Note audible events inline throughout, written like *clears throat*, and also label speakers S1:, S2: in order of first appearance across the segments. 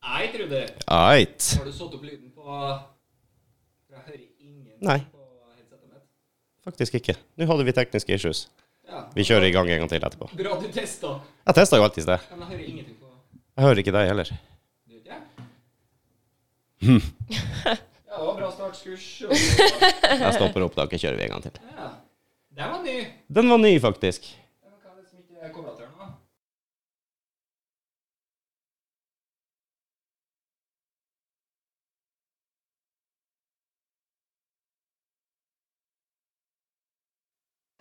S1: Nei, Trude.
S2: Eit.
S1: Har du satt opp lyden på Jeg hører ingen
S2: Nei.
S1: på headsetet mitt.
S2: Faktisk ikke. Nå hadde vi tekniske issues.
S1: Ja.
S2: Vi kjører i gang en gang til etterpå.
S1: Bra du testa.
S2: Jeg testa jo alt i sted.
S1: Men jeg hører ingenting på
S2: Jeg hører ikke deg heller.
S1: Du gjør ikke det? ja, det var bra startskurs. og-
S2: Jeg stopper opptaket, kjører vi en gang til.
S1: Ja. Den var ny.
S2: Den var ny, faktisk.
S1: Den kan jeg liksom ikke koble til nå.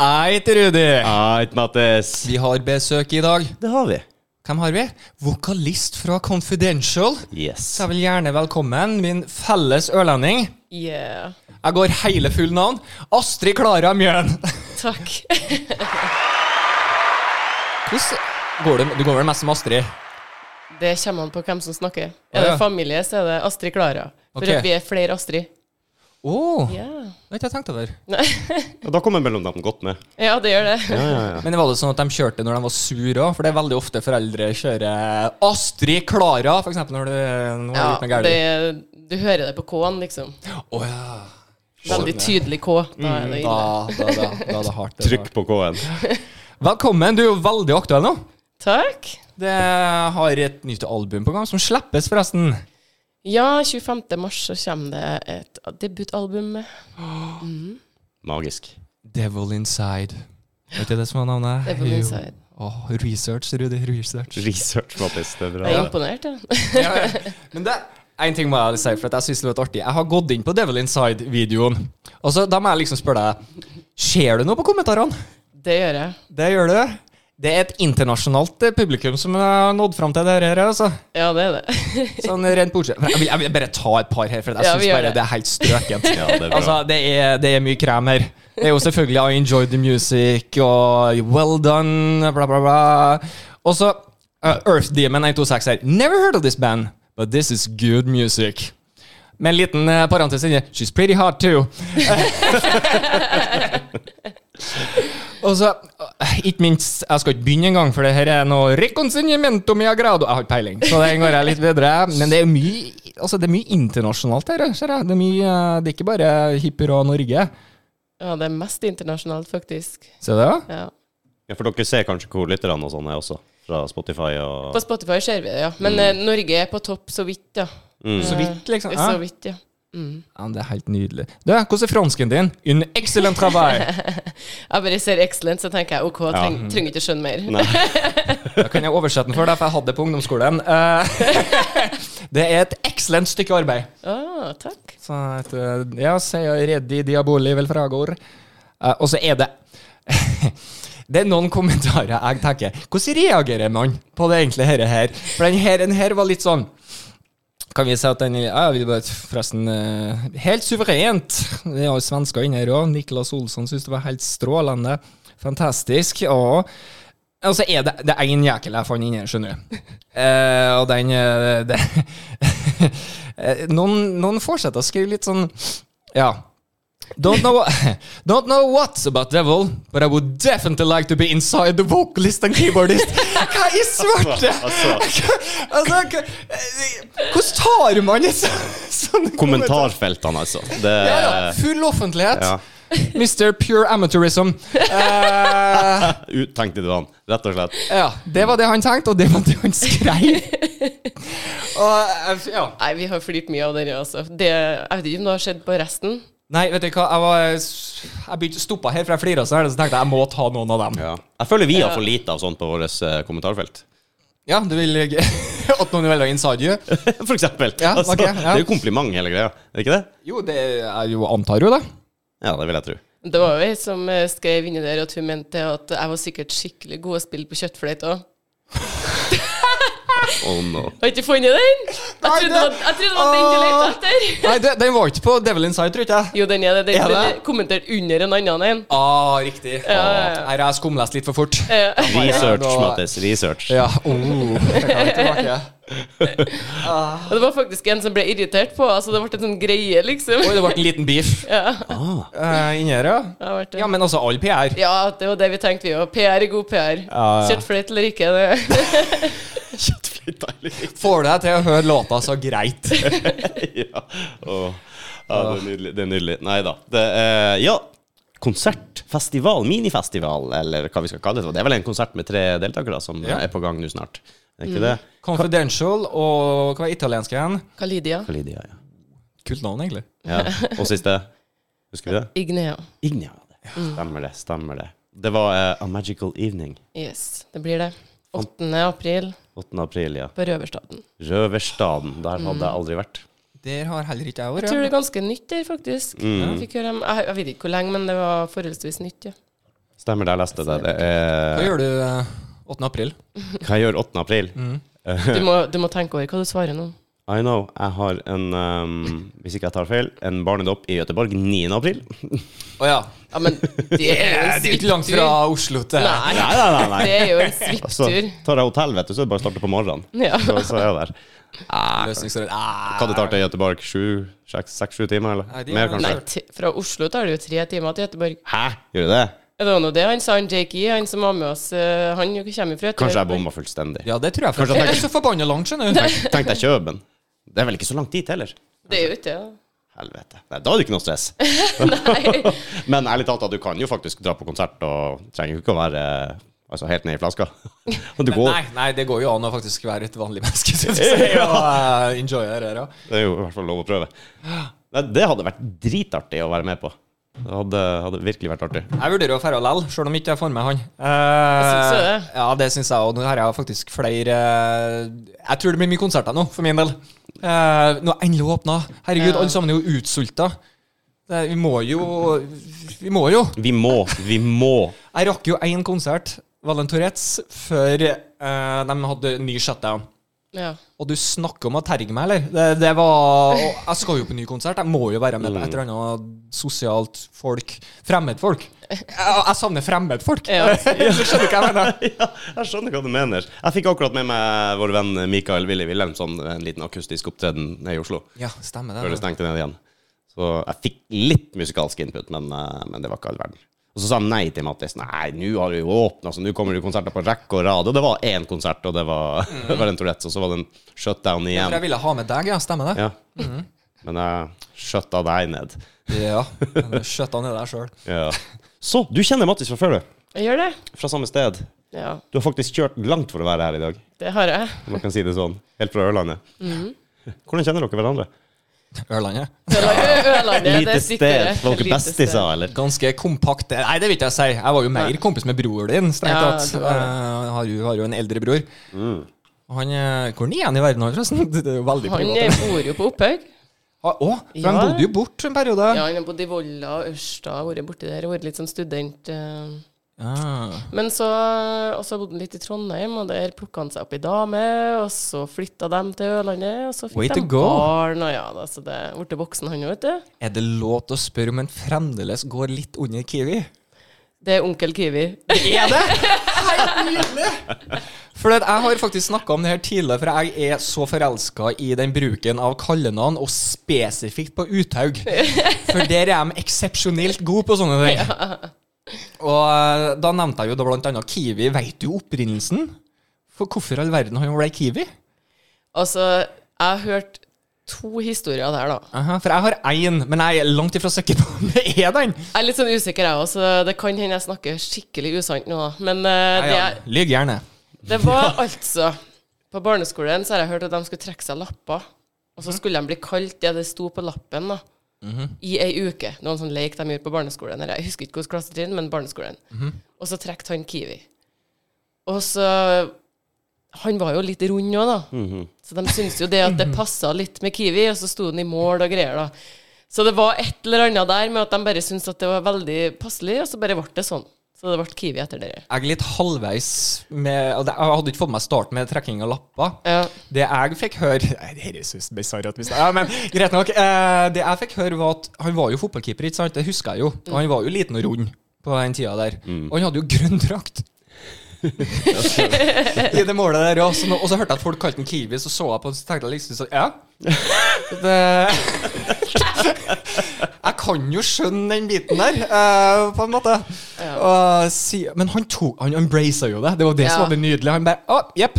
S3: Eit, Rudi.
S2: Eit, Mattis.
S3: Vi har besøk i dag.
S2: Det har vi.
S3: Hvem har vi? Vokalist fra Confidential.
S2: Yes.
S3: Så jeg vil gjerne velkommen min felles ørlending.
S4: Yeah.
S3: Jeg går hele full navn. Astrid Klara Mjøen. *laughs*
S4: Takk. *laughs*
S3: Hvordan går du, du går vel mest som Astrid?
S4: Det kommer an på hvem som snakker.
S3: Å,
S4: Er
S3: ja.
S4: det familie, så er det Astrid Klara. For
S3: Ok.
S4: at vi er flere Astrid.
S3: Å,
S4: Ja.
S3: det har ikke jeg tenkt over.
S2: Og da kommer mellomnavn godt med.
S4: ja, det gjør det.
S2: Ja, ja, ja.
S3: Men var det sånn at de kjørte når de var sure òg? For det er veldig ofte foreldre kjører eh, Astrid Klara, f.eks. når du nå har
S4: Ja,
S3: gjort noe galt.
S4: det du hører det på K-en, liksom.
S3: Å, ja.
S4: Veldig tydelig K. Da er det
S3: Mm, Da,
S4: ille.
S3: da, da, da er det hardt. det er
S2: Trykk
S3: hardt.
S2: på K-en.
S3: Velkommen, du er jo veldig aktuell nå.
S4: Takk.
S3: Det har et nytt album på gang, som slippes, forresten.
S4: Ja, 25. mars så kommer det et debutalbum.
S2: Magisk.
S3: Devil Inside. Var ikke det som var navnet?
S4: Devil
S3: Jo.
S4: Inside.
S3: Åh, research, Rudi. Research.
S2: Research, Mattis. Det er bra.
S4: Jeg er imponert, jeg.
S3: *laughs*
S4: *laughs*
S3: ja, ja. Men det en ting må jeg si, for at jeg synes det var artig. Jeg har gått inn på Devil Inside-videoen. Og så Da må jeg liksom spørre deg Ser du noe på kommentarene?
S4: Det gjør jeg.
S3: Det gjør du. Det er et internasjonalt eh, publikum som har nådd fram til det her. Altså.
S4: Ja, det er det.
S3: Sånn rent bortsett Men jeg vil, jeg vil bare ta et par her, for jeg
S4: Ja,
S3: synes
S4: vi gjør
S3: bare
S4: det.
S3: det er helt
S4: *laughs*
S3: strøkent.
S2: Ja, det er bra.
S3: Altså, det er, det er mye krem her. Det er jo selvfølgelig I enjoy the music og Well done, bla, bla, bla. Og så uh, Earth Demon 126 her. Never heard of this band, but this is good music. Med en liten uh, parentes inni. She's pretty hot too. og så, uh, ikke minst, jeg skal ikke begynne engang, for det her er noe reconciliamento mia grado. Jeg har ikke peiling, så den går jeg litt bedre. Men det er mye altså det er mye internasjonalt her. ser jeg. Det er, mye, uh, det er ikke bare hipp hurra Norge.
S4: Ja, det er mest internasjonalt, faktisk.
S3: Ser du det?
S4: Ja.
S2: Ja, for dere ser kanskje hvor lytterne og sånn er også, fra Spotify og
S4: På Spotify ser vi det, ja. Men eh, Norge er på topp så vidt, ja.
S3: Så vidt, Mm. liksom.
S4: Så
S3: Ja.
S4: vidt, ja.
S3: Ja, men det er helt nydelig. Du, hvordan er fransken din? Un excellent travail.
S4: Jeg bare ser excellent, så tenker jeg OK, treng, trenger ikke skjønne mer.
S3: Da kan jeg oversette den for deg, for jeg hadde det på ungdomsskolen. Eh, *laughs* det er et excellent stykke arbeid.
S4: Ah, takk.
S3: Så et, eh, ja, sier Reddi Diaboli vel fragor. Eh, og så er det *laughs* Det er noen kommentarer jeg tenker Hvordan reagerer man på det egentlig herre her? For den her, den her var litt sånn Kan vi si at den ja, vi bare, Forresten, eh, helt suverent. Det er jo svensker inne her òg. Niklas Olsson syntes det var helt strålende. Fantastisk. Og og så er det, det er en jækel jeg fant inni her, skjønner du. Eh, og den eh, det, *laughs* Eh, noen, noen fortsetter å skrive litt sånn Ja. Don't know, *laughs* don't know what's about devil, but I would definitely like to be inside the vocalist and keyboardist. Hva i svarte?
S2: Altså,
S3: *laughs* Altså, hva- eh, hvordan tar man et så- sånn
S2: kommentarfeltene, altså. Det
S3: Ja, ja, full offentlighet.
S2: Ja.
S3: Mr. Pure Amateurism. Eh,
S2: Ut, tenkte du han, rett og slett.
S3: ja, det var det han tenkte, og det var det han skrev. Og, eh, ja.
S4: Nei, vi har flirt mye av det, altså. Det, jeg vet ikke om det har skjedd på resten.
S3: Nei, vet du hva, jeg, var, eh, jeg begynte stoppa her, for jeg flira sånn, så tenkte jeg jeg må ta noen av dem.
S2: Ja. Jeg føler vi har for lite av sånt på vårt eh, kommentarfelt. *laughs*
S3: Ja, du vil *laughs* At noen velger insadio?
S2: For eksempel.
S3: Ja,
S2: Altså,
S3: ok, ja.
S2: Det er jo kompliment, hele greia. Er det ikke det?
S3: Jo, det jeg jo antar jo det.
S2: Ja, det vil jeg tro.
S4: Det var jo ei som eh, skrev inni der at hun mente at jeg var sikkert skikkelig god å spille på kjøttfløyt òg.
S2: Oh no.
S4: Har ikke funnet den? Jeg
S3: Nei, det-
S4: trodde det var, jeg trodde det var den du lette etter. *laughs*
S3: Nei, det- den var ikke på Devil Inside, tror ikke jeg.
S4: Jo, den er det. Den,
S3: Er det?
S4: den er kommentert under en annen en.
S3: Ah, riktig.
S4: Ja, ja, ja.
S3: Nei, jeg skumleste litt for fort.
S4: Eh,
S2: Research,
S3: Da-
S2: Mattis. Research.
S3: Ja, oh, jeg kan ikke tilbake.
S4: Og det var faktisk en som ble irritert på. Altså, det ble en sånn greie, liksom.
S3: Oi, det ble en liten beef
S4: Ja,
S2: Ah,
S3: uh, inni her, ja.
S4: det har vært det.
S3: Ja, men altså, all PR.
S4: Ja, det var det vi tenkte, vi òg. PR er god PR.
S3: Ja, ja.
S4: Kjøttfløyt eller ikke. Det. *laughs*
S2: Kjøttflytt deilig. *laughs*
S3: Får deg til å høre låta så greit.
S2: ja. Åh. ja, det er nydelig. Det er nydelig. Nei da. Det er, ja, konsert, festival, minifestival, eller hva vi skal kalle det. Det er vel en konsert med tre deltakere som
S3: Ja.
S2: er på gang nå snart. Er det ikke det?
S3: Confidential og hva er italiensk igjen?
S4: Kalidia.
S2: Kalidia, ja.
S3: Kult navn, egentlig.
S2: ja. Og siste, husker vi det?
S4: Ignea.
S2: Ignia. det.
S4: Mm.
S2: Stemmer det, stemmer det. Det var eh, A Magical Evening.
S4: Yes, det blir det. 8. april
S2: 8. april, ja.
S4: på Røverstaden.
S2: Røverstaden. Der hadde
S4: Mm.
S2: jeg aldri vært.
S3: Der har heller ikke jeg
S4: Jeg
S3: vært.
S4: tror det
S3: ja.
S4: er ganske nytt der, faktisk.
S2: Mm.
S4: Jeg, fikk høre, om- jeg, jeg vet ikke hvor lenge, men det var forholdsvis nytt, ja.
S2: Stemmer det, jeg leste det. det
S3: Hva
S2: er,
S3: gjør du eh, 8. april?
S2: hva jeg gjør 8. april?
S3: Mm.
S4: Du må, du må tenke over hva du svarer nå.
S2: I know. Jeg har en, ehm, hvis ikke jeg tar feil, en barnedåp i Gøteborg 9. april.
S3: Å ja.
S4: Ja, men det er jo
S3: *laughs*
S4: en
S3: Det er ikke langt
S4: svipptur.
S3: fra Oslo til
S4: Nei,
S2: Nei, nei, nei. nei.
S4: det er
S2: *laughs*
S4: jo en
S2: Så
S4: svipptur.
S2: tar jeg hotell, vet du, så er det bare å starte på morgenen.
S4: Ja.
S2: Så, så er jeg
S4: *laughs*
S2: der.
S3: Løsningsrett.
S2: Hva det tar til Gøteborg? Sju, seks, seks, sju timer, eller?
S3: Nei, de
S2: Mer,
S3: har-
S2: kanskje?
S4: Nei, t fra Oslo tar det jo tre timer til Göteborg.
S2: Hæ? Gjør det det?
S4: Det var nå det han sa, han Jake E, han som var med oss. eh, Han jo kommer fra
S2: Kanskje jeg
S4: Göteborg.
S2: bomma fullstendig.
S3: Ja, det tror jeg. faktisk.
S2: Kanskje
S3: Jeg er så forbanna langt, skjønner du.
S2: Tenkte jeg Kjøben. Det er vel ikke så langt dit heller?
S4: Det er jo ikke det. da.
S2: Helvete. Nei, da er det ikke noe stress. *laughs* Men ærlig talt, da, du kan jo faktisk dra på konsert og trenger jo ikke å være eh, altså, helt ned i flaska. Og du går.
S3: Nei, nei, det går jo an å faktisk være et vanlig menneske *laughs* skal vi si, og eh, enjoye det her. ja.
S2: Det er jo i hvert fall lov å prøve. Nei, det hadde vært dritartig å være med på. Det hadde, hadde virkelig vært artig.
S3: Jeg vurderer å dra likevel, sjøl om ikke jeg får med han. Eh,
S4: synes jo det.
S3: Ja, det syns jeg òg. Nå har jeg faktisk flere eh, Jeg tror det blir mye konserter nå, for min del. Eh, nå er endelig åpna. Herregud,
S4: Ja.
S3: alle sammen er jo utsulta. Det, vi må jo Vi må jo.
S2: Vi må, vi må.
S3: Jeg rakk jo én konsert, Valentoretz, før eh, de hadde ny shutdown.
S4: Ja.
S3: Og du snakker om å terge meg, eller? Det, det var og Jeg skal jo på ny konsert. Jeg må jo være med på et eller annet sosialt folk. Fremmedfolk. Jeg, jeg savner fremmedfolk.
S4: Ja.
S3: Du *laughs* skjønner hva jeg mener?
S2: Ja, jeg skjønner hva du mener. Jeg fikk akkurat med meg vår venn Mikael Willy Wilhelmsson en liten akustisk opptreden nede i Oslo.
S3: Ja, stemmer
S2: Før
S3: det.
S2: det stengte ned igjen. Så jeg fikk litt musikalsk input, men, eh, men det var ikke all verden. Og så sa han nei til Mattis. Nei, nå har du jo åpna, så nå kommer det jo konserter på rekke og rad. Og det var én konsert, og det var, *laughs* det var en Tourettes, og så var det en shutdown
S3: For
S2: igjen.
S3: jeg ville ha med deg, ja. Stemmer det?
S2: Ja. Men jeg shutta deg ned.
S3: Ja. men Skjøtt han ned deg sjøl.
S2: Ja. Så, du kjenner Mattis fra før, du.
S4: Jeg gjør det.
S2: Fra samme sted.
S4: Ja,
S2: Du har faktisk kjørt langt for å være her i dag,
S4: det har jeg.
S2: om man kan si det sånn. Helt fra Ørlandet.
S4: Mhm.
S2: Hvordan kjenner dere hverandre?
S3: Ørlandet.
S4: Ørlandet, det
S2: Lite
S4: sitter
S2: sted.
S4: det.
S2: Var dere
S4: Lite sted.
S2: bestiser, eller?
S3: Ganske kompakt. Nei, det vil ikke jeg si. Jeg var jo mer kompis med broren din. Strengt
S4: Ja,
S3: tatt.
S4: det
S3: Jeg
S4: var det.
S3: har, jo- har jo en eldre bror.
S2: Mm.
S3: Og han eh, Hvor er han igjen i verden, han, forresten? *laughs* Det er jo veldig
S4: Han
S3: privat. Ah,
S4: eh, bor jo på Opphaug.
S3: Å, for han
S4: Ja.
S3: bodde jo bort en periode.
S4: Ja, han har bodd i Volla og Ørsta, vært borti der, vært litt sånn student. eh.
S3: Ah.
S4: Men så og så bodde han litt i Trondheim, og der plukka han seg opp ei dame. Og så flytta de til Ørlandet, og så
S3: Way
S4: fikk
S3: to
S4: de
S3: go.
S4: barn. Og ja, da, så det ble voksen, han òg, vet du.
S3: Er det lov til å spørre om en fremdeles går litt under Kiwi?
S4: Det er onkel Kiwi. *laughs*
S3: Er det? Helt nydelig! For at jeg har faktisk snakka om det her tidligere, for jeg er så forelska i den bruken av kallenavn, og spesifikt på Uthaug. For der er de eksepsjonelt gode på sånne ting. Og eh, da nevnte jeg jo da blant annet Kiwi. Veit du opprinnelsen? For hvorfor i all verden har han vært Kiwi?
S4: Altså, jeg hørte to historier der, da.
S3: Aha, for jeg har én, men jeg er langt ifra sikker på om det er den.
S4: Jeg er litt sånn usikker, jeg òg, så det kan hende jeg snakker skikkelig usant nå. da. Men eh,
S3: Ja, ja,
S4: det,
S3: Lyg gjerne.
S4: det var altså På barneskolen så har jeg hørt at de skulle trekke seg lapper. Og så skulle de bli kalt det det sto på lappen da i ei uke. Noen sånn leik de gjorde på barneskolen. Eller jeg husker ikke hvilket klassetrinn, men barneskolen. Og så trekte han Kiwi. Og så Han var jo litt rund òg, da. Så de syntes jo det at det passa litt med Kiwi, og så sto den i mål og greier, da. Så det var et eller annet der med at de bare syntes at det var veldig passelig, og så bare ble det sånn. Så det ble Kiwi etter det.
S3: Jeg er litt halvveis med og det- Jeg hadde ikke fått med starten med trekking av lapper.
S4: Ja.
S3: Det jeg fikk høre Nei, Det høres ut som bisarr at vi snakker ja, men Greit nok. Eh, det jeg fikk høre, var at han var jo fotballkeeper, ikke sant? Det husker jeg jo. Og han var jo liten og rund på den tida der. Og han hadde jo grønn drakt. I det målet der også. Og så hørte jeg at folk kalte han Kiwi, så så jeg på han, så tenkte jeg liksom så,
S4: *laughs*
S3: Ja. Det Jeg kan jo skjønne den biten der, eh, på en måte. Og si, men han tok Han embracet jo det. Det var det som
S4: Ja.
S3: var det nydelige. Han bare Å, jepp.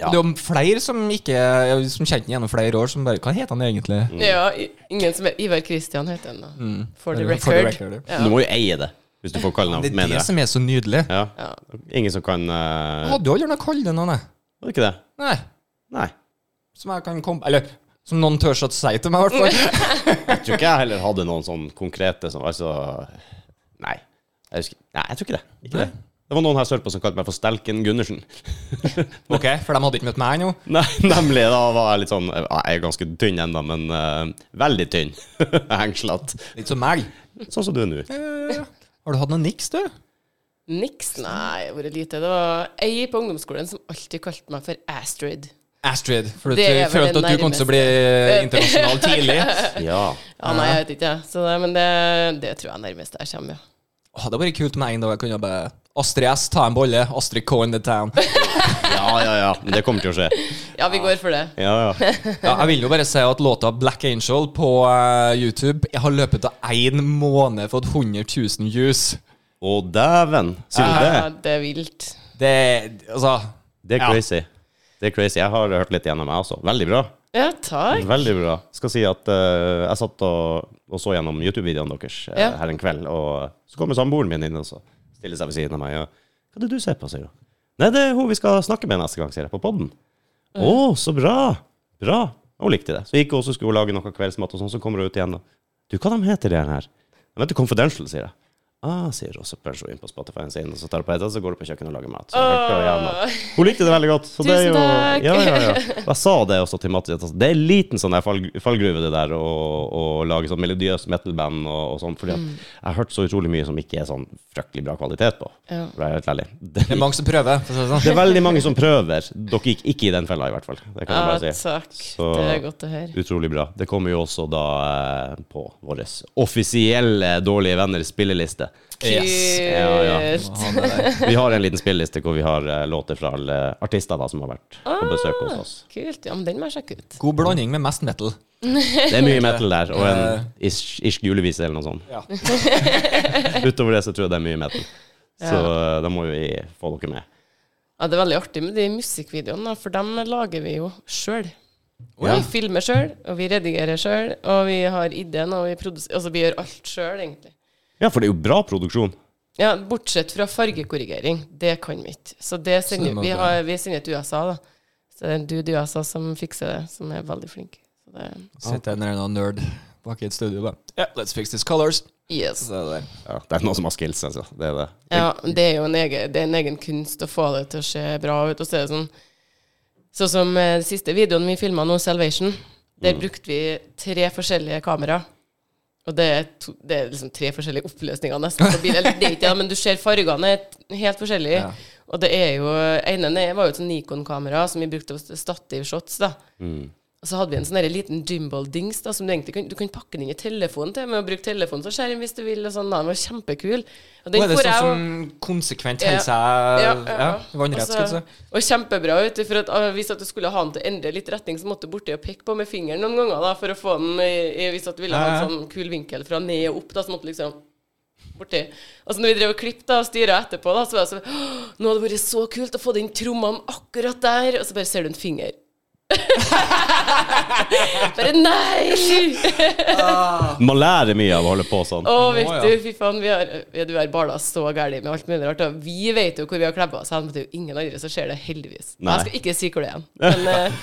S2: Ja.
S3: Det var flere som ikke Som kjente den gjennom flere år, som bare Hva heter han egentlig?
S2: Mm.
S4: ja, i- ingen som er Ivar Kristian heter han da. For, the
S3: For the
S4: record.
S3: record,
S2: Du
S4: Ja.
S2: må jo eie det, hvis du får kallenavn,
S3: Det er
S2: mener
S3: det
S2: jeg.
S3: som er så nydelig.
S2: Ja.
S4: Ja.
S2: Ingen som kan eh,
S3: Jeg hadde jo aldri noe kallenavn, jeg.
S2: Var det ikke det?
S3: Nei.
S2: Nei.
S3: Som jeg kan komme Eller som noen tør å si til meg, i hvert
S4: *laughs*
S3: fall.
S2: Jeg tror ikke jeg heller hadde noen sånn konkrete som Altså Nei. Jeg husker Nei, jeg tror ikke det. Ikke det. Det var noen her sørpå som kalte meg for Stelken Gundersen. *laughs*
S3: Ok, For de hadde ikke møtt meg ennå.
S2: Nei, nemlig. Da var jeg litt sånn Jeg er ganske tynn ennå, men eh, veldig tynn. *laughs* Hengslete.
S3: Litt som meg.
S2: Sånn som du er nå.
S3: Eh, Har du hatt noe niks, du?
S4: Niks, nei, hvor lite. Det var ei på ungdomsskolen som alltid kalte meg for Astrid.
S3: Astrid. For at
S4: Det er
S3: du
S4: vel
S3: følte
S4: det
S3: at du kom til å bli internasjonal
S4: *laughs*
S3: tidlig.
S2: Ja.
S4: Ja, nei, jeg vet ikke, jeg. Så det, men det, det tror jeg nærmest jeg kommer, ja.
S3: Åh, det hadde vært kult med en dag jeg kunne bare Astrid S, ta en bolle. Astrid K in the town.
S2: ja, ja, ja. Men Det kommer til å skje.
S4: Ja, vi går for det.
S2: Ja, ja.
S3: Ja, jeg vil jo bare si at låta Black Angel på eh, YouTube Jeg har løpet av én måned fått 100 000 views.
S2: Å, dæven! Sier du det?
S4: Ja, det er vilt.
S3: Det Altså
S2: Det er
S3: Ja.
S2: crazy. Det er crazy. Jeg har hørt litt gjennom, jeg også. Veldig bra.
S4: Ja, takk.
S2: Veldig bra. Skal si at eh, jeg satt og, og så gjennom YouTube-videoene deres eh,
S4: Ja.
S2: her en kveld, og så kommer samboeren min inn og så stiller seg ved siden av meg. Og, Hva er det du ser på, sier hun. Nei, det er hun vi skal snakke med neste gang, sier jeg, på podden. Å, så bra! Bra. Hun likte det. Så gikk hun og så skulle hun lage noe kveldsmat, og sånn, så kommer hun ut igjen og Du, hva de heter de her? De heter Confidential, sier jeg. Ah, sier hun, så pønser hun inn på Spotify-en sin, og så tar hun på headset, så går hun på kjøkkenet og lager mat. Så jeg hørte jo gjennom. Hun likte det veldig godt. Så det er
S4: Tusen
S2: jo,
S4: takk.
S2: ja, ja, ja. Og *laughs* Jeg sa det også til Mattis. at Det er en liten sånn der fall, fallgruve, det der å å lage sånn melodiøst metal-band og, og sånn. Fordi
S4: Mm.
S2: at jeg har hørt så utrolig mye som ikke er sånn fryktelig bra kvalitet på.
S4: Ja.
S2: For å være helt ærlig. *laughs* Det,
S3: Det er mange som prøver. For å si det sånn.
S2: det er veldig mange som prøver. Dere gikk ikke i den fella, i hvert fall. Det kan
S4: Ja,
S2: jeg bare si.
S4: takk.
S2: Så-
S4: Det er godt å høre.
S2: Utrolig bra. Det kommer jo også da eh, på vår offisielle Dårlige venner spilleliste.
S3: Yes.
S2: Ja, ja.
S4: Kult.
S3: Han er der.
S2: Vi har en liten spilleliste hvor vi har eh, låter fra alle artister da, som har vært på besøk
S4: Ah.
S2: hos oss.
S4: Kult. Ja, men den må jeg sjekke ut.
S3: God blanding med mest metal.
S2: Det er mye metal der, og en irsk irsk julevise eller noe sånt.
S3: Ja.
S2: Utover det så tror jeg det er mye metal. Så eh, da må vi få dere med.
S4: Ja, Det er veldig artig med de musikkvideoene, da, for dem lager vi jo sjøl.
S2: Ja.
S4: Vi filmer sjøl, og vi redigerer sjøl, og vi har ideen, og vi produserer Altså, vi gjør alt sjøl, egentlig.
S2: Ja, for det er jo bra produksjon.
S4: Ja, Bortsett fra fargekorrigering. Det kan vi ikke. Så det
S3: Så det
S4: sender
S3: må
S4: vi,
S3: være-
S4: har, vi sender til USA, da. Så det er en dude i USA som fikser det, som er veldig flink. Så det,
S3: Sitter en eller annen nerd bak i et studio og bare yeah, Let's fix these colors.
S4: yes.
S3: Så er det der.
S2: Ja, det er noen som har skills, altså. Det er det.
S4: Ja, det er jo en egen, det er en egen kunst å få det til å se bra ut. Og så er det sånn Sånn som eh, den siste videoen vi filma nå, 'Salvation', der
S3: Mm.
S4: brukte vi tre forskjellige kameraer. Og det er, to, det er liksom tre forskjellige oppløsninger nesten på bilen. Eller det er ikke det, men du ser fargene er t- helt forskjellige.
S3: Ja.
S4: Og det er jo ene nede var jo et sånn Nikon-kamera som vi brukte til stativshots, da.
S3: Mm.
S4: Og så hadde vi en sånn der liten gimbal-dings da, som du egentlig kan, du kan pakke den inn i telefonen til, med å bruke telefonen som skjerm hvis du vil, og sånn. da. Den var kjempekul. Og den
S3: Og er det
S4: får
S3: sånn
S4: jeg
S3: som konsekvent
S4: Ja.
S3: holder seg ja,
S4: Ja, ja, ja.
S3: vannrett, skal
S4: Altså,
S3: jeg si.
S4: Og kjempebra ut. For at, ah, hvis at du skulle ha den til å endre litt retning, så måtte du borti og peke på med fingeren noen ganger da, for å få den i, i, Hvis at du ville
S3: Ja,
S4: ha
S3: ja.
S4: en sånn kul vinkel fra ned og opp, da, så måtte du liksom borti. Og så når vi drev og klippet da, og styra etterpå, da, så var jeg sånn «Åh, Nå hadde det vært så kult å få den trommene akkurat der. Og så bare ser du en finger *laughs* Bare nei!
S2: Man lærer mye av å holde på sånn.
S4: Å,
S3: Å,
S4: vet
S3: ja.
S4: du, fy faen, vi har, vi, du har balla så gærent med alt mulig rart. Og vi vet jo hvor vi har klebba oss hen, men det er jo ingen andre som ser det, heldigvis.
S2: Nei.
S4: Jeg skal ikke si
S3: *laughs*
S4: hvor det er, men eh,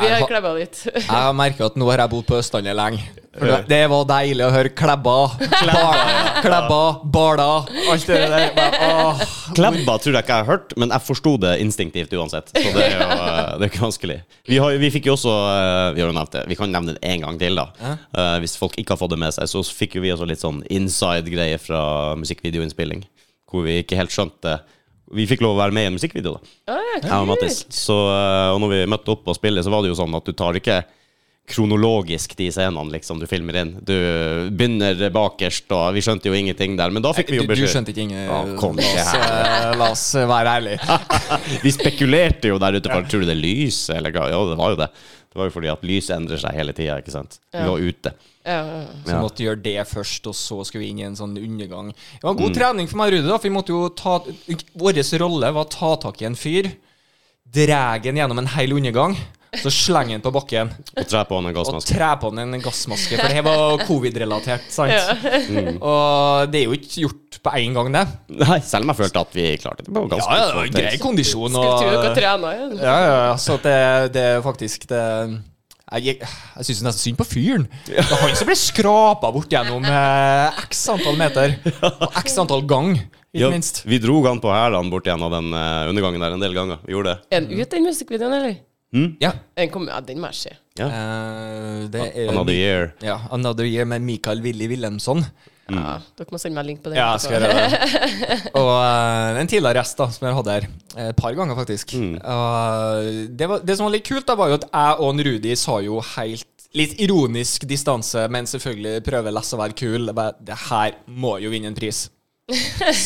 S4: vi har klebba litt. *laughs*
S3: Jeg har merka at nå har jeg bodd på Østlandet lenge. For det- Det var deilig å høre Klæbba, Bar- Klæbba, Bala, alt det der. Bare, *laughs* åh.
S2: Klebba tror jeg ikke jeg har hørt, men jeg forsto det instinktivt uansett. Så det er
S3: *laughs*
S2: jo eh, det er ikke vanskelig. Vi, har, vi fikk jo også eh, Vi har jo nevnt det, vi kan nevne det en gang til, da. Eh, Hvis folk ikke har fått det med seg, så fikk jo vi også litt sånn inside-greie fra musikkvideoinnspilling. Hvor vi ikke helt skjønte Vi fikk lov å være med i en musikkvideo, da.
S4: Å, ja,
S2: Jeg og Mattis. Så, eh, og når vi møtte opp og spille, så var det jo sånn at du tar ikke kronologisk de scenene liksom du filmer inn. Du begynner bakerst, og vi skjønte jo ingenting der, men da fikk
S3: Du,
S2: vi jo
S3: du
S2: beskjed.
S3: skjønte ikke ingen
S2: Å, kom
S3: la,
S2: ikke
S3: oss, eh, la oss være ærlige.
S2: *laughs* vi spekulerte jo der ute på Tror du det er lys, eller hva? Ja, det var jo det. Det var jo fordi at lyset endrer seg hele tida, ikke sant. Vi var ute.
S4: ja, ja, ja.
S3: Så vi måtte gjøre det først, og så skulle vi inn i en sånn undergang. Det var god trening for meg og Rudi, da. For vi måtte jo ta Vår rolle var å ta tak i en fyr, drege han gjennom en hel undergang, så slenge han på bakken
S2: Og tre på en
S3: og
S2: gassmaske.
S3: tre på han en gassmaske. For det her var covid-relatert, sant? Mm. Og det er jo ikke gjort på én gang, det.
S2: Nei, selv om jeg følte at vi klarte det på ganske
S3: Ja, ja, det
S2: kort
S3: var
S2: tid.
S3: grei kondisjon
S4: Skulle tro dere
S3: og
S4: trena igjen.
S3: eh, Ja, ja, ja. Så at det, det er faktisk det jeg, jeg, jeg syns nesten synd på fyren. Det er han som ble skrapa bort gjennom eh, x antall meter. Og x antall gang, ikke
S2: Ja,
S3: minst.
S2: vi dro han på hælene bort igjen av den eh, undergangen der en del ganger. Vi gjorde det.
S4: Er den ute, den musikkvideoen, eller?
S3: Ja.
S4: Den kom, ja, den må jeg se.
S3: Eh, det er
S2: Another year.
S3: Ja, Another Year med Michael Willy Wilhelmsson.
S4: Ja, dere må sende meg link på den.
S3: Mm. Ja, jeg skal gjøre det.
S2: *laughs*
S3: Og eh, en tidligere gjest da, som jeg hadde her. eh, Et par ganger, faktisk.
S2: Mm.
S3: Og det, var, det som var litt kult, da, var jo at jeg og en Rudi sa jo helt Litt ironisk distanse, men selvfølgelig prøve å lese og være kul. Jeg bare, Det her må jo vinne en pris.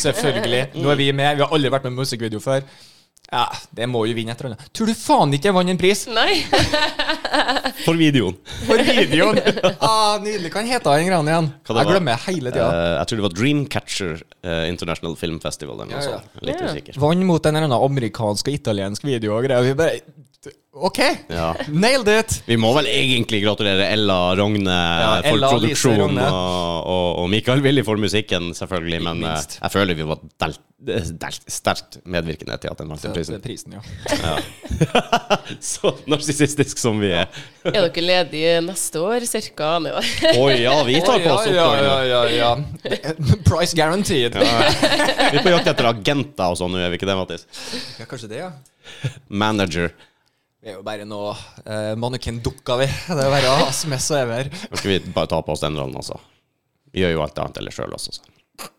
S3: Selvfølgelig.
S2: *laughs* Mm.
S3: Nå er vi med. Vi har aldri vært med i musikkvideo før. Ja, Det må jo vinne et eller annet. Tror du faen ikke jeg vant en
S2: *laughs*
S3: pris?
S4: *laughs* Nei!
S2: For videoen.
S3: *laughs* For videoen!
S2: *laughs*
S3: ah, nydelig. Hva het den greia igjen?
S2: Hva
S3: Jeg
S2: det var?
S3: glemmer hele tida.
S2: Eh, jeg tror det var Dreamcatcher eh, International Film Festival. Den,
S3: Ja,
S2: også.
S3: ja.
S2: Litt
S4: Ja.
S2: usikker.
S3: Vann mot en eller annen amerikansk og italiensk video og greier. Vi bare OK!
S2: Ja.
S3: Nailed it!
S2: Vi må vel egentlig gratulere Ella Rogne for
S3: Ella og Lise
S2: produksjon
S3: Rogne.
S2: Og, og, og Mikael Willy for musikken, selvfølgelig. Men eh,
S3: minst.
S2: jeg føler vi var delt, delt, sterkt medvirkende til at den vant den
S3: Prisen.
S2: prisen.
S3: Prisen, ja.
S2: *laughs* Så narsissistisk som vi er.
S4: Er dere ledige neste år, cirka? Nei, da.
S2: Å ja, vi tar på oss
S3: ja, ja,
S2: oppdraget.
S3: ja, ja. Price guaranteed. Ja.
S2: Vi er på jakt etter agenter og sånn, nå er vi ikke det, Mattis?
S3: kanskje det, ja.
S2: Manager.
S3: Vi er jo bare noe uh, mannekendukker, vi. Det er bare å ha sms og ever.
S2: Nå skal vi bare ta på oss den rollen, altså. Vi gjør jo alt annet ellers sjøl også. Så.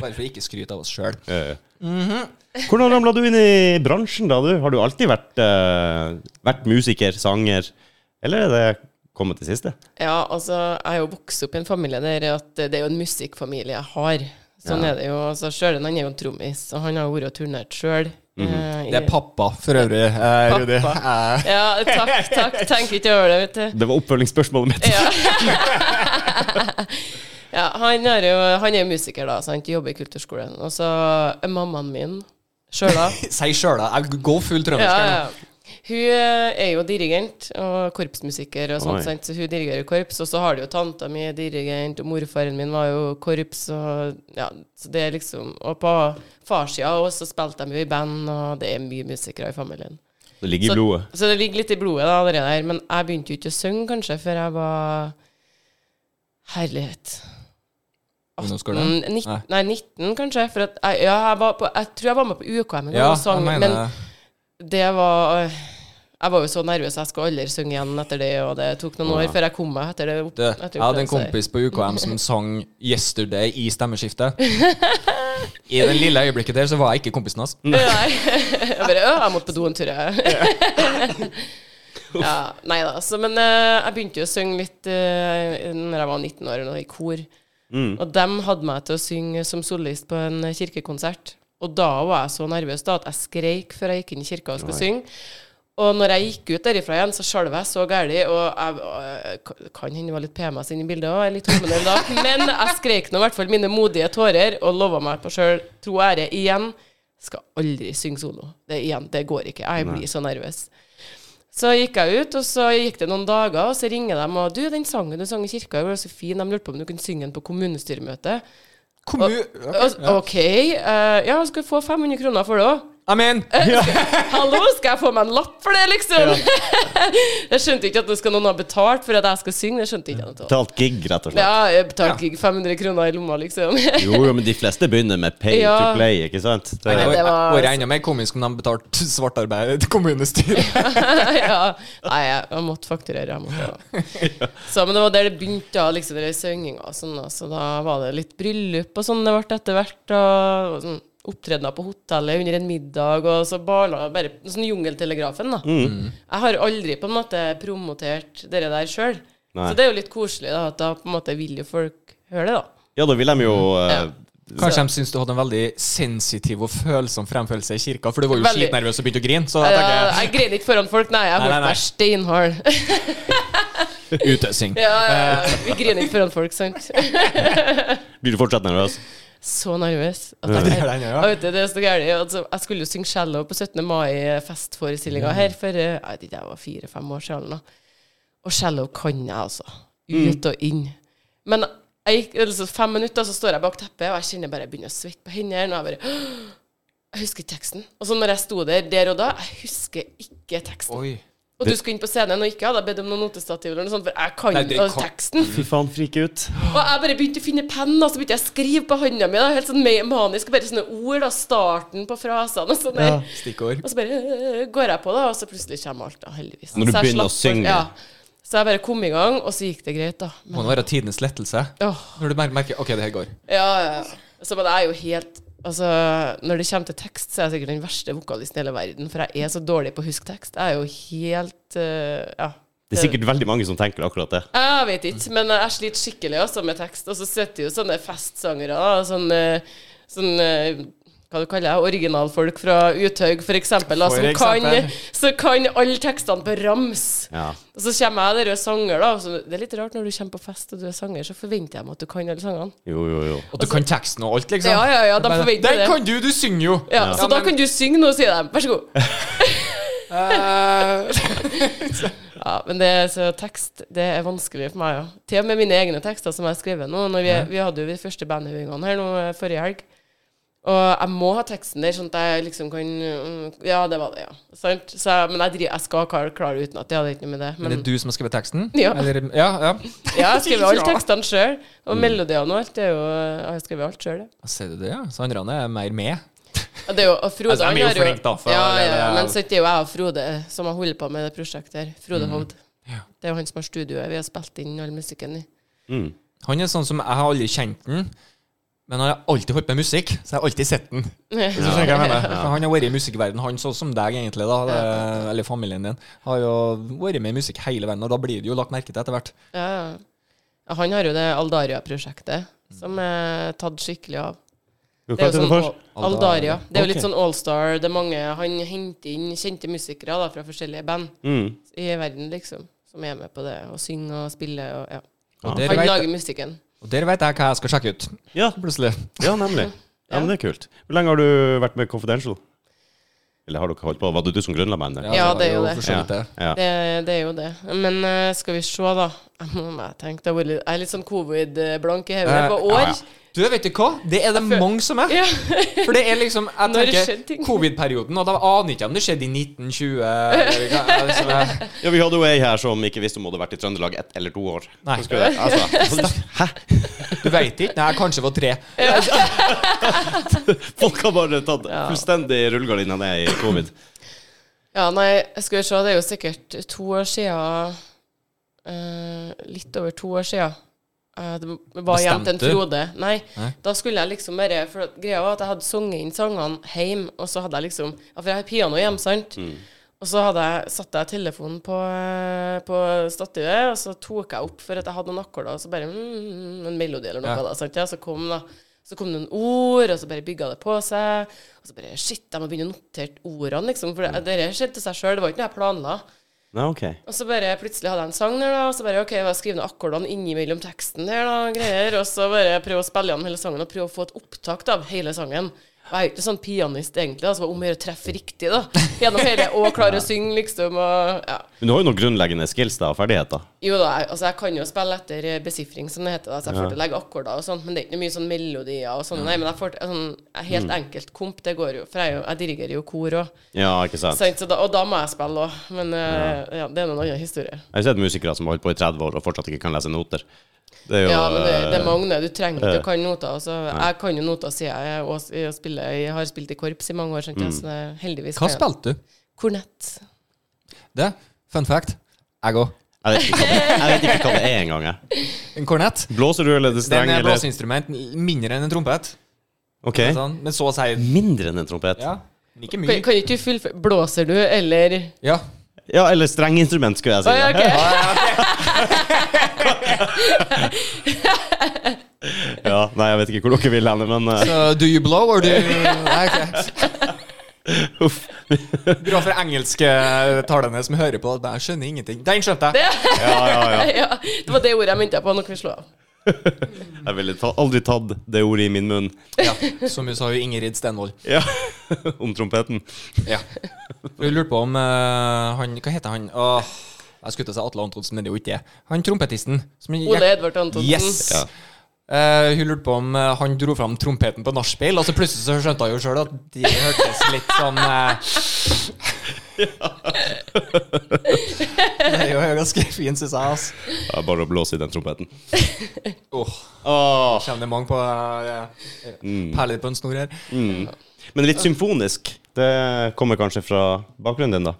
S3: Bare for å ikke skryte av oss sjøl.
S2: Eh. Hvordan ramla du inn i bransjen, da? du? Har du alltid vært, eh, vært musiker, sanger, eller er det kommet til siste?
S4: Ja, altså, jeg er jo vokst opp i en familie der at det er jo en musikkfamilie jeg har. Sånn
S2: Ja.
S4: er det jo. Altså, Sjølen han er jo en trommis, og han har vært og turnert sjøl.
S3: Mhm. Det er pappa, for øvrig, eh, Rudi.
S4: Pappa.
S3: Eh,
S4: Ja, takk, takk. Tenker ikke over det, vet du.
S2: Det var oppfølgingsspørsmålet mitt.
S4: Ja. ja, han, er jo, han er jo musiker, da. Sant? Jobber i kulturskolen. Og så er mammaen min sjøla.
S3: Si sjøl, da. Jeg går full
S4: Ja,
S3: trøndersk. her nå.
S4: ja. Hun eh, er jo dirigent og korpsmusiker, og
S2: Oi.
S4: sånt, sant? så hun dirigerer korps. Og så har du jo tanta mi er dirigent, og morfaren min var jo korps. Og, ja, så det er liksom, og på farssida også, så spilte de jo i band, og det er mye musikere i familien.
S2: Det ligger i blodet.
S4: Så det ligger litt i blodet da, allerede her. Men jeg begynte jo ikke å synge, kanskje, før jeg var Herlighet.
S3: Ungdomsskolen?
S4: Mm, nitt-
S3: Nei.
S4: nei, 19, kanskje. For at jeg, ja, jeg, var på, jeg tror jeg var med på UKM en gang
S3: Ja,
S4: og sang,
S3: jeg mener
S4: men
S3: det.
S4: det var øh, Jeg var jo så nervøs, jeg skulle aldri synge igjen etter det, og det tok noen år før jeg kom meg etter det. opp-
S3: Du,
S4: etter
S3: jeg hadde en
S4: opplevelsen her.
S3: kompis på UKM som sang 'Yesterday' i
S4: *laughs*
S3: stemmeskiftet. I det lille øyeblikket der så var jeg ikke kompisen hans.
S4: Nei. Jeg bare «Å, jeg måtte på do en
S3: *laughs*
S4: tur, jeg. *laughs* Ja, nei da. Så, men eh, jeg begynte jo å synge litt uh, Når jeg var 19 år, eller noe, i kor.
S3: Mm.
S4: Og dem hadde meg til å synge som solist på en kirkekonsert. Og da var jeg så nervøs da at jeg skreik før jeg gikk inn i kirka og skulle synge. Og når jeg gikk ut derifra igjen, så skjalv jeg så gæli. Og jeg, jeg kan- kan hende det var litt PMS inni bildet òg, litt hormonell da. Men jeg skreik nå i hvert fall mine modige tårer og lova meg på sjøl tro og ære igjen. Skal aldri synge solo. Det, er igjen, det går ikke. Jeg blir så nervøs. Så gikk jeg ut, og så gikk det noen dager, og så ringer de og 'Du, den sangen du sang i kirka i går, var så fin. De lurte på om du kunne synge den på kommunestyremøtet.'
S3: Kommu...
S4: Og- OK. eh, ja, skal du få 500 kroner for det òg?
S3: Amen!
S4: Hallo, skal jeg få meg en lapp for det, liksom? *laughs* jeg skjønte ikke at nå skal noen ha betalt for at jeg skal synge. Det skjønte ikke jeg noe av.
S2: Betalt gig, rett og slett.
S4: Ja, jeg betalte ikke 500 kroner i lomma, liksom.
S2: Jo, jo, men de fleste begynner med pay
S4: Ja.
S2: to play, ikke sant? Det,
S4: Nei, det var-
S3: Året er enda mer komisk om de betalte svartarbeid til
S4: *laughs*
S3: kommunestyret.
S4: ja. Nei, jeg, jeg måtte fakturere. Jeg måtte, ja. Så, men det var der det begynte, da, liksom, den synginga. og Sånn, da. så da var det litt bryllup og sånn det ble etter hvert. Og, og sånn, Opptredener på hotellet under en middag, og så barna bare Sånn Jungeltelegrafen, da. Jeg har aldri på en måte promotert dere der sjøl.
S2: Nei.
S4: Så det er jo litt koselig, da, at da på en måte vil jo folk høre det, da.
S2: ja, da vil de jo eh,
S3: Kanskje de syns du hadde en veldig sensitiv og følsom fremførelse i kirka, for du var jo
S4: Veldig.
S3: slitnervøs og begynte å grine. Så da
S4: Jeg,
S3: tenker
S4: Eh, jeg grein ikke foran folk, nei.
S3: Nei,
S4: Jeg holdt
S3: nei, nei.
S4: meg steinhard.
S3: jeg utøsing.
S4: ja, ja, ja. *laughs* Vi griner ikke foran folk, sant?
S2: Blir du fortsatt nervøs?
S4: så nervøs. At
S3: Det
S4: jeg,
S3: er den, ja.
S4: Jeg vet det, det er så gærlig. Altså, jeg skulle jo synge cello på 17. mai-festforestillinga her for eh, jeg vet ikke, jeg var fire-fem år siden. eller noe. Og cello kan jeg, altså.
S3: Mm.
S4: Ut og inn. Men jeg gikk, altså, fem minutter, så står jeg bak teppet, og jeg kjenner bare jeg begynner å svette på hendene. Og jeg bare Jeg husker ikke teksten. Og så når jeg sto der der og da, jeg husker ikke teksten.
S3: Oi.
S4: Og du skulle inn på scenen, og ikke hadde jeg bedt om noen notestativ, eller noe sånt, for jeg kan
S3: Nei, det
S4: ikke
S3: kan-
S4: teksten.
S2: Fy faen, frike ut.
S4: Og jeg bare begynte å finne penn, og så begynte jeg å skrive på hånda mi. Da. Helt sånn me- manisk. Bare sånne ord, da. Starten på frasene og sånn. der.
S3: Stikkord.
S4: Og så bare øh, går jeg på, da, og så plutselig kommer alt, da, heldigvis.
S2: Når du
S4: Så jeg
S2: begynner å
S4: slapp-
S2: synge.
S4: Ja. Så jeg bare kom i gang, og så gikk det greit, da. Men,
S3: Må det være tidenes lettelse?
S4: åh,
S3: Når du mer- merker OK, det her går.
S4: ja, ja. Så men jeg er jo helt Altså, når det kommer til tekst, så er jeg sikkert den verste vokalisten i hele verden, for jeg er så dårlig på å huske tekst. Jeg er jo helt øh, Ja.
S2: Det er sikkert veldig mange som tenker akkurat det.
S4: Jeg vet ikke, men jeg sliter skikkelig også med tekst. Og så sitter jo sånne festsangere da, sånn, sånne, sånne eh, hva du kaller det, originalfolk fra Uthaug, for eksempel, da,
S3: For
S4: som,
S3: eksempel.
S4: Kan, som kan alle tekstene på rams.
S2: Ja.
S4: Og så kommer jeg der og er sanger, da. og Så det er litt rart når du kommer på fest og du er sanger, så forventer jeg meg at du kan alle sangene.
S2: Jo, jo, jo.
S3: Og du kan teksten og alt, liksom?
S4: Altså- Ja, ja, ja, de forventer
S3: Den
S4: det.
S3: kan du, du synger jo!
S4: Ja, Så da
S3: men-
S4: kan du synge noe, sier de. Vær så god.
S3: Eh,
S4: Ja, men det, så tekst det er vanskelig for meg, ja. Til og med mine egne tekster som jeg har skrevet nå. Når vi, vi hadde jo de første bandøvingene her nå eh, forrige helg. Og jeg må ha teksten der, sånn at jeg liksom kan mm, Ja, det var det, ja. Sant? Så, jeg- men jeg, driver, jeg skal klare, klare uten at jeg hadde ikke noe med det.
S3: Men
S4: Men
S3: det er du som har skrevet teksten?
S4: Ja.
S3: Eller, ja, ja.
S4: ja, jeg skriver alle
S3: *laughs* Ja. Mm.
S4: tekstene sjøl. Og melodiene og alt. Det er jo, eh, jeg har skrevet alt sjøl, jeg.
S3: Ser du det, ja? Så andre er mer med.
S4: Ja, Det er jo, og Frode
S3: Altså, de er
S4: han
S3: jo
S4: har
S3: flinke, da, for
S4: ja, ja,
S3: det
S4: ja,
S3: er-
S4: men så er det jo jeg og Frode som har holdt på med det prosjektet her.
S3: Mm.
S4: Frode Hovd. Det er jo han som har studioet vi har spilt inn all musikken i.
S2: Mm.
S3: Han er sånn som Jeg har aldri kjent den, men han har alltid holdt med musikk, så jeg har alltid sett den. Hvis du skjønner hva jeg mener. For Han har vært i musikkverden han sånn som deg, egentlig, da, det, eller familien din, har jo vært med i musikk hele verden, og da blir det jo lagt merke til etter hvert.
S4: Ja, ja. ja. Han har jo det Aldaria-prosjektet, som er tatt skikkelig av.
S2: Hva
S4: Det er
S2: heter
S4: jo
S2: det
S4: sånn
S2: for?
S4: Aldaria. Det er jo
S2: Ok.
S4: litt sånn allstar. Det er mange Han henter inn kjente musikere da, fra forskjellige band
S2: Mm.
S4: i verden, liksom, som er med på det, og synger og spiller og ja.
S3: Og
S2: Ja.
S3: der,
S4: Han
S3: vet,
S4: lager musikken.
S3: og der vet jeg hva jeg skal sjekke ut,
S2: Ja,
S3: plutselig.
S2: ja
S4: *laughs*
S2: nemlig. Ja, men det er kult. Hvor lenge har du vært med Confidential? Eller har dere holdt på? Var det du som grunnla bandet?
S4: Ja, det er jo det.
S3: for så vidt det.
S2: Ja.
S4: Det, det er jo det. Men eh, skal vi se, da. Jeg må jeg tenke, det har vært litt, jeg er litt sånn covid-blank i hodet
S3: Eh,
S2: ja,
S4: på år.
S2: ja.
S3: Du, vet du hva? Det er det
S4: føl-
S3: mange som er.
S4: Ja.
S3: For det er liksom Jeg
S4: Når skjedde
S3: tenker
S4: ting?
S3: covid-perioden, og da aner jeg ikke om det skjedde i
S4: *laughs*
S3: 1920 eller hva er sånn, det som er
S2: Ja, vi hadde jo ei her som ikke visste om hun hadde vært i Trøndelag ett eller to år. *laughs*
S3: Nei.
S2: Så skulle jeg-
S3: *laughs*
S2: Altså, hæ?
S3: Du veit ikke? Nei, jeg kanskje var tre.
S2: Folk har bare tatt fullstendig rullegardina ned i
S4: *laughs*
S2: covid.
S4: *laughs* Ja, nei, skal vi se, det er jo sikkert to år siden eh, Litt over to år siden eh, Det var hjem til en
S3: Bestemte du?
S4: Frode. Nei,
S3: Nei.
S4: da skulle jeg liksom bare For at greia var at jeg hadde sunget inn sangene hjem, og så hadde jeg liksom Ja, for jeg har piano hjemme, sant?
S3: Mm.
S4: Og så hadde jeg, satte jeg telefonen på, eh, på stativet, og så tok jeg opp for at jeg hadde noen akkorder, og så bare mm, En melodi eller noe,
S3: Ja.
S4: da. Sant? Ja, så kom da så kom det noen ord, og så bare bygga det på seg. Og så bare Shit, jeg må begynne å notere ordene, liksom. For
S3: Mm.
S4: det, det her skjedde til seg sjøl, det var ikke noe jeg planla.
S2: Nei, ok.
S4: Og så bare plutselig hadde jeg en sang der, da. Og så bare OK, jeg har skrevet ned akkordene innimellom teksten der, da, og greier. Og så bare prøve å spille gjennom hele sangen og prøve å få et opptak da, av hele sangen. Og Jeg er jo ikke sånn pianist egentlig, altså om å gjøre å treffe riktig da, gjennom hele, og klare å synge liksom, og ja.
S2: Men du har jo noen grunnleggende skills da, og ferdigheter.
S4: Jo da, jeg, altså jeg kan jo spille etter eh, besifring, som det heter. da, så jeg får til å legge akkorder og sånt, men det er ikke mye sånn melodier og sånn. Nei, men jeg får til sånn jeg- helt enkelt komp, det går jo, for jeg, er jo- jeg dirigerer jo kor òg.
S2: Ja, ikke sant?
S4: Og da må jeg spille òg, men eh, ja, det er noen annen historie.
S2: Jeg har sett musikere som har holdt på i 30 år og fortsatt ikke kan lese noter. Det er jo
S4: Ja, men det, det er
S2: eh,
S4: Magne, du trenger ikke å kan noter. Altså, jeg kan jo noter, sier jeg. Jeg, også, jeg, spiller, jeg har spilt i korps i mange år, skjønte jeg, så det, er heldigvis
S3: Hva
S4: kan jeg-
S3: spilte du?
S4: Kornett.
S3: Det, fun fact, jeg òg.
S2: jeg, vet ikke hva det, jeg vet ikke hva det er engang. jeg.
S3: En kornett.
S2: Blåser du eller det
S3: Den
S2: streng?
S3: er
S2: Eller?
S3: blåseinstrument mindre enn en trompet.
S2: Ok.
S3: Sånn, men så å si
S2: Mindre enn en trompet?
S3: Ja. men Ikke
S4: Kan,
S3: mye.
S4: kan ikke du fullføre Blåser du, eller
S3: Ja.
S2: Ja, eller strenginstrument, skulle jeg si.
S4: Å, ja, ok.
S2: ja, nei, jeg vet ikke hvor dere vil hen, men eh,
S3: Så do you blow, or do you Nei, ok.
S2: uff.
S3: Bra for engelsktalende som hører på. at Jeg skjønner ingenting. Den skjønte jeg!
S2: Ja, ja, ja.
S4: *laughs* ja, det var det ordet jeg mente på når vi slo av.
S2: Jeg ville ta, aldri tatt det ordet i min munn.
S3: Ja, som hun sa, jo Ingrid Stenvold.
S2: Ja, *laughs* Om trompeten.
S3: Ja. Hun lurte på om eh, han Hva heter han? Åh, jeg skulle til å si Atle Antonsen, men det er jo ikke det. Han trompetisten. Som gikk-
S4: Ole Edvard Antonsen.
S3: Yes!
S2: Ja.
S3: Eh, hun lurte på om eh, han dro fram trompeten på nachspiel, og så plutselig så skjønte hun jo sjøl at det hørtes litt sånn eh,
S4: *laughs*
S3: Det er jo ganske fint, syns jeg. ass.
S2: Ja, bare å blåse i den trompeten.
S3: Åh,
S2: Åh.
S3: Kjenner mange på eh, perler på en snor her.
S2: Mm. Men litt symfonisk. Det kommer kanskje fra bakgrunnen din, da.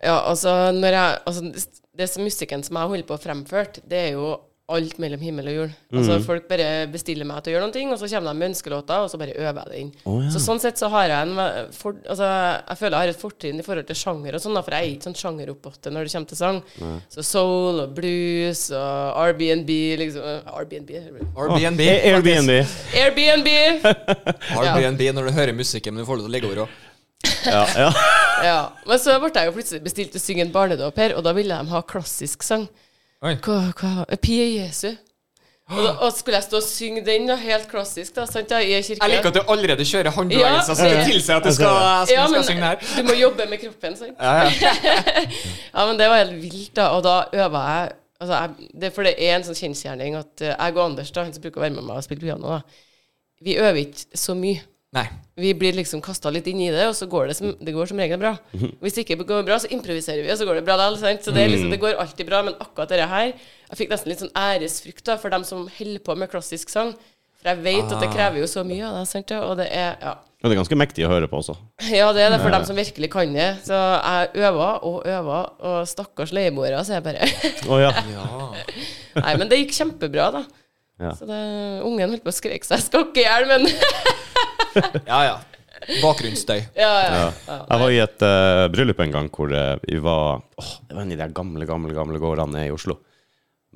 S4: Ja, altså, når jeg, altså det- det som musikken som jeg holder på å fremføre, det er jo alt mellom himmel og jord. Altså Folk bare bestiller meg til å gjøre noen ting, og så kommer de med ønskelåter, og så bare øver jeg det inn. Så Sånn sett så har jeg en ve- for, altså, Jeg føler jeg har et fortrinn i forhold til sjanger og sånn, da, for jeg er ikke sånn sjangeroppåtte når det kommer til sang. Så soul og blues og R&B liksom eh, R&B
S3: Airbnb.
S2: Åh, Airbnb.
S4: Airbnb!
S3: Airbnb når du hører musikken, men du får lov til å legge over òg.
S2: Ja, ja.
S3: *laughs*
S4: Ja, Men så ble jeg jo plutselig bestilt til å synge en barnedåp her, og da ville de ha klassisk sang.
S3: Oi.
S4: Hva, hva, Pia Jesu. Og, da, og skulle jeg stå og synge den, da, helt klassisk, da, sant, da, i ei kirke
S3: Jeg liker at du allerede kjører
S4: Ja.
S3: håndbevegelser som tilsier at du skal, skal,
S4: ja, men
S3: skal synge det her.
S4: du må jobbe med kroppen, sant.
S3: Ja, ja.
S4: *laughs* Ja, men det var helt vilt, da. Og da øver jeg altså, jeg, det, For det er en sånn kjensgjerning at eh, jeg og Anders, da, han som bruker å være med meg og spille piano, da, vi øver ikke så mye.
S3: Nei.
S4: vi blir liksom kasta litt inn i det, og så går det som, det går som regel bra. Hvis det ikke går bra, så improviserer vi, og så går det bra likevel. sant? Så det, er liksom, det går alltid bra, men akkurat dette her Jeg fikk nesten litt sånn æresfrykt da, for dem som holder på med klassisk sang. For jeg vet at det krever jo så mye av deg, sant? og det er ja. *laughs*
S2: Men det er ganske mektig å høre på også.
S4: ja, det er det for dem som virkelig kan det. Så jeg øver og øver, og stakkars leieboere, så jeg bare *laughs*
S2: Å ja.
S4: Nei, men det gikk kjempebra, da.
S2: Ja.
S4: Så det, ungen holdt på å skreke seg skokk i hjel, men *laughs*
S3: Ja, ja. Bakgrunnsstøy.
S4: ja, ja.
S2: Jeg var i et eh, bryllup en gang hvor eh, vi var åh, Det var en av de der gamle, gamle gamle gårdene i Oslo.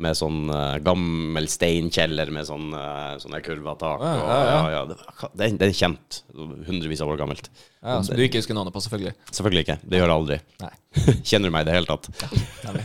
S2: Med sånn eh, gammel steinkjeller med sånn, uh, sånne kurva tak.
S3: Ja,
S2: og-
S3: ja, ja.
S2: ja, ja, det var- Den, den er kjent. Hundrevis av år gammelt.
S3: Ja, som du ikke husker navnet på, selvfølgelig.
S2: Selvfølgelig ikke. Det gjør jeg aldri.
S3: Nei.
S2: *laughs* Kjenner du meg i det hele tatt?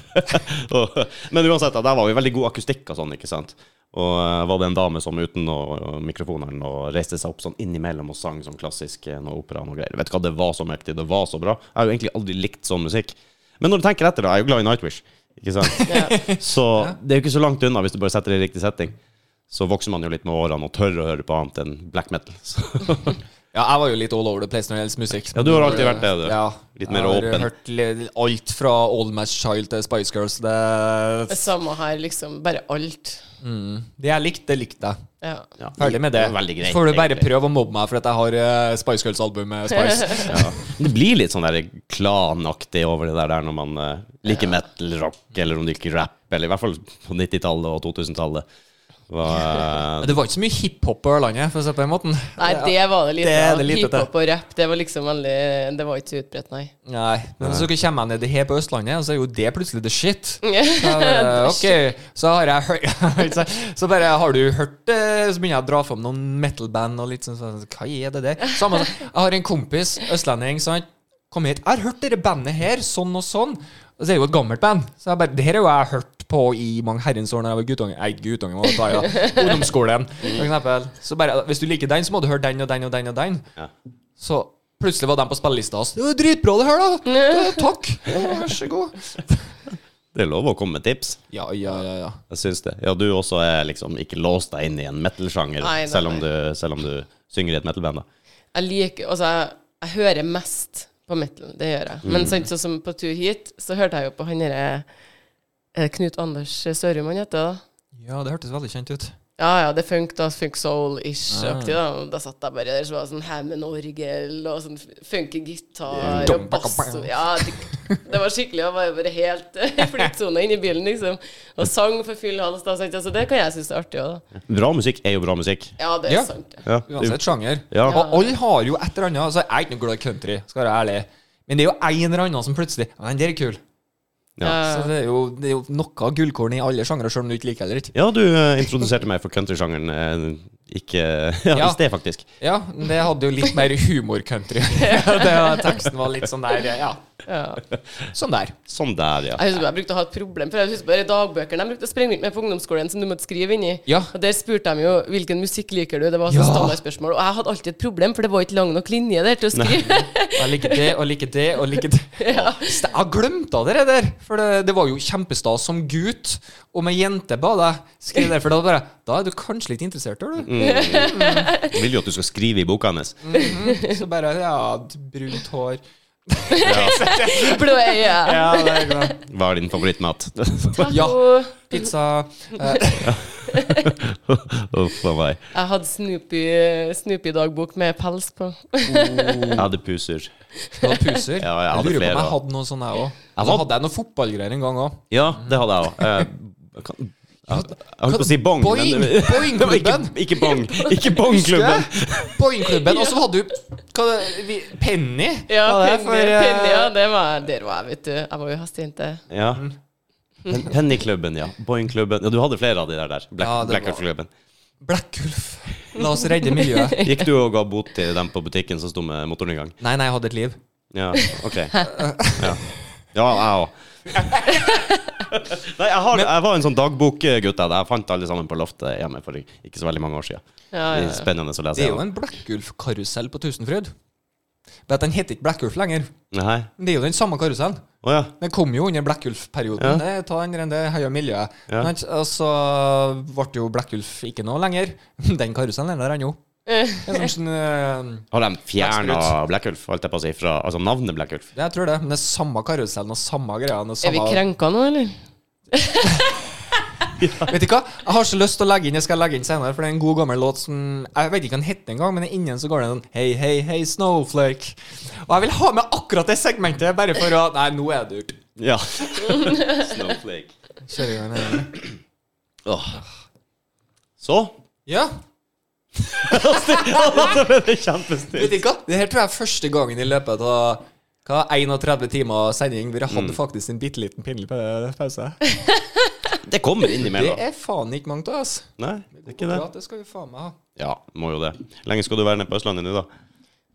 S2: *laughs* Og- Men uansett, da, der var vi veldig god akustikk og sånn, ikke sant? Og eh, var det en dame som uten å, og mikrofoneren og reiste seg opp sånn innimellom og sang sånn klassisk eh, noe opera og noe greier. Vet du hva, det var så mektig, det var så bra. Jeg har jo egentlig aldri likt sånn musikk. Men når du tenker etter, da, jeg er jo glad i Nightwish, ikke
S3: *laughs*
S2: sant? Så det er jo ikke så langt unna hvis du bare setter det i riktig setting. Så vokser man jo litt med årene og tør å høre på annet enn black metal. *laughs* Så,
S3: Ja, jeg var jo litt all over the place når det gjelder musikk.
S2: ja, du har alltid vært det, du.
S3: Ja.
S2: Litt mer
S3: Jeg
S2: åpen.
S3: har hørt li- alt fra Old Match Child til Spice Girls. Det,
S4: Samme her, liksom. Bare alt.
S3: det jeg likte, det likte jeg.
S4: Ja.
S2: Ja,
S3: Ferdig med det.
S2: er veldig greit,
S3: Så får du bare
S2: egentlig.
S3: prøve å mobbe meg for at jeg har eh, Spice Girls-albumet Spice.
S2: Ja. Det blir litt sånn der klanaktig over det der, der når man eh, liker metal, rock, eller om du liker rap, eller i hvert fall på 90-tallet og 2000-tallet. Hva-
S3: Men Det var ikke så mye hiphop på Ørlandet, for å si det på den måten.
S4: Nei, det var det lite
S3: Det er
S4: av.
S3: det lite til.
S4: Hiphop og rap, det var liksom veldig Det var ikke så utbredt, nei.
S3: Nei, men så kommer jeg ned her på Østlandet, og så er jo det plutselig the shit. Så, jeg bare, ok, så har jeg *laughs* hørt så, så bare har du hørt eh, Så begynner jeg å dra fram noen metal-band og litt sånn, sånn Hva er det der? Samme, som- jeg har en kompis, østlending, så han kom hit. Jeg har hørt dette bandet her, sånn og sånn. Og så er det jo et gammelt band. Så jeg bare Det her har jo jeg hørt på i mange herrens år når jeg var guttunge Nei, guttunge må jeg ta, ja. Ungdomsskolen, for eksempel. Så bare, hvis du liker den, så må du høre den og den og den og den.
S2: Ja.
S3: Så plutselig var de på spillelista hans. Det var dritbra, det
S2: *laughs*
S3: her, da! Ja, takk! Ja, vær så god.
S2: Det er lov å komme med tips.
S3: Ja, ja, ja. ja.
S2: Jeg syns det. Ja, du også er liksom ikke låst deg inn i en metal-sjanger,
S4: Nei, nei,
S2: selv, om
S4: nei.
S2: du- selv om du synger i et metal-band. da.
S4: Jeg liker Altså, jeg, jeg hører mest på metal. Det gjør jeg.
S3: Mm.
S4: Men sant, sånn som på tur hit, så hørte jeg jo på han derre er det Knut Anders Sørum han heter, da.
S3: Ja, det hørtes veldig kjent ut.
S4: Ja, ja, det funk da, funk soul-ish-aktig.
S3: Ah.
S4: da Og da satt jeg bare der, så var det sånn Hammond-orgel og sånn funky gitar og
S3: Dum,
S4: bass.
S3: baka, bam.
S4: og- Ja, det, det var skikkelig. Jeg var bare helt *laughs* i flytsone inn i bilen, liksom. Og sang for full hals. da, sant? Altså, det kan jeg synes er artig òg, da.
S2: Bra musikk er jo bra musikk.
S4: Ja, det er
S3: Ja.
S4: sant. det.
S2: Ja.
S3: Uansett sjanger.
S2: Ja.
S3: Og alle har jo et eller annet. Altså, jeg er ikke noe glad i country, skal være ærlig. Men det er jo en eller annen som plutselig Ja, Den der er kul.
S2: Ja.
S3: Så det er jo, det er jo noe gullkorn i alle sjangre, selv om du ikke liker det eller ikke.
S2: Ja, du eh, introduserte meg for countrysjangeren eh, ikke *laughs* ja,
S3: Ja.
S2: i sted, faktisk.
S3: Ja, det hadde jo litt mer *laughs* humor-country. Det var- Teksten var litt sånn der, ja.
S4: Ja.
S3: Sånn der.
S2: Sånn der, ja.
S4: Jeg husker jeg brukte å ha et problem, for jeg husker bare dagbøkene de brukte å sprenge rundt med på ungdomsskolen, som du måtte skrive inni.
S3: Ja.
S4: Og der spurte de jo hvilken musikk liker du, det var sånn
S3: Ja.
S4: standardspørsmål. Og jeg hadde alltid et problem, for det var ikke lang nok linje der til å skrive.
S3: Jeg liker det, og liker det, og liker
S4: *laughs*
S3: det. Så Jeg har glemt av det der, for det, det var jo kjempestas som gutt om ei jente ba deg skrive det, for da bare Da er du kanskje litt interessert, er du?
S2: Jeg vil jo at du skal skrive i boka hennes. Mm.
S3: Så bare Ja, brunt hår.
S4: *laughs* Blå øye.
S3: Ja, det er glad.
S2: Hva er din favorittmat?
S3: *laughs* Ja.
S4: Og
S3: Pizza. Eh,
S2: Uff a meg.
S4: jeg hadde Snoopy, Snoopy-dagbok med pels på.
S2: Jeg hadde puser.
S3: du hadde puser.
S2: *laughs* Ja, jeg hadde
S3: lurer
S2: flere
S3: på om jeg
S2: også.
S3: hadde noe sånn, jeg òg.
S2: Jeg
S3: Så
S2: hadde-
S3: hadde jeg noe fotballgreier en gang òg.
S2: Ja, det hadde jeg òg. Jeg kan- jeg holdt på å si bong,
S3: Boing!
S2: men det- det var ikke,
S3: Boing-klubben!
S2: ikke bong. Ikke bongklubben.
S3: Boing-klubben. Og så hadde du hva det, vi, Penny.
S4: Ja,
S3: Hva det er
S4: Penny,
S3: for, eh,
S4: Penny, ja, det var, der var jeg, vet du. Jeg var jo hestejente.
S2: Ja. Pen- Pennyklubben, ja. Boingklubben. Ja, du hadde flere av de der. der. Black,
S3: Ja, det var-
S2: Blackout-klubben.
S3: Black Ulf. La oss redde miljøet.
S2: Gikk du og ga bot til dem på butikken som sto med motoren i gang?
S3: Nei, nei, jeg hadde et liv.
S2: Ja, OK. Ja, ja jeg òg. Nei, jeg, har, jeg var en sånn dagbokgutt. Jeg Jeg fant alle sammen på loftet hjemme for ikke så veldig mange år siden.
S4: Ja,
S2: Det er
S4: ja, ja.
S2: Spennende å lese.
S3: Det er jo
S2: igjennom.
S3: en Black Ulf-karusell på Tusenfryd. Vet, den heter ikke Black Ulf lenger.
S2: Nei.
S3: Men Det er jo den samme karusellen.
S2: Å ja.
S3: Den kom jo under Black
S2: Ja.
S3: Ulf-perioden. Det Ta den renn, det heia miljøet.
S2: Ja.
S3: Men, Og så ble jo Black Ulf ikke noe lenger. *laughs* Den karusellen er der ennå. Det er sånn, eh,
S2: Har de fjerna Blackulf, holdt jeg på å si, fra altså navnet
S3: det-
S2: Blackulf?
S3: jeg tror det. Men det er samme karusellen og samme greiene. og
S4: Er vi
S3: samme-
S4: krenka nå, eller?
S3: Vet du hva? Jeg har så lyst til å legge inn Jeg skal legge inn senere, for det er en god gammel låt som Jeg vet ikke hva den heter engang, men innen så går det en sånn Hei, hei, hei, Snowflake. Og jeg vil ha med akkurat det segmentet, bare for å Nei, nå er det ut. *laughs*
S2: Ja. Snowflake.
S3: Kjører i gang her.
S2: Åh. Så *laughs*
S3: Ja. Vet
S2: Kjempestilt.
S3: du hva? Det her tror jeg er første gangen i løpet av hva, 31 timer sending hvor jeg hadde faktisk en bitte liten pinlig pa- pause.
S2: Det kommer
S3: Det
S2: innimellom.
S3: er faen ikke mange av oss.
S2: Nei, det er ikke det.
S3: Ja, det skal vi faen meg ha.
S2: Ja, må jo det. Lenge skal du være nede på Østlandet nå, da?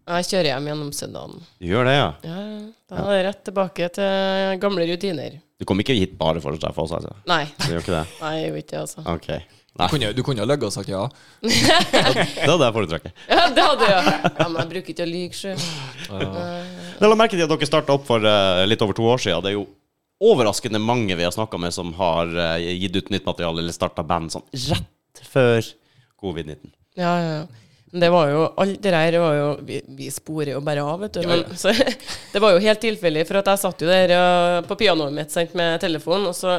S4: Jeg kjører hjem gjennom søndagen.
S2: Du gjør det, ja?
S4: Ja, ja. da er det rett tilbake til gamle rutiner.
S2: Du kom ikke hit bare for å treffe oss, altså?
S4: Nei,
S2: Du gjør ikke det?
S4: nei, jeg gjorde ikke det, altså.
S2: Ok. Nei,
S3: Kunne, du kunne ha løyet og sagt ja.
S2: *laughs* det hadde jeg foretrukket.
S4: Ja, det hadde jeg. Ja, men jeg bruker ikke å lyve, sjø.
S2: Jeg la merke til at dere starta opp for eh, litt over to år siden. Det er jo overraskende mange vi har snakka med som har eh, gitt ut nytt materiale eller starta band sånn rett før covid-19.
S4: Ja, ja. ja. Men det var jo Alt det der var jo Vi, vi sporer jo bare av, vet du. Men, så, *laughs* det var jo helt tilfeldig, for at jeg satt jo der eh, på pianoet mitt sant, med telefonen, og så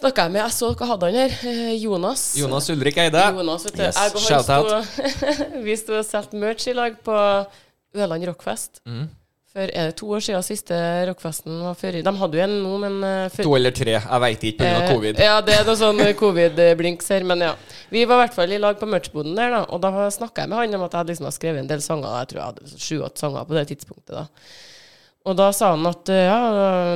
S4: snakka jeg med Jeg så dere hadde han her. eh, Jonas.
S3: Jonas Ulrik Eide.
S4: Jonas, vet du.
S3: Yes,
S4: Jeg og han sto *laughs* Vi sto og solgte merch i lag på Ørland Rockfest.
S3: Mm.
S4: For er det to år siden siste rockfesten var før i De hadde jo en nå, men eh, før,
S3: To eller tre, jeg veit ikke pga.
S4: Eh,
S3: covid.
S4: Ja, det er noe sånn covid-blinks her, men ja. Vi var i hvert fall i lag på merchboden der, da, og da snakka jeg med han om at jeg hadde liksom hadde skrevet en del sanger, jeg tror jeg hadde sju-åtte sanger på det tidspunktet, da. Og da sa han at eh, ja,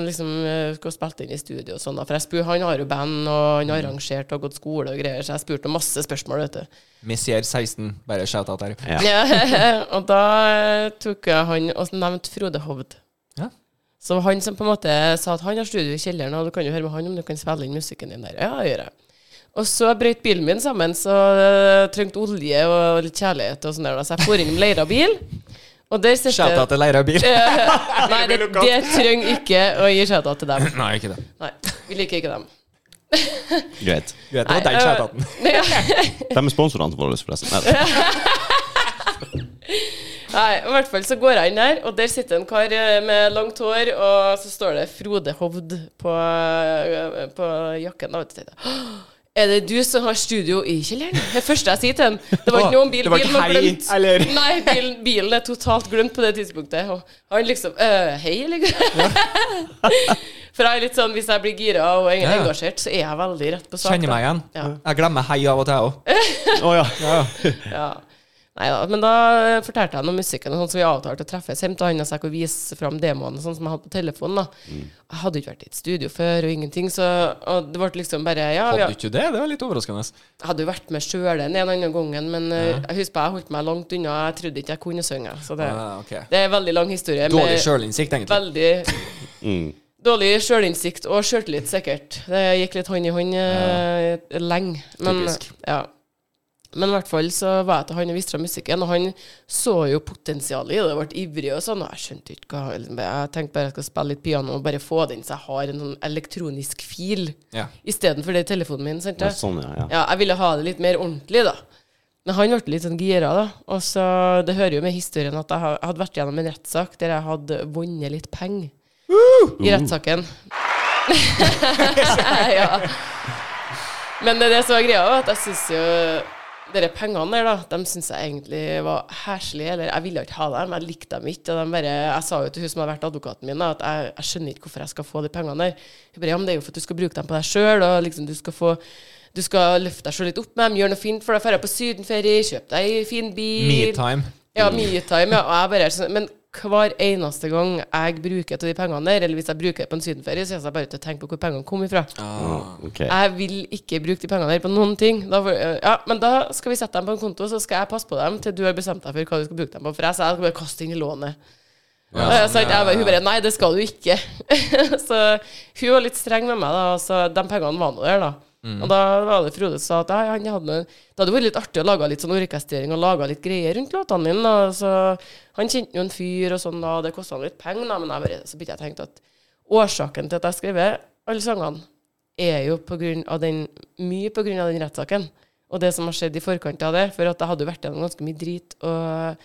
S4: liksom eh, skulle spilt inn i studio og sånn, da. For jeg spurte, han har jo band, og han har arrangert og gått skole og greier, så jeg spurte om masse spørsmål, vet du.
S3: Messier 16, bare shout-out her.
S2: Ja.
S4: *laughs* og da eh, tok jeg han og nevnte Frode Hovd.
S3: Ja.
S4: Så han som på en måte sa at han har studio i kjelleren, og du kan jo høre med han om du kan spille inn musikken din der. Ja, det gjør jeg. Og så brøt bilen min sammen, så jeg trengte olje og litt kjærlighet og sånn der. da. Så jeg for inn med leira bil, og der sitter
S3: Shout-out til leira bil.
S4: Nei, det, det trenger ikke å gi shout-out til dem.
S3: Nei, ikke det.
S4: Nei, vi liker ikke dem.
S2: Greit.
S3: Du vet, det var
S4: Nei,
S3: den
S4: øh,
S3: shout-outen.
S4: Nei, ja.
S2: De er sponsorene våre, forresten. Nei,
S4: Nei, i hvert fall så går jeg inn der, og der sitter en kar eh, med langt hår, og så står det Frode Hovd på, eh, på jakken. Da, vet du, tenkte jeg, «Åh, er det du som har studio i kjelleren? Det første jeg sier til han. Det var ikke noe om bil.
S3: Det var ikke
S4: bilen var
S3: hei,
S4: glemt.
S3: eller?
S4: Nei, bilen, bilen er totalt glemt på det tidspunktet. Og han liksom «Øh, Hei, eller? *laughs* For jeg er litt sånn, hvis jeg blir gira og
S3: Ja, ja.
S4: engasjert, så er jeg veldig rett på sak.
S3: Kjenner
S4: da.
S3: meg igjen.
S4: Ja.
S3: Jeg glemmer hei av og til òg.
S2: Å, ja.
S4: Ja. Nei da, men da eh, fortalte jeg noe om musikken, og sånn som vi avtalte å treffes hjemme til han og så jeg kunne vise fram demoene og sånn som jeg hadde på telefonen. da.
S3: Mm.
S4: Jeg hadde jo ikke vært i et studio før og ingenting, så og det ble liksom bare ja, vi,
S3: Hadde du ikke det? Det var litt overraskende.
S4: Jeg hadde jo vært med sjøl en eller annen gangen, men eh, jeg husker jeg holdt meg langt unna. Jeg trodde ikke jeg kunne synge. Så det,
S3: Ah, ok.
S4: det er en veldig lang historie. med
S3: Dårlig sjølinnsikt, egentlig.
S4: Veldig
S2: Mm.
S4: dårlig sjølinnsikt og sjøltillit, sikkert. Det gikk litt hånd i hånd eh, lenge. Men,
S3: Typisk.
S4: ja. Men i hvert fall så var jeg til han og viste fram musikken, og han så jo potensialet i det. og Ble ivrig og sånn. Og jeg skjønte ikke hva liksom, Jeg tenkte bare jeg skal spille litt piano og bare få den så jeg har en sånn elektronisk fil
S3: Ja.
S4: istedenfor det i telefonen min. Sant?
S2: Ja,
S4: det?
S2: Sånn, ja. ja.
S4: Ja, jeg ville ha det litt mer ordentlig, da. Men han ble litt sånn gira, da. Og så, Det hører jo med historien at jeg ha- hadde vært gjennom en rettssak der jeg hadde vunnet litt penger. I rettssaken. *laughs* ja. Men det er det som er greia, også, at jeg syns jo Dere pengene der, da, de syns jeg egentlig var heslige. Eller jeg ville ikke ha dem, jeg likte dem ikke. Og de bare, jeg sa jo til hun som har vært advokaten min, da, at jeg, jeg skjønner ikke hvorfor jeg skal få de pengene der. Hun bare, ja, men det er jo for at du skal bruke dem på deg sjøl, og liksom du skal få du skal løfte deg sjøl litt opp med dem, gjøre noe fint for deg, dra på sydenferie, kjøpe deg en fin bil.
S3: Metime.
S4: Ja, me time, ja. Og jeg bare er sånn, men hver eneste gang jeg bruker til de pengene der, eller hvis jeg bruker det på en sydenferie, så er jeg bare til å tenke på hvor pengene kom ifra.
S2: Ok.
S4: Jeg vil ikke bruke de pengene der på noen ting. Da, får- ja, men da skal vi sette dem på en konto, så skal jeg passe på dem til du har bestemt deg for hva du skal bruke dem på. For jeg sa jeg skal bare kaste inn i lånet.
S3: Ja,
S4: Og jeg sa
S3: sånn,
S4: ikke, jeg bare, hun bare nei, det skal du ikke. *laughs* så hun var litt streng med meg, da. Så de pengene var nå der, da. Og da var det Frode som sa at «Nei, han hadde, noe- det hadde vært litt artig å lage litt sånn orkestrering og lage litt greier rundt låtene dine. da». Så han kjente jo en fyr og sånn, da, og det kosta han litt penger, da. Men jeg bare, så begynte jeg å tenke at årsaken til at jeg skrev alle sangene, er jo på grunn av den, mye på grunn av den rettssaken. Og det som har skjedd i forkant av det. For at jeg hadde jo vært gjennom ganske mye drit. og...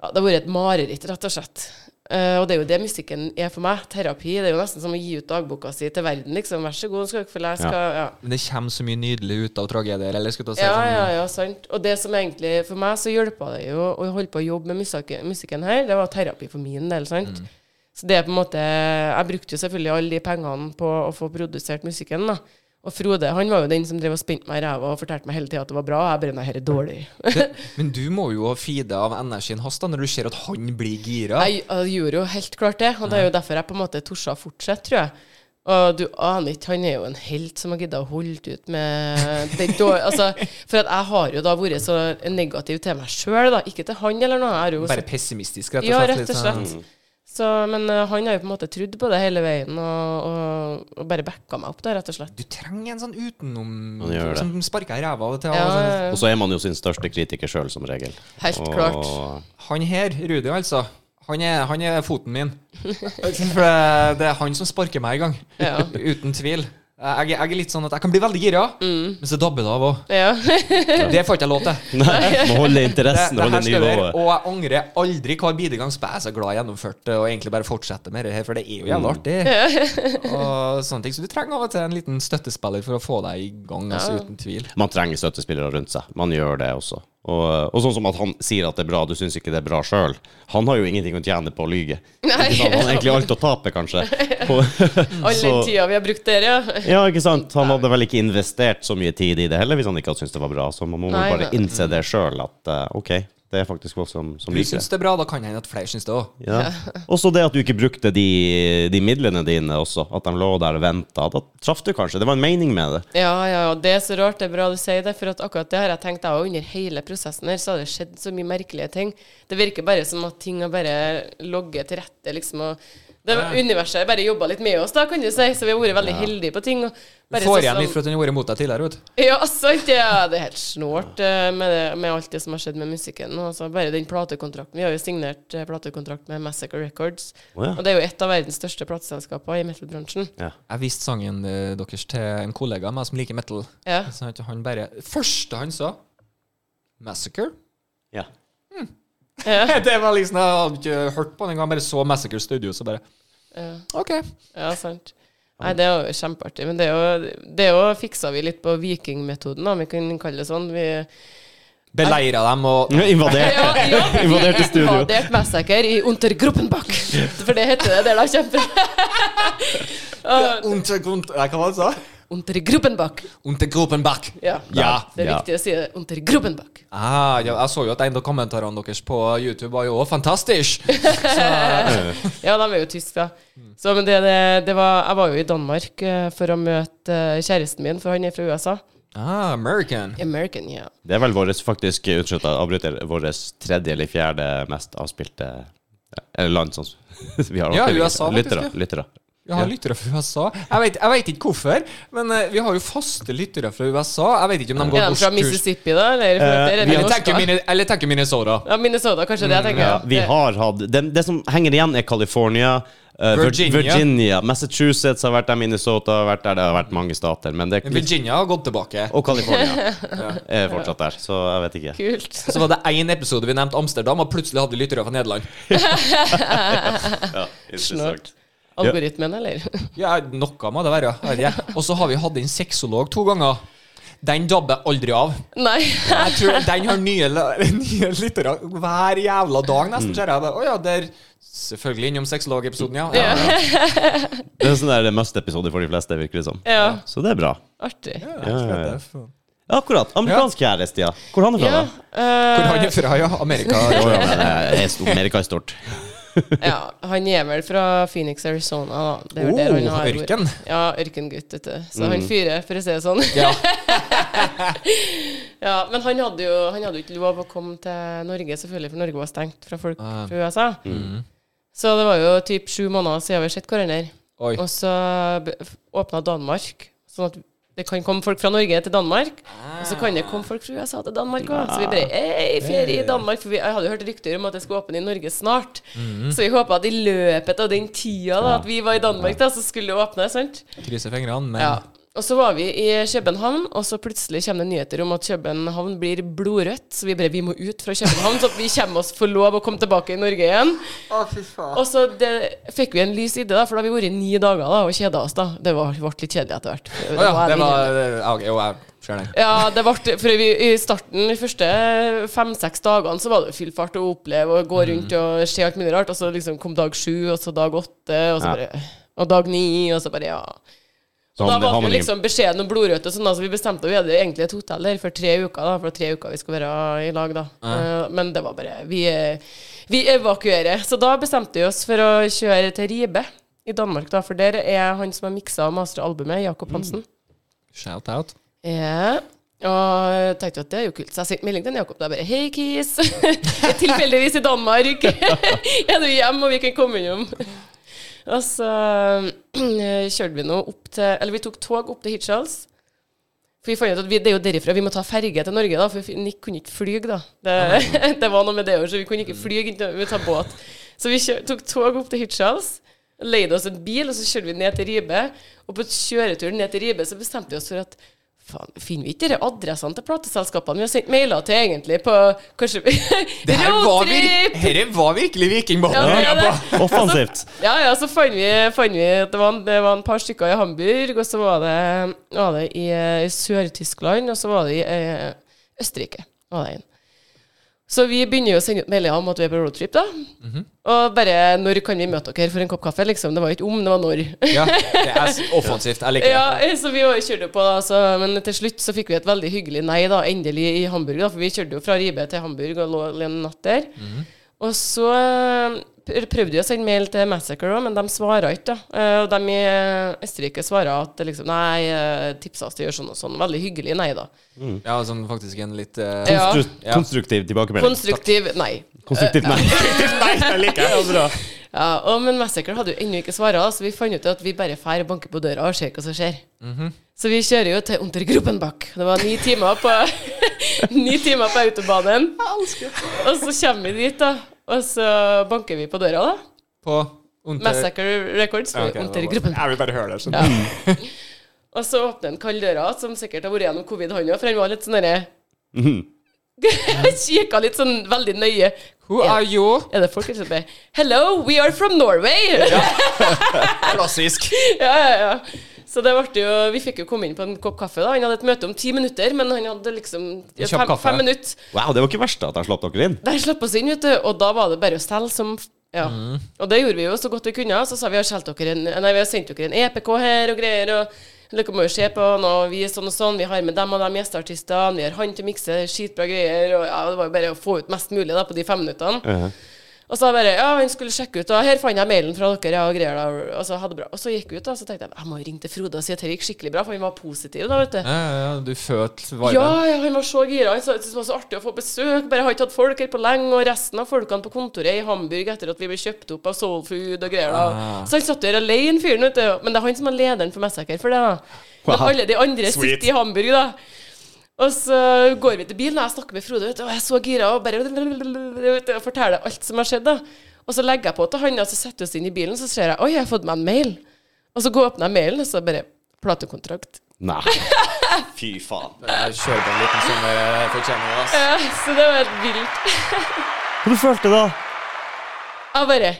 S4: Ja, det har vært et mareritt, rett og slett. Eh, og det er jo det musikken er for meg. Terapi. Det er jo nesten som å gi ut dagboka si til verden, liksom. Vær så god, skal dere få lese.
S2: Ja.
S4: Skal, ja.
S3: Men det kommer så mye nydelig ut av tragedier. Eller skal du si
S4: Ja,
S3: sånn
S4: ja, ja, sant. Og det som egentlig for meg, så hjelpa det jo å holde på å jobbe med musikken, musikken her. Det var terapi for min del, sant.
S3: Mm.
S4: Så det er på en måte Jeg brukte jo selvfølgelig alle de pengene på å få produsert musikken, da. Og Frode han var jo den som drev og spente meg i ræva og fortalte meg hele tida at det var bra. og Jeg bare Nei, dette er dårlig.
S3: Men du må jo feede av energien hans da, når du ser at han blir gira.
S4: Jeg, jeg gjorde jo helt klart det, og det er jo derfor jeg på en måte torde å fortsette, tror jeg. Og du aner ikke, han er jo en helt som har gidda å holde ut med det dår- altså, For at jeg har jo da vært så negativ til meg sjøl, da. Ikke til han eller noe. Jeg har jo
S3: Bare pessimistisk, rett og slett.
S4: ja, rett
S3: litt
S4: og
S3: sånn-
S4: slett. Så, men eh, han har jo på en måte trodd på det hele veien, og, og, og bare backa meg opp, da, rett og slett.
S3: Du trenger en sånn utenom
S2: Han gjør det.
S3: som sparker i ræva av og til. og sånn.
S4: Ja,
S2: Og så er man jo sin største kritiker sjøl, som regel.
S4: Helt
S2: og, *laughs*
S4: klart.
S3: Han her, Rudi, altså. Han er, han er foten min. *laughs* For det, det er han som sparker meg i gang.
S4: Ja.
S3: Uten tvil. Jeg, jeg er litt sånn at jeg kan bli veldig gira,
S4: Mm.
S3: men så dabber det av òg.
S4: ja. *laughs*
S3: Det får ikke jeg lov til.
S2: *laughs* Nei, må holde
S3: Det,
S2: interessen,
S3: det
S2: holde
S3: her skal være,
S2: nivået.
S3: og jeg angrer aldri hver bidige gang. Så jeg er så glad jeg gjennomførte og egentlig bare fortsette med det her, for det er jo jævlig artig. Og sånne ting. Så du trenger av og til en liten støttespiller for å få deg i gang, altså, uten tvil.
S2: Man trenger støttespillere rundt seg. Man gjør det også. Og, og sånn som at han sier at det er bra, du syns ikke det er bra sjøl. Han har jo ingenting å tjene på å lyge. Ikke sant? Han har egentlig alt å tape, kanskje. På, *laughs*
S4: All den
S2: så-
S4: tida vi har brukt der, ja.
S2: ja, ikke sant? Han hadde vel ikke investert så mye tid i det heller, hvis han ikke hadde syntes det var bra. Så man må
S4: Nei,
S2: bare
S4: nei.
S2: innse det sjøl, at eh, OK, det er faktisk folk som, som
S3: Du
S2: liker det.
S3: syns det er bra, da kan hende at flere syns det òg.
S2: Ja. Også det at du ikke brukte de, de midlene dine også. At de lå der og venta. Da traff du kanskje. Det var en mening med det.
S4: Ja, ja, og det er så rart. Det er bra du sier det, for at akkurat det har jeg tenkt jeg òg. Under hele prosessen her så har det skjedd så mye merkelige ting. Det virker bare som at ting har bare logget til rette, liksom. og Det var universet bare jobba litt med oss, da, kan du si. Så vi har vært veldig heldige på ting. Og bare
S3: Får
S4: sånn
S3: igjen
S4: som-
S3: litt for at den har vært mot deg tidligere, vet du.
S4: Ja, sant. Ja, det er helt snålt eh, med, det, med alt det som har skjedd med musikken. nå, Altså, bare den platekontrakten. Vi har jo signert eh, platekontrakt med Massacre Records.
S2: Å, ja.
S4: Og det er jo et av verdens største plateselskaper i metal-bransjen. *laughs*
S2: Ja.
S3: Jeg viste sangen eh, deres til en kollega av meg som liker metal.
S4: Ja.
S3: Sånn at han bare Første han sa Massacre.
S2: Ja.
S4: Ja.
S3: Det var liksom Jeg hadde ikke hørt på den engang. Bare så Massacre Studio, så bare
S4: Ja.
S3: OK.
S4: Ja, sant. Nei, det er jo kjempeartig. Men det er jo, det er jo fiksa vi litt på vikingmetoden, om vi kan kalle det sånn. Vi
S3: Beleira dem og
S2: Invadert. *laughs*
S4: ja, ja, vi
S2: Invaderte studio.
S4: invaderte Massacre i Untergruppenbach. *laughs* For det heter det der, da. Kjempe.
S3: Untergrund... Nei, hva var det du sa?
S4: Untergruppenbach.
S3: Untergruppenbach.
S4: Ja.
S3: Ja.
S4: Det er
S2: Ja.
S4: viktig å si det. Untergruppenbach.
S3: Ah, ja, jeg så jo at en av kommentarene deres på YouTube var jo også fantastisk.
S4: *laughs*
S3: Så,
S4: Ja, de er jo tyske, da. Så, men det, det, det var, jeg var jo i Danmark eh, for å møte eh, kjæresten min, for han er fra USA.
S3: ah, American.
S4: American, ja.
S2: Det er vel vår faktisk unnskyld, jeg avbryter, vår tredje eller fjerde mest avspilte ja, eller land sånn som *laughs* vi har.
S3: Ja,
S2: avspillinger.
S3: USA faktisk,
S2: lyttere,
S3: ja.
S2: lyttere.
S3: Vi har lyttere fra USA. Jeg vet, jeg vet ikke hvorfor, men eh, vi har jo faste lyttere fra USA. Jeg vet ikke om de går
S4: Er de fra
S3: norskurs.
S4: Mississippi, da? Eller,
S2: Eh,
S4: eller er de
S3: Eller
S4: norske?
S3: tenker Minne- Eller tenker Minnesota.
S4: Ja, Minnesota, kanskje det jeg tenker.
S2: Ja, vi
S4: Det-
S2: har hatt det, det som henger igjen, er California. eh, Vir-
S3: Virginia.
S2: Virginia. Massachusetts har vært der, Minnesota har vært der. Det har vært mange stater. Men det,
S3: Virginia har gått tilbake.
S2: og
S3: *laughs*
S2: California er fortsatt der, så jeg vet ikke.
S4: Kult.
S3: Så var det én episode vi nevnte Amsterdam, og plutselig hadde vi lyttere fra Nederland.
S2: Ja, interessant.
S4: Algoritmen, eller? *laughs*
S3: Ja, noe må det være. herre. Og så har vi hatt inn sexolog to ganger. Den dabber aldri av.
S4: Nei.
S3: Jeg tror Den har nye, la- *laughs* nye lyttere hver jævla dag, nesten. ser jeg. Å ja, der Selvfølgelig innom sexologepisoden, ja. ja. ja.
S2: Det er en sånn der must-episode for de fleste, virker det som.
S4: Ja,
S2: Så det er bra.
S4: artig.
S3: ja,
S2: Ja, ja, ja.
S3: Hvor
S2: Akkurat. Amerikansk kjæreste, ja. Hvor han er fra,
S4: Ja,
S2: da?
S4: eh,
S3: han er fra, ja? Amerika?
S2: Å, ja, men det er stort. Amerika er stort.
S4: ja, han er vel fra Phoenix, Arizona. Da. Det er vel der han
S3: Oh,
S4: har vært.
S3: ørken. Mm.
S4: Ja, ørkengutt, vet du. Så han fyrer, for å si det sånn.
S3: Ja.
S4: *laughs* Ja, men han hadde, jo, han hadde jo ikke lov å komme til Norge, selvfølgelig, for Norge var stengt fra folk
S3: Ah.
S4: fra USA. Så det var jo typ sju måneder siden vi har sett hverandre.
S3: Oi.
S4: Og så b- f- åpna Danmark, sånn at det kan komme folk fra Norge til Danmark. Og så kan det komme folk fra USA til Danmark òg. Så vi bare Ei, ferie i Danmark! For vi, jeg hadde jo hørt rykter om at det skulle åpne i Norge snart. Så vi håpa at i løpet av den tida da, at vi var i Danmark, da, så skulle det åpne. sant?
S3: Krysser fingrene, men
S4: Ja. Og så var vi i København, og så plutselig kommer det nyheter om at København blir blodrødt. Så vi bare vi må ut fra København, så at vi kommer oss får lov å komme tilbake i Norge igjen. Og så det, fikk vi en lys idé, da, for da har vi vært i ni dager da, og kjeda oss. da Det var, ble litt kjedelig etter hvert.
S3: Å ja, det
S4: ærlig.
S3: var ja, ok, Jo, jeg ser den.
S4: Ja, det ble, for vi, i starten, de første fem-seks dagene, så var det full fart å oppleve og
S2: Mm.
S4: gå rundt og se alt mulig rart. Og så liksom kom dag sju, og så dag åtte, og, så
S2: Ja.
S4: bare, og dag ni, og så bare ja.
S2: Så
S4: da
S2: han,
S4: var
S2: har
S4: det
S2: man
S4: jo
S2: ingen
S4: liksom beskjeden om blodrødt og sånn, da, så vi bestemte at vi hadde egentlig et hotell her for tre uker, da, for det var tre uker vi skulle være i lag, da. Eh, men det var bare vi, eh, vi evakuerer. Så da bestemte vi oss for å kjøre til Ribe i Danmark, da, for der er han som har miksa og mastra
S2: Mm.
S4: albumet, Jakob Hansen.
S3: Shout out.
S4: Ja. Og jeg tenkte jo at det er jo kult, så jeg sendte melding til Jakob. Da bare 'Hei, Kis'. Jeg er *laughs* tilfeldigvis i Danmark. *laughs* er du hjemme, og vi kan komme innom? Og så eh, *clears throat* kjørte vi nå opp til Eller vi tok tog opp til Hirtshals. For vi fant ut at vi, det er jo derifra vi må ta ferge til Norge, da. For vi- Nick kunne ikke fly, da. Det, *laughs* det var noe med det òg, så vi kunne ikke fly, vi måtte ta båt. Så vi kjør, tok tog opp til Hirtshals, leide oss en bil, og så kjørte vi ned til Ribe. Og på kjøreturen ned til Ribe så bestemte vi oss for at Faen, finner vi ikke de adressene til plateselskapene vi har sendt mailer til, egentlig, på Kanskje vi
S3: Det her var,
S4: *laughs*
S3: vir
S4: Roadtrip!
S3: herre var virkelig
S4: Ja,
S3: Vikingbåten.
S4: det er det.
S2: Offensivt.
S4: Ja, ja, så fant vi, fant vi at det var, en, det var en par stykker i Hamburg, og så var det, var det i, eh, Sør-Tyskland, og så var det i eh, Østerrike. Var det en. Så vi begynner jo å sende ut meldinger om at vi er på roadtrip, da. Og bare 'Når kan vi møte dere for en kopp kaffe?' liksom. Det var jo ikke om, det var når.
S3: Ja, det er s- offensivt. Jeg liker det.
S4: Ja, eh, så vi var- kjørte jo på da, så, men til slutt så fikk vi et veldig hyggelig nei da, endelig i Hamburg, da, for vi kjørte jo fra Ribe til Hamburg og lå en natt der. Og så eh, pr- prøvde vi å sende mail til Massacre òg, men de svarer ikke. da. Eh, Og de i eh, Østerrike svarer at liksom, nei, eh, tipsa oss til å gjøre sånn og sånn. Veldig hyggelig nei da.
S3: Ja, sånn faktisk en litt eh,
S4: Ja.
S2: Konstru- Konstruktiv tilbakemelding.
S4: Konstruktiv nei.
S2: *laughs* Konstruktivt nei. Konstruktivt nei, jeg liker det.
S4: Ja, og, men Massacre hadde jo ennå ikke svara, så vi fant ut at vi bare drar og banker på døra og ser hva som skjer.
S3: Mhm.
S4: Så vi kjører jo til Untergruppenbach. Det var ni timer på *laughs* Ni timer på autobanen. Og så kommer vi dit, da. Og så banker vi på døra, da.
S3: På under...
S4: Massacre Records.
S3: Ja,
S4: Ja,
S3: ok, det var-
S4: Untergruppen.
S3: Jeg vil bare høre det. Sånn.
S4: Og så åpner han kald døra, som sikkert har vært gjennom covid, han òg, for han var litt sånn derre *laughs* Kikka litt sånn veldig nøye.
S3: Who are you?
S4: Er det folk som sier Hello, we are from Norway!
S3: Klassisk.
S4: *laughs* ja, ja, ja. Så det ble jo, vi fikk jo komme inn på en kopp kaffe. da Han hadde et møte om ti minutter, men han hadde liksom ja,
S3: Kjapp
S4: fem,
S3: kaffe.
S4: fem minutter.
S2: Wow, det var ikke verst da, at han slapp dere inn.
S4: Der slapp oss inn, vet du, og da var det bare å selge som ja.
S3: Mm.
S4: Og det gjorde vi jo så godt vi kunne. Så sa vi har, solgt dere en, nei, vi har sendt dere en EPK her og greier. Og dere må jo se på noe, vi er sånn og sånn, vi har med dem og dem gjesteartistene, vi har han til å mikse, skitbra greier. Og ja, det var jo bare å få ut mest mulig da på de fem minuttene. Og så bare, ja, han skulle sjekke ut, og her fant jeg mailen fra dere, ja, og greier da, og så hadde det bra. Og så gikk jeg ut da, så tenkte jeg, jeg må jo ringe til Frode og si at det gikk skikkelig bra, for han var positiv da, vet du.
S3: Ja, ja, ja, du fødte viben.
S4: Ja, ja, han var så gira, han sa det var så artig å få besøk, bare har ikke hatt folk her på lenge, og resten av folkene på kontoret i Hamburg etter at vi ble kjøpt opp av Soul Food og greier da.
S2: Ah.
S4: Så han satt der alene, fyren, vet du, men det er han som er lederen for Messaker for det da. Men
S2: Wow.
S4: alle de andre
S2: Sweet.
S4: sitter i Hamburg da. Og så går vi til bilen, og jeg snakker med Frode, vet du, og jeg er så gira, og bare vet du, og forteller alt som har skjedd. da. Og så legger jeg på til han, og så setter vi oss inn i bilen, så ser jeg oi, jeg har fått meg en mail. Og så går jeg og åpner jeg mailen, og så bare platekontrakt.
S2: Nei. Fy faen.
S3: Jeg kjører på en liten sånn der jeg fortjener det, ass.
S4: Ja, Eh, så det var helt vilt.
S2: Hva du følte da?
S4: Jeg bare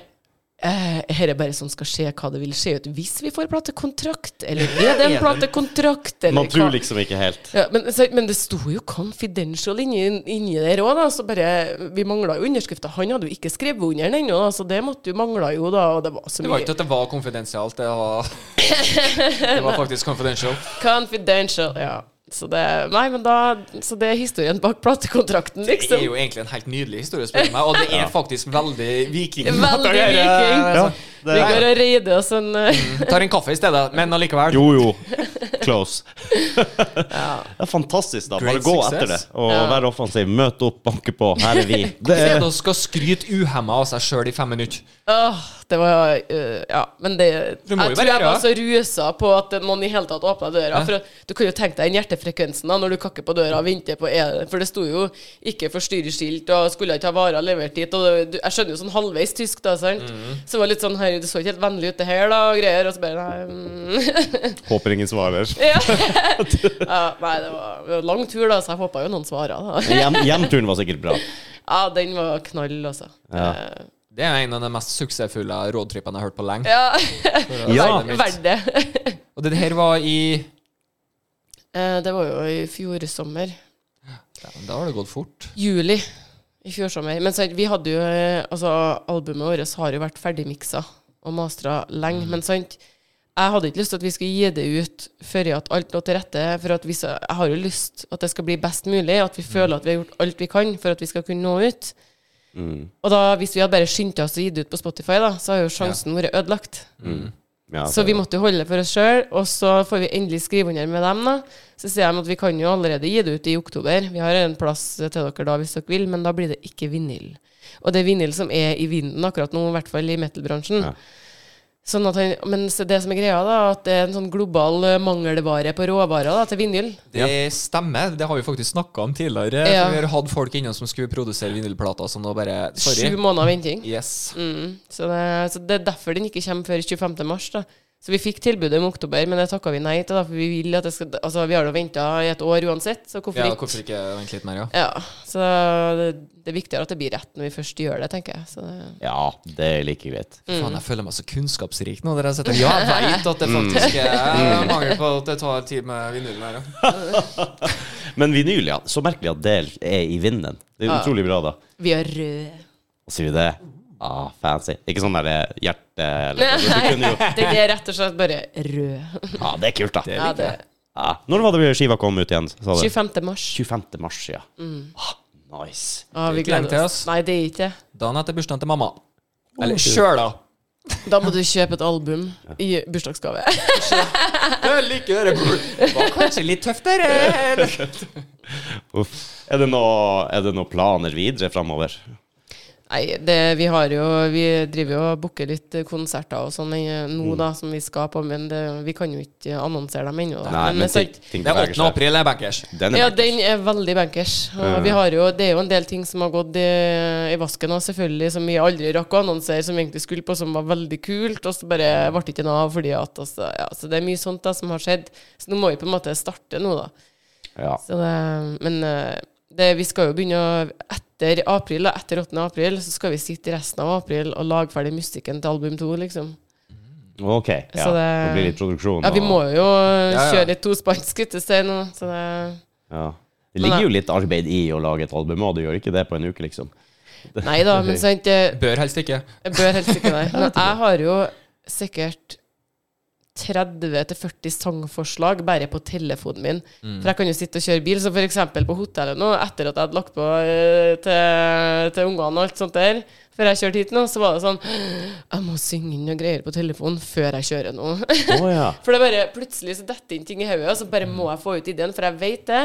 S4: eh, Her er bare sånn skal skje hva det vil skje ut hvis vi får platekontrakt, eller er det en platekontrakt, eller
S2: Man tror
S4: hva?
S2: liksom ikke helt.
S4: Ja, men, så, men det sto jo 'confidential' inni, inni der òg, da. Så bare Vi mangla jo underskrifta. Han hadde jo ikke skrevet under den ennå, da, så det måtte jo mangla jo, da. Og det var så
S3: Det var
S4: mye
S3: ikke at det var konfidensialt. Det
S4: *laughs*
S3: var, det var faktisk confidential.
S4: Confidential, ja. Så det, nei, men da, så det er historien bak platekontrakten,
S3: Det er
S4: liksom.
S3: jo egentlig en helt nydelig historie, spør du meg, og det er faktisk veldig viking.
S4: Veldig
S2: Ja, altså,
S4: viking. Vi
S2: det,
S4: går og reider oss en eh,
S3: Tar en kaffe i stedet, men allikevel.
S2: jo, jo. *laughs* Close. Det er fantastisk, da. Bare
S3: Great
S2: gå
S3: success.
S2: etter det. Og
S4: Ja.
S2: være offensiv. Møt opp, banke på. Her er vi.
S3: I
S2: *laughs* Det er
S3: stedet skal skryte uhemma av seg sjøl i fem minutter.
S4: Åh, det var eh, Ja, men det Jeg
S3: Du må jo
S4: tror
S3: være
S4: jeg var
S3: redd.
S4: så rusa på at noen i hele tatt åpna døra. For du kan jo tenke deg den hjertefrekvensen da når du kakker på døra og venter på er- For det sto jo 'ikke forstyrr-skilt', og skulle ikke ha varer levert dit. Og det- du, jeg skjønner jo sånn halvveis tysk, da, sant. Så det var litt sånn Herre, du så ikke helt vennlig ut det her, da, og greier. Og så bare Nei. mm. *laughs*
S2: Håper ingen svarer.
S4: ja, nei, det var, det var lang tur, da, så jeg håpa jo noen svara, da.
S2: Men Hjem, hjemturen var sikkert bra.
S4: Ja, den var knall, altså.
S2: Ja.
S4: Eh,
S3: Det er en av de mest suksessfulle roadtrippene jeg har hørt på lenge.
S4: ja.
S2: Ja.
S4: Verdt det. *laughs*
S3: Og det her var i
S4: Eh, Det var jo i fjor sommer.
S3: ja, men Da har det gått fort.
S4: juli i fjor sommer. Men så, vi hadde jo eh, Altså, albumet vårt har jo vært ferdigmiksa og mastra lenge, men sant jeg hadde ikke lyst til at vi skulle gi det ut før at alt lå til rette. For at vi, så- jeg har jo lyst at det skal bli best mulig, at vi føler at vi har gjort alt vi kan for at vi skal kunne nå ut. Og da, hvis vi hadde bare skyndt oss å gi det ut på Spotify, da, så har jo sjansen vært ødelagt.
S2: Ja,
S4: Så vi måtte jo holde det for oss sjøl, og så får vi endelig skrive under med dem. da. Så sier de at vi kan jo allerede gi det ut i oktober. Vi har en plass til dere da hvis dere vil, men da blir det ikke vinyl. Og det er vinyl som er i vinden akkurat nå, i hvert fall i metal-bransjen.
S2: Ja.
S4: Sånn at han, mens det som er greia, da, at det er en sånn global eh, mangelvare på råvarer da, til vinyl.
S3: Det stemmer, det har vi faktisk snakka om tidligere.
S4: Ja.
S3: Vi har hatt folk innom som skulle produsere vinylplater, så nå bare Sorry.
S4: Sju måneder venting.
S3: Yes.
S4: Mm. Så, det, så det er derfor den ikke kommer før 25. mars. Da. Så vi fikk tilbudet om oktober, men det takka vi nei til. Da, for vi vil at det skal, altså, vi har jo venta i et år uansett, så hvorfor
S3: Ja,
S4: ikke?
S3: hvorfor ikke vente litt mer, ja?
S4: Ja, så det, det er viktigere at det blir rett når vi først gjør det, tenker jeg. Så det,
S2: ja det er like greit.
S4: Mm.
S3: Faen, jeg føler meg så kunnskapsrik nå. Dere sitter Ja, jeg veit at det
S4: Mm.
S3: faktisk er mangel på at det tar tid med vinylen her, ja.
S2: Men vinyl, ja. Så merkelig at det er i vinden. Det er utrolig bra, da.
S4: vi er røde.
S2: Og sier vi det? Ah, fancy. Ikke sånn derre hjerte eller noe. Du kunne
S4: *laughs*
S2: jo
S4: Det er rett og slett bare rød.
S2: Ja, det er kult, da.
S4: Ja, det,
S2: Ja. Når var det skiva kom ut igjen? Sa du?
S4: 25. mars.
S2: 25. mars, ja.
S4: Mm.
S2: Ah, nice.
S3: Det
S4: Ja, vi
S3: er ikke lenge
S4: gleder
S3: til,
S4: oss.
S3: ass.
S4: Nei, det er ikke det.
S3: Dagen etter bursdagen til mamma.
S4: Oh.
S3: Eller sjøl, da.
S4: Da må du kjøpe et album i bursdagsgave.
S3: Jeg liker dere bul. Det var kanskje litt tøft, eh, dere.
S2: Uff. Er det noe, er det noe planer videre framover?
S4: Nei, det, vi har jo Vi driver jo og booker litt eh, konserter og sånn eh, nå, da, som vi skal på, men det, vi kan jo ikke annonsere dem ennå. da.
S2: Nei,
S4: Men
S2: men
S4: det er
S2: ting,
S4: sant.
S2: ting
S3: Det er
S2: beveger
S3: 8.
S2: seg.
S3: april, det er bankers.
S2: Den er
S4: Ja,
S2: bankers.
S4: den er veldig bankers. Og vi har jo, det er jo en del ting som har gått i, i vasken, og selvfølgelig som vi aldri rakk å annonsere, som vi egentlig skulle på, som var veldig kult, og så bare ble det ikke noe av fordi at altså, ja, Så det er mye sånt da som har skjedd. Så nå må vi på en måte starte nå, da.
S2: Ja.
S4: Så det, men eh, det, vi skal jo begynne å Etter april, da, etter 8. april, så skal vi sitte resten av april og lage ferdig musikken til album to, liksom.
S2: Ok. Ja.
S4: Så
S2: Det...
S4: det-
S2: blir litt produksjon.
S4: Ja, vi
S2: og-
S4: må jo
S3: ja.
S4: kjøre et tospansk guttested nå, så det
S2: ja. Det
S4: Men
S2: ligger
S4: det-
S2: jo litt arbeid i å lage et album, og du gjør ikke det på en uke, liksom.
S4: Nei da,
S3: *laughs*
S4: men sant, det
S3: Bør helst ikke.
S4: jeg bør helst ikke det. Men *laughs* jeg har jo sikkert 30-40 sangforslag bare på telefonen min.
S2: Mm.
S4: For jeg kan jo sitte og kjøre bil, så for eksempel på hotellet nå, etter at jeg hadde lagt på eh, til, til ungene og alt sånt der, før jeg kjørte hit nå, så var det sånn *gasps* Jeg må synge inn noen greier på telefonen før jeg kjører nå. *laughs*
S2: Å ja.
S4: For det bare plutselig så detter inn ting i hodet, og så bare må jeg få ut ideen, for jeg vet det.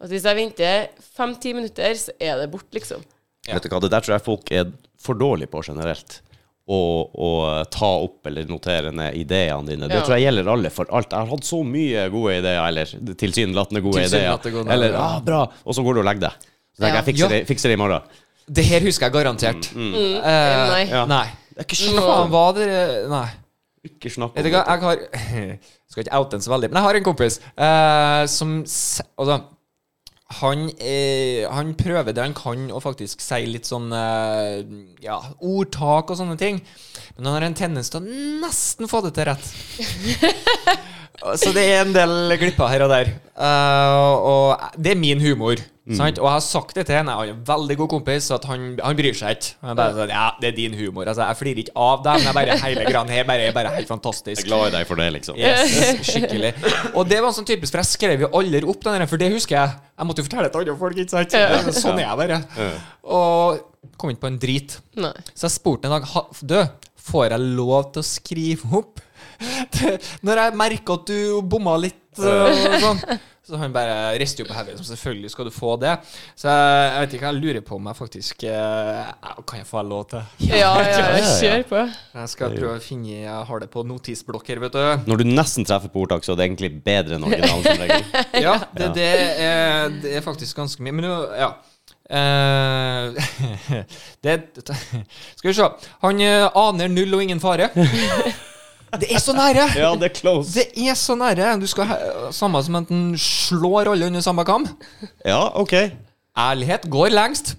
S4: At hvis jeg venter fem-ti minutter, så er det borte, liksom.
S2: *laughs* Vet du hva, Det der tror jeg folk er for dårlige på generelt. Å, å ta opp eller notere ned ideene dine. Det
S4: Ja.
S2: tror jeg gjelder alle for alt. Jeg har hatt så mye gode ideer, eller tilsynelatende gode
S3: Tilsynelatende
S2: ideer.
S3: gode,
S2: Eller
S3: ja.
S2: ah, bra, og så går du og legger deg. Så tenker jeg,
S4: Ja.
S2: jeg fikser,
S3: Ja.
S2: det, fikser det i morgen.
S3: Det her husker jeg garantert. Eh,
S4: Mm, Nei.
S2: Ja.
S3: Nei.
S2: Det er ikke
S3: Faen,
S2: snakk om
S3: hva dere Nei.
S2: Ikke snakk
S3: Vet
S2: om
S3: du hva, jeg har *laughs* Skal ikke oute den så veldig, men jeg har en kompis eh, som s- Altså, han, eh, han prøver det han kan å faktisk si litt sånn eh, Ja, ordtak og sånne ting. Men han har en tendens til å nesten få det til rett. Så det er en del glipper her og der. Eh, og det er min humor. Sant? Og jeg har sagt det til henne. Jeg har en veldig god kompis, så at han, han bryr seg ikke. Han er bare sånn, ja, det er din humor. Altså, jeg flirer ikke av deg, men jeg bare, hele greia her bare, er bare helt
S2: Jeg er
S3: fantastisk.
S2: glad i deg for det, liksom.
S3: Yes, *laughs* skikkelig. Og det var sånn typisk, for jeg skrev jo aldri opp den der, for det husker jeg. Jeg måtte jo fortelle det til andre folk, ikke sant?
S4: Ja.
S3: Sånn er jeg bare. Og kom ikke på en drit.
S4: Nei.
S3: Så jeg spurte en dag «Ha- Du, får jeg lov til å skrive opp *laughs* det- Når jeg merker at du bomma litt og sånn Så han bare rister jo på hodet. Så Selvfølgelig skal du få det. Så jeg, jeg vet ikke, jeg lurer på om jeg faktisk eh, Kan jeg få lov til
S4: Ja, ja,
S2: *laughs* ja, ja.
S4: kjør på.
S3: Jeg skal prøve å finne Jeg har det på notisblokk her, vet du.
S2: Når du nesten treffer på ordtak, så er det egentlig bedre enn originalen.
S3: *laughs*
S2: som regel.
S3: Ja, det, det, er, det er faktisk ganske mye. Men nå, ja. Eh, *laughs* det Skal vi se. Han eh, aner null og ingen fare. *laughs* Det er så nære!
S2: Ja, det er close.
S3: Det er så nære. Du skal he- Samme som at den slår alle under samme kam.
S2: Ja, OK.
S3: Ærlighet går lengst.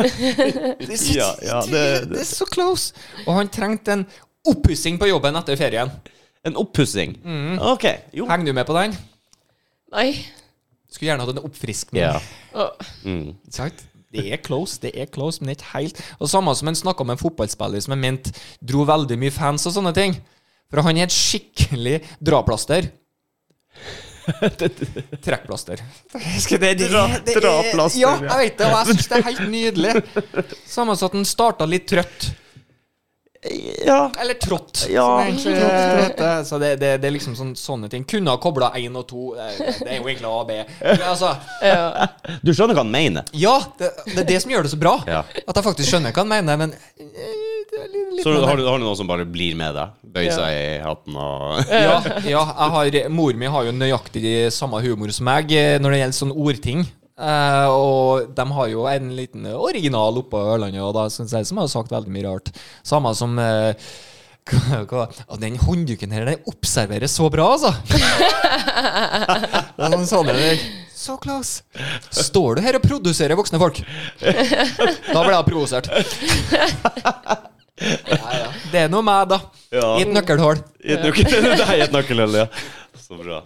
S3: Det er så,
S2: Ja, ja, det-
S3: det, er så close. Og han trengte en oppussing på jobben etter ferien.
S2: En oppussing.
S3: Mm.
S2: OK. Jo.
S3: Henger du med på den?
S4: Nei.
S3: Skulle gjerne hatt en oppfriskning.
S2: Ja.
S4: Å.
S2: Mm.
S3: Ikke sant? Det er close, det er close, men ikke helt. Og samme som han snakka om en fotballspiller som han mente dro veldig mye fans og sånne ting. For han er et skikkelig
S2: *laughs*
S3: draplaster. Trekkplaster. *laughs* Skal det- det-
S2: Dra-
S3: det er-
S2: draplaster,
S3: Ja, jeg vet det, og jeg syns det er helt nydelig. Samme som at han starta litt trøtt.
S2: ja.
S3: Eller trått.
S2: Ja,
S3: som det egentlig heter. Så det, det, det er liksom sånn, sånne ting. Kunne ha kobla én og to. eh, Det er jo egentlig A og B. Men altså,
S4: Ja.
S2: Du skjønner hva han mener?
S3: ja, det, det er det som gjør det så bra.
S2: Ja.
S3: At jeg faktisk skjønner hva han mener, men eh, det er litt, litt
S2: Så har du, har du noen som bare blir med deg? Bøyer seg i hatten og
S3: *laughs* ja, ja, jeg har, mor mi har jo nøyaktig samme humor som meg eh, når det gjelder sånne ordting. Eh, og de har jo en liten original oppå Ørlandet, og da synes jeg som har sagt veldig mye rart. Samme som eh, *laughs* hva, hva, «Å, Den håndduken her, den observerer så bra, altså! Det er sånn sånn, det er, so close. Står du her og produserer voksne folk? Da ble jeg provosert. Ja, ja. Det er noe meg, da.
S2: Ja.
S3: I et nøkkelhull.
S2: I et nøkkel- *laughs* Det er i et nøkkelhull, ja. Så bra.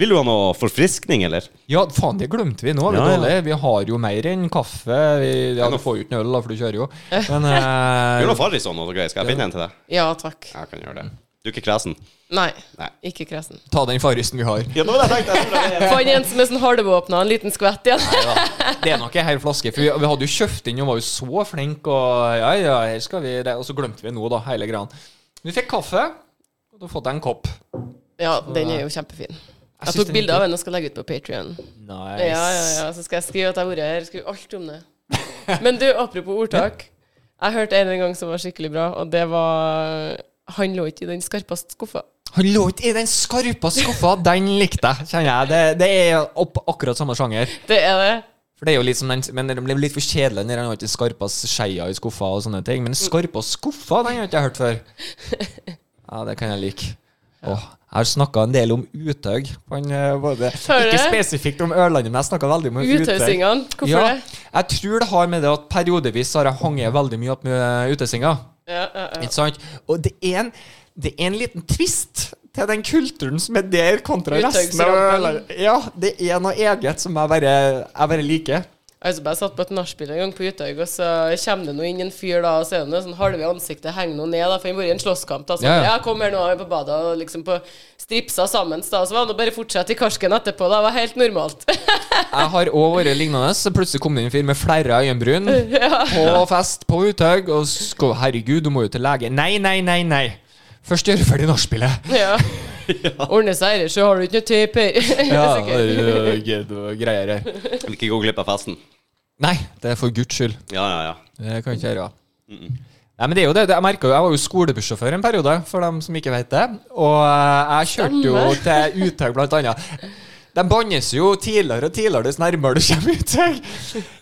S2: Vil du ha noe forfriskning, eller?
S3: Ja, faen, det glemte vi nå. Vi,
S2: Ja, ja.
S3: dårlig. vi har jo mer enn kaffe. Vi, ja, du får jo ikke noe øl, da, for du kjører jo. Men
S2: *laughs*
S3: eh,
S2: Gjør noe Farrison og noe greier. Skal jeg finne en til deg?
S4: ja, takk.
S2: Jeg kan gjøre det. Du er ikke kresen?
S4: Nei,
S2: Nei.
S4: ikke kresen.
S3: ta den farrisen vi har.
S2: Ja, nå hadde jeg tenkt jeg tror det er-
S4: Fant en som er sånn halvåpna, en liten skvett igjen.
S3: Det er nok ei hel flaske, for vi, vi hadde jo kjøpt inn og var jo så flink og ja, ja, her skal vi det. Og så glemte vi nå, da, hele greia. Vi fikk kaffe, og da fått jeg en kopp.
S4: Ja, den er jo kjempefin. Jeg
S3: synes
S4: tok
S3: den er
S4: bilde av den og skal legge ut på Patrion.
S3: Nice.
S4: Ja, ja, ja, så skal jeg skrive at jeg har vært her. Skrive alt om det. Men du, apropos ordtak. Jeg hørte en en gang som var skikkelig bra, og det var Han lå ikke i den skarpeste skuffa.
S3: Han lå ikke i den skarpa skuffa! Den likte jeg, kjenner jeg. Det, det er opp akkurat samme sjanger.
S4: Det er det.
S3: For det er jo litt som den, Men det blir litt for kjedelig når han har ikke skarpa skeia i skuffa og sånne ting.
S4: Mm.
S3: Men skarpa skuffa, den har ikke jeg hørt før.
S4: *laughs*
S3: Ja, det kan jeg like. Åh, jeg har snakka en del om Uthaug. Han, eh, både-
S4: Har du
S3: Ikke spesifikt om Ørlandet, men jeg snakka veldig om Uthaug.
S4: Uthausingene. Hvorfor
S3: Ja,
S4: det?
S3: jeg tror det har med det at periodevis har jeg hanget veldig mye opp med utausinga.
S4: Ja, ja, ja.
S3: Ikke sant? Og det er, en, det er en liten tvist til den kulturen som er der, kontra resten av
S4: Utaugsrampen.
S3: Ja, det er noe eget som jeg bare, jeg bare liker.
S4: Altså, jeg satt på et nachspiel en gang på Uthaug, og så kommer det nå inn en fyr, da, og så er det noe sånn halve ansiktet henger nå ned, da, for han har vært i en slåsskamp. da, så
S3: Ja,
S4: ja,
S3: ja.
S4: kom her nå, vi er på badet, og liksom på stripsa sammen, da, så var han nå bare fortsatt i karsken etterpå, da, det var helt normalt. *laughs*
S3: Jeg har òg vært lignende. Så plutselig kom det inn en fyr med flere øyenbryn på fest på Uthaug. Og sko, herregud, du må jo til lege. Nei, nei, nei, nei. Først gjøre ferdig nachspielet.
S4: ja. Ordne seg, ellers så har du ikke noe tape *laughs* her.
S3: *laughs* Ja,
S4: Sikkert.
S3: greier her.
S2: *laughs* Vil ikke gå glipp av festen.
S3: Nei, det er for guds skyld.
S2: Ja, ja, ja.
S3: Det kan ikke jeg gjøre. Nei, men det er jo det. Jeg merket jo, jeg var jo skolebussjåfør en periode, for dem som ikke vet det. Og eh, jeg kjørte jo til Uthaug, blant annet. De bannes jo tidligere og tidligere dess nærmere du kommer Uthaug.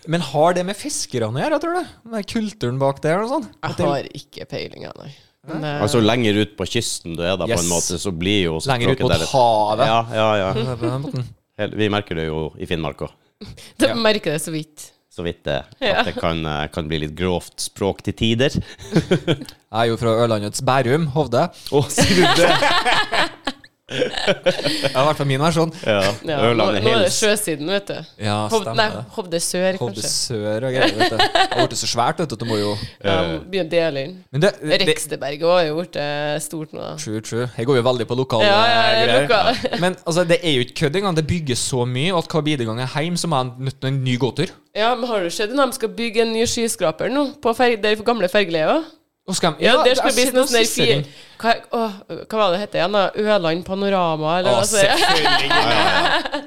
S3: Men har det med fiskerne å gjøre, tror du? Med kulturen bak det? eller noe sånt? At
S4: Jeg
S3: det er
S4: har ikke peiling, jeg, nei. Men, eh,
S2: Altså lenger ut på kysten du er da, på
S3: Yes.
S2: en måte, så blir jo
S3: Lenger ut
S2: språket
S3: mot
S2: der litt-
S3: havet.
S2: Ja, ja, ja.
S3: på den måten.
S2: Helt- Vi merker det jo i Finnmark òg.
S4: de
S3: ja.
S4: merker det så vidt.
S2: Så vidt det.
S4: Ja.
S2: At det kan, eh, kan bli litt grovt språk til tider.
S3: Jeg er jo fra Ørlandets Bærum, Hovde.
S2: Å, sier du det?
S3: Det er i hvert fall min versjon.
S2: *laughs* Ja.
S4: Ja, nå,
S2: Ørland er
S4: nå er det
S2: hils.
S4: sjøsiden, vet du.
S3: Ja,
S4: Hov,
S3: stemmer
S4: nei,
S3: det.
S4: Hovde sør,
S3: Hovde
S4: kanskje.
S3: sør og greier. vet du. Det har blitt så svært, vet du, at du må jo
S4: Ja, Begynner å dele inn.
S3: Men det, det, det
S4: Reksteberget var jo blitt eh, stort nå, da.
S3: True, true. Jeg går jo veldig på lokale
S4: Ja, ja, ja,
S3: greier.
S4: lokal.
S3: Men altså, det er jo ikke kødd engang. Det bygges så mye, og at hver bidige gang jeg er hjemme, så må jeg nødt til en ny gåtur.
S4: Ja, men har du sett når de skal bygge en ny skyskraper nå? På fer der gamle fergeleia?
S3: Og skal jeg,
S4: Ja, der skal det bli
S3: jeg
S4: sånn
S3: ser noen
S4: sånn fire
S3: sissering.
S4: hva, åh, hva var det det het igjen? da? Øland Panorama,
S3: Å,
S4: eller hva sier jeg?
S3: selvfølgelig.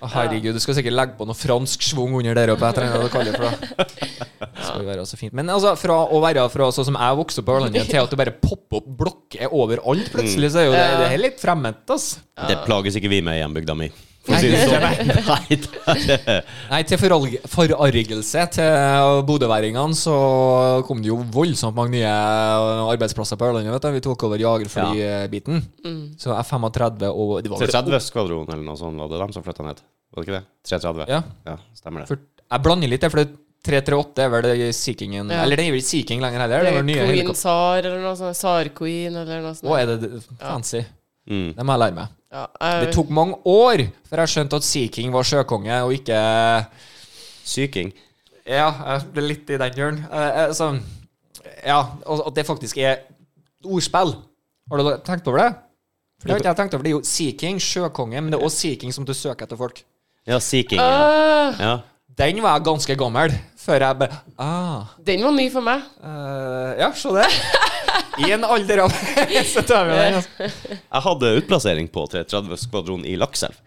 S3: Å, herregud, du skal sikkert legge på noe fransk svung under der oppe. Jeg trenger å kalle det for det. Det skal jo være så fint. Men altså, fra å være fra sånn som jeg vokste opp på Ørlandet, til at du bare popper opp blokker overalt plutselig, så er jo det, det er litt fremmed, altså.
S2: Det plages ikke vi med i hjembygda mi. For å si det sånn.
S4: *laughs*
S2: Nei, det er
S3: Nei, til forarg- forargelse til bodøværingene så kom det jo voldsomt mange nye eh, arbeidsplasser på Ørlandet. vet du. Vi tok over jagerflybiten. Så F-35 og det var vel-
S2: 330-skvadronen eller noe sånt, var det dem som flytta ned? Var det ikke det? 330?
S3: Ja.
S2: stemmer det.
S3: for, Jeg blander litt, for det 338 er vel det Sea Kingen
S4: Ja.
S3: Eller det er vel ikke Sea King lenger heller. Det er vel nye
S4: Queen
S3: helikopter.
S4: Sar eller noe sånt. Sar Queen eller noe sånt.
S3: Å, er det det- fancy?
S2: Mm.
S3: Det må jeg lære meg.
S4: Ja, jeg,
S3: Det tok mange år før jeg skjønte at Sea King var sjøkonge og ikke
S2: Syking.
S3: Ja, jeg ble litt i den hjørnen. Eh, eh, så, ja, og at det faktisk er ordspill. Har du tenkt over det? For det har ikke jeg tenkt over. Det er jo Sea King, sjøkonge, men det er også Sea King som du søker etter folk.
S2: Ja, Seeking. Ja.
S4: Ah,
S2: ja.
S3: Den var jeg ganske gammel før jeg bare ah,
S4: den var ny for meg.
S3: eh, Ja, se det. I en alder av *laughs* Så tar vi den. Altså.
S2: Jeg hadde utplassering på 330-skvadron i Lakselv.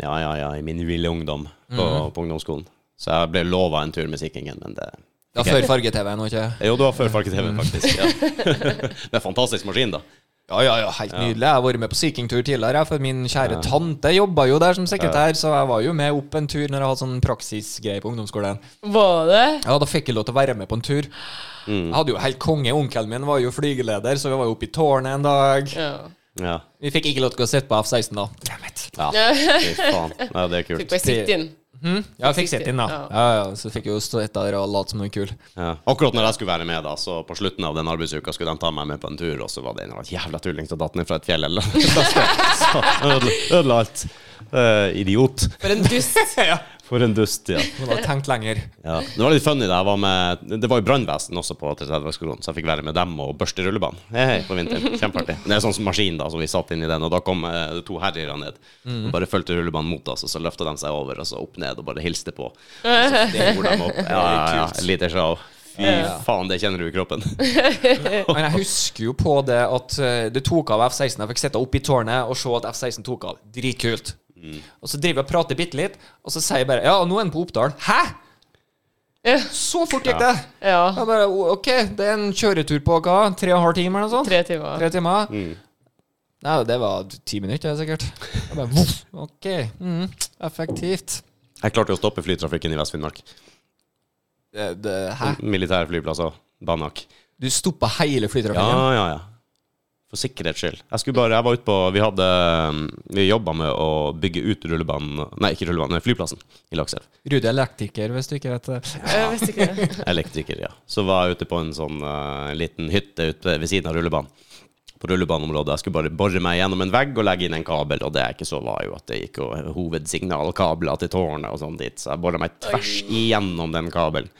S2: Ja, ja, ja, i min ville ungdom på, på ungdomsskolen. Så jeg ble lova en tur med Seekingen, men det
S3: Det var før farge-TV, nå ikke
S2: Jo, det var før Farke-TV, *laughs* faktisk. Ja. det er en fantastisk maskin, da.
S3: Ja, ja, ja, helt nydelig. Jeg har vært med på Sea King-tur tidligere, jeg, for min kjære tante jobba jo der som sekretær, så jeg var jo med opp en tur når jeg hadde sånn praksisgreie på ungdomsskolen.
S4: Var det?
S3: Ja, da fikk jeg lov til å være med på en tur. Jeg hadde jo helt konge. Onkelen min var jo flygeleder, så vi var jo oppe i tårnet en dag.
S4: Ja.
S2: Ja.
S3: Vi fikk ikke lov til å sitte på F-16 da. Damn it.
S2: ja. Fy faen. Ja, det er
S4: Fikk
S2: kult.
S4: bare sitte inn.
S3: Ja, jeg fikk sitte inn, da.
S4: Ja.
S3: Ja, ja, så fikk jeg jo stå etter og late som noe kul.
S2: Ja. Akkurat når jeg skulle være med, da, så på slutten av den arbeidsuka skulle de ta meg med på en tur, og så var det en eller annen jævla tulling som datt ned fra et fjell eller noe. *laughs* Så ødela ødela alt. Eh, idiot.
S4: For en
S3: *laughs*
S4: dust.
S2: For en dust, ja.
S3: Må da ha tenkt lenger.
S2: Ja. Det var litt funny. da jeg var med, det var jo brannvesen også på 330-skronen, så jeg fikk være med dem og børste rullebanen hei, hei, på vinteren. Kjempeartig. Det er en sånn som maskin, da, så vi satt inni den, og da kom eh, det to herrer ned. Og bare fulgte rullebanen mot oss, og så løfta de seg over, og så opp ned, og bare hilste på. Og så for de opp. Ja, ja, ja. Lite show. Fy faen, det kjenner du i kroppen.
S3: Men jeg husker jo på det at eh, det tok av F-16. Jeg fikk sitte oppe i tårnet og se at F-16 tok av. Dritkult. Og så driver jeg og prater bitte litt, og så sier jeg bare Ja, og nå er han på Oppdal. Hæ?! Så fort gikk det!
S4: Ja.
S3: Jeg bare, o- ok, det er en kjøretur på hva? Tre og en halv time, eller noe sånt?
S4: Tre timer.
S3: Tre timer? Nei, det var ti minutter, det, sikkert. Jeg bare, voff, ok, mm, effektivt.
S2: Jeg klarte jo å stoppe flytrafikken i Vest-Finnmark.
S3: Det, det, hæ?
S2: Militære flyplasser. Banak.
S3: Du stoppa hele
S2: Ja,
S3: flytrafikken?
S2: ja, ja. For sikkerhets skyld. Jeg skulle bare, jeg var ute på Vi hadde mm, Vi jobba med å bygge ut rullebanen Nei, ikke rullebanen, men flyplassen i Lakselv.
S3: Rudi er elektriker, hvis du ikke vet det.
S4: Jeg visste ikke det.
S2: Elektriker, ja. Så var jeg ute på en sånn eh, liten hytte ute ved siden av rullebanen. På rullebaneområdet. Jeg skulle bare bore meg gjennom en vegg og legge inn en kabel, og det jeg ikke så, var jo at det gikk jo hovedsignalkabler til tårnet og sånn dit, så jeg bora meg tvers igjennom den kabelen.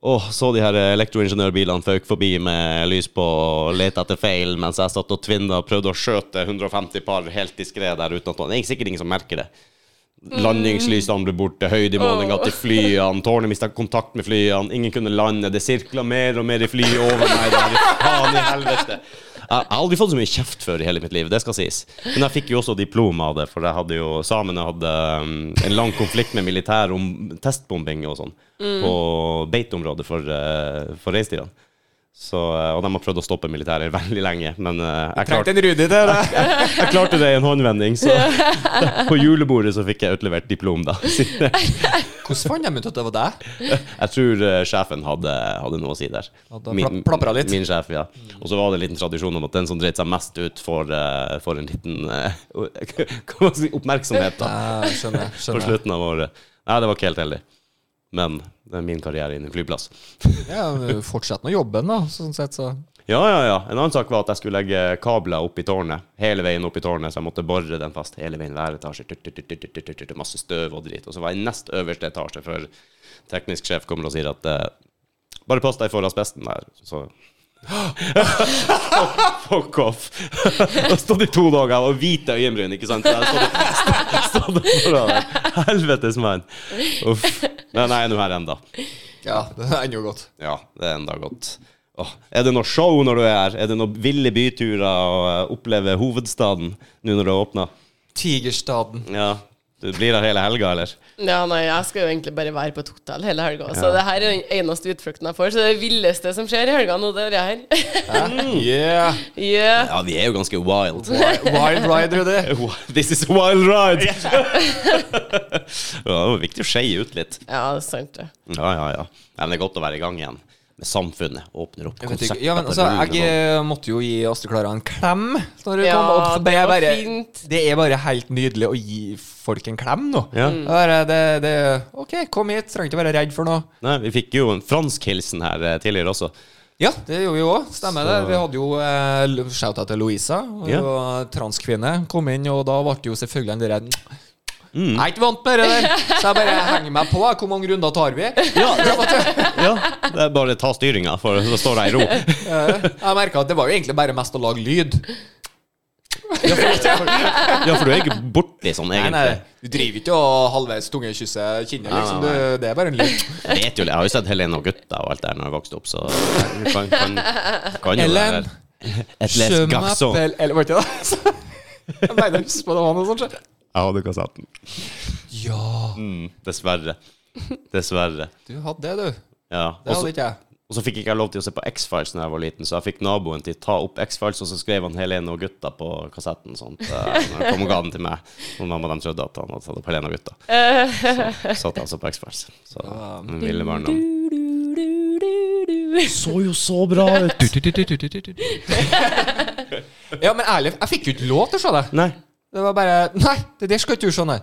S2: Åh, så de her eh, elektroingeniørbilene føk forbi med lys på og leta etter feil, mens jeg satt og tvinna og prøvde å skjøte 150 par helt diskré der uten at Det er sikkert ingen som merker det. Landingslysene ble borte, høydemålinga til flyene, tårnet mista kontakt med flyene, ingen kunne lande, det sirkla mer og mer i flyet over meg der, faen i helvete. Jeg jeg har aldri fått så mye kjeft før i hele mitt liv, det skal sies. Men jeg fikk jo også diplom av det, for jeg hadde jo, samene hadde um, en lang konflikt med militæret om testbombing og sånn, på beiteområdet for, uh, for reinsdyrene. Så, uh, og de har prøvd å stoppe militæret *laughs* veldig lenge, men uh, jeg klarte
S3: Trengte en Rudi til det.
S2: jeg klarte det i en håndvending, så på julebordet så fikk jeg utlevert diplom, da. *laughs*
S3: *laughs*
S2: Jeg
S3: Hvordan fant de ut at det var deg?
S2: tror eh, sjefen hadde, hadde noe å si der.
S3: Hadde pla- plapra litt.
S2: Min sjef, ja. Og så var det en liten tradisjon om at den som dreit seg mest ut, får, eh, får en liten eh, *laughs* hva man skal si, oppmerksomhet da,
S3: Ah, skjønner.
S2: på
S3: skjønner.
S2: slutten av året. Nei, det var ikke helt heldig. Men det er min karriere innen flyplass.
S3: Ja, men Fortsett nå jobben, da. Sånn sett, så.
S2: Ja, ja, ja. En annen sak var at jeg skulle legge kabler opp i tårnet. Hele veien opp i tårnet, så jeg måtte bore den fast hele veien hver etasje. Tut, tut, tut, tut, tut, tut, tut, Masse støv og drit. Og så var jeg i nest øverste etasje før teknisk sjef kommer og sier at eh, bare pass deg for asbesten der, så Fuck off. Jeg har stått i to dager og hvite øyenbryn, ikke sant. Så jeg har stått- stått foran der. Helvetes mann. Uff. Men jeg er nå her ennå.
S3: Ja, det er ennå godt.
S2: Ja, det er enda godt. Åh, er det noe show når du er her? Er det noe ville byturer å eh, oppleve hovedstaden nå når det har åpna?
S3: Tigerstaden.
S2: Ja. Du blir her hele helga, eller?
S4: Ja, nei, jeg skal jo egentlig bare være på et hotell hele helga, så det her er den eneste utflukten jeg får. Så det villeste som skjer i helga nå, det er det her. *laughs*
S3: Mm. Yeah!
S4: Yeah.
S2: Ja, vi er jo ganske wild.
S3: Wild ride, Rudi.
S2: *laughs* This is a wild ride! *laughs* ja, det var viktig å skeie ut litt.
S4: Ja, det er sant, det.
S2: Ja, ja, ja. Nei, Men det er godt å være i gang igjen. Med samfunnet. Åpner opp
S3: Jeg vet
S2: konsepter.
S3: ikke. Ja, men
S2: på
S3: altså,
S2: rullene
S3: jeg
S2: og sånn.
S3: eh, måtte jo gi Astrid Klara en klem. Når hun
S4: Ja,
S3: kom opp.
S4: det
S3: er
S4: var
S3: bare,
S4: fint.
S3: det er bare helt nydelig å gi folk en klem nå.
S2: Ja.
S4: Mm.
S3: Det er Bare, det, det, ok, kom hit. Trenger ikke være redd for noe.
S2: Nei, vi fikk jo en fransk hilsen her eh,
S3: *laughs*
S2: tidligere også.
S3: Ja, det gjorde vi òg. Stemmer det.
S2: Så-
S3: Vi hadde jo eh, lo- shout-out til Louisa. Hun
S2: Ja.
S3: var transkvinne. Kom inn, og da ble det jo selvfølgelig en der
S2: Mm.
S3: Jeg er ikke vant med det der, så jeg bare henger meg på. Hvor mange runder tar vi? *laughs*
S2: Ja, ja, det er bare ta styringa, for så står jeg i ro.
S3: Eh, Jeg merka at det var jo egentlig bare mest å lage lyd.
S2: Ja, for, *laughs* ja, for du er ikke borti sånn,
S3: Nei,
S2: egentlig.
S3: nei, du driver ikke og halvveis tungekysse kinnet,
S2: Nei,
S3: liksom.
S2: nei, nei.
S3: Du, det er bare en lyd.
S2: Jeg vet *laughs* jo, jeg har jo sett Helene og gutta og alt det der når jeg vokste opp, så du kan, kan, kan jo
S3: Ellen,
S2: være Et les garçon.
S3: appel Eller var det ikke det? *laughs* Så- Jeg mener, jeg husker på det var noe sånt. så-
S2: Jeg hadde kassetten.
S3: Ja,
S2: Mm, dessverre. Dessverre.
S3: du hadde det, du.
S2: Ja.
S3: Det hadde
S2: Og så-
S3: ikke jeg.
S2: og så fikk ikke jeg lov til å se på X-Files da jeg var liten, så jeg fikk naboen til å ta opp X-Files, og så skrev han Helene og gutta på kassetten. Sånt, eh, når han kom og ga den til meg. Og mamma de trodde at han hadde tatt opp Helene og gutta. Så satt jeg altså på X-Files. Så
S3: Ah.
S2: den ville barndom.
S3: Så jo så bra ut. Ja, men ærlig, jeg fikk jo ikke lov til å se det.
S2: Nei.
S3: Det var bare Nei, det der skal ikke du se, nei.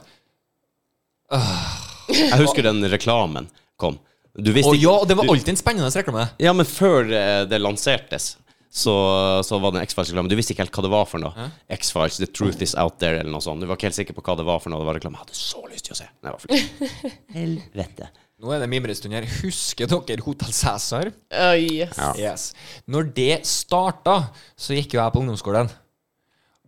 S2: Jeg husker den reklamen kom. Du visste
S3: Og ja, og det var
S2: du-
S3: alltid en spennende reklame.
S2: Ja, men før eh, det lansertes, så, så var det en X-Files-reklame. Du visste ikke helt hva det var for noe. X-Files, The Truth Is Out There, eller noe sånt. Du var ikke helt sikker på hva det var for noe. Det var reklame. Jeg hadde så lyst til å se. Nei, hva for noe?
S4: *laughs*
S2: Helvete.
S3: Nå er det mimrestund her. Husker dere Hotell Cæsar?
S4: Oi, yes.
S2: Ja.
S3: Yes. Når det starta, så gikk jo jeg på ungdomsskolen.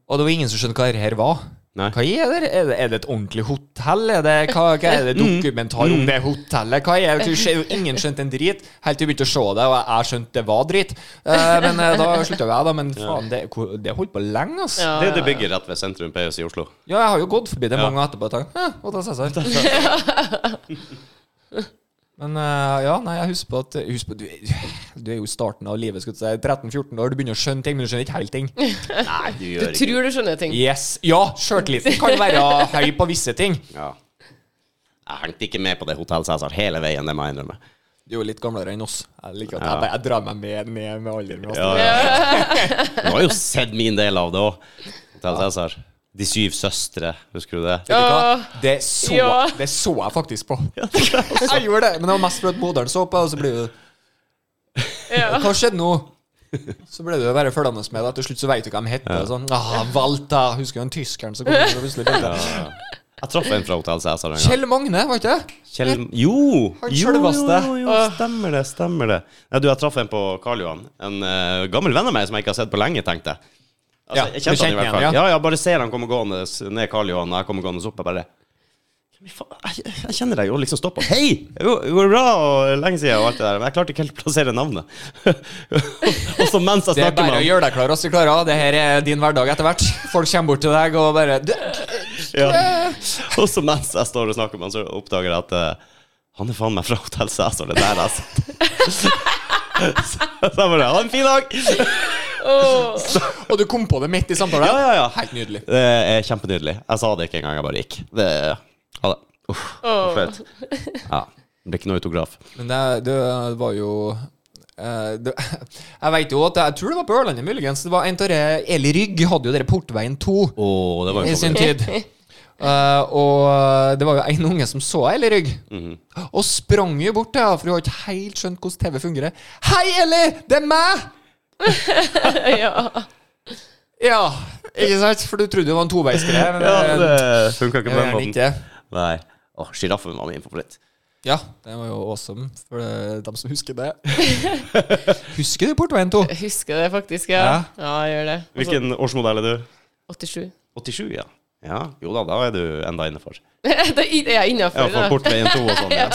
S3: Og det var ingen som skjønte hva det her var.
S2: Nei.
S3: Hva er det? Er det, er det et ordentlig hotell? Er det, hva, hva
S2: *laughs*
S3: er det
S2: Mm.
S3: dokumentar om det hotellet? Hva er det? Du ser jo Ingen skjønte en drit helt til vi begynte å se det, og jeg- jeg skjønte det var drit. Eh, men eh, da slutta jo jeg, da. Men faen, det, hvor- det holdt på lenge, altså. Ja.
S4: Ja,
S2: Det er det bygget rett ved sentrum PS i Oslo.
S3: jeg har jo gått forbi det
S2: Ja. *laughs*
S3: mange ganger etterpå og tenkt Hæ, Hotell Cæsar. Men eh, ja, nei, jeg husker på at husker på, du, du er jo i starten av livet, skal du si. 13-14 år, du begynner å skjønne ting, men du skjønner ikke helt ting.
S2: Nei, du
S4: Du
S2: gjør ikke
S4: tror du skjønner ting.
S3: Yes, Ja, sjøltilliten kan være høy på visse ting.
S2: Ja. Jeg hengte ikke med på det Hotell Cæsar hele veien, det må jeg innrømme.
S3: Du er jo litt gamlere enn oss. Jeg liker at
S2: Ja.
S3: jeg, bare- jeg drar meg med ned med alderen. altså.
S2: Ja, ja. Du har jo sett min del av det òg. Hotell Cæsar. De syv søstre, husker du det?
S3: Vet du hva?
S4: Åh.
S3: Det så,
S4: Ja.
S3: det så jeg faktisk på. Jeg gjorde det, men det var mest fordi at moderen så på, og så ble du
S4: Ja.
S3: Hva skjedde nå? Så ble du jo bare følgende med det. Til slutt så veit du hva de heter. Sånn, ah, Walta. Husker du den tyskeren som kom inn og plutselig begynte?
S2: Jeg traff en fra Hotell Cæsar en gang.
S3: Kjell Magne, var ikke det?
S2: Kjell Jo!
S3: Han
S2: Jo, jo,
S3: sjølveste.
S2: jo, jo, stemmer det. Stemmer det. Nei, du, jeg traff en på Karl Johan. En eh, gammel venn av meg som jeg ikke har sett på lenge, tenkte jeg.
S3: Ja,
S2: Altså,
S3: du
S2: jeg kjente han i
S3: kjente
S2: hvert fall.
S3: igjen,
S2: Ja, ja, bare ser han komme gående s- ned Karl Johan, og jeg kommer gående opp, jeg bare «Hvem i faen- jeg, jeg kjenner deg jo, liksom stopp opp. Hei! Jo, går det bra? Og lenge siden og alt det der. Men jeg klarte ikke helt å plassere navnet. *laughs* og så mens jeg
S3: Det er
S2: snakker med
S3: bare å
S2: han
S3: gjøre deg klar, Astrid Klara. Det her er din hverdag etter hvert. Folk kommer bort til deg og bare du,
S2: ja. *laughs* Og så mens jeg står og snakker med han, så oppdager jeg at eh, han er faen meg fra Hotell Cæsar. Det er der jeg sitter. *laughs* Så jeg bare Ha en fin dag!
S4: Åh.
S3: Og du kom på det midt i samtalen?
S2: Ja, ja, ja.
S3: Helt nydelig.
S2: Det er kjempenydelig. Jeg sa det ikke engang, jeg bare gikk. Det Ha det. Uff,
S4: Åh.
S2: flaut. Ja. Det blir ikke noe autograf.
S3: Men det, det var jo eh, det, *laughs* jeg vet jo at Jeg tror det var på Ørlandet, muligens. Det var en av de Eli Rygg hadde jo dere Portveien 2
S2: Å, det var
S3: i
S2: jo
S3: sin
S2: konge.
S3: tid. Eh, og det var jo en unge som så Eli Rygg, og sprang jo bort til henne, for hun har ikke helt skjønt hvordan TV fungerer. 'Hei, Eli! Det er meg!'
S4: *laughs* Ja.
S3: Ja, ikke sant? For du trodde det var en toveisgreie. Men
S2: Ja,
S3: det,
S2: det funka ikke
S3: det
S2: på den
S3: gjør den
S2: måten.
S3: ikke.
S2: Nei. Åh, Sjiraffen var min favoritt.
S3: Ja, den var jo awesome, for det- dem som husker det. *laughs* husker du Portveien 2?
S4: Jeg husker det faktisk, ja. Ja, jeg gjør det.
S2: Hvilken årsmodell er du?
S4: *laughs* 87.
S2: 87, ja. Ja, Jo da, da er du enda innafor.
S4: Da er jeg
S2: Ja,
S4: innafor.
S2: for portveien 2 og *laughs* sånn. Ja.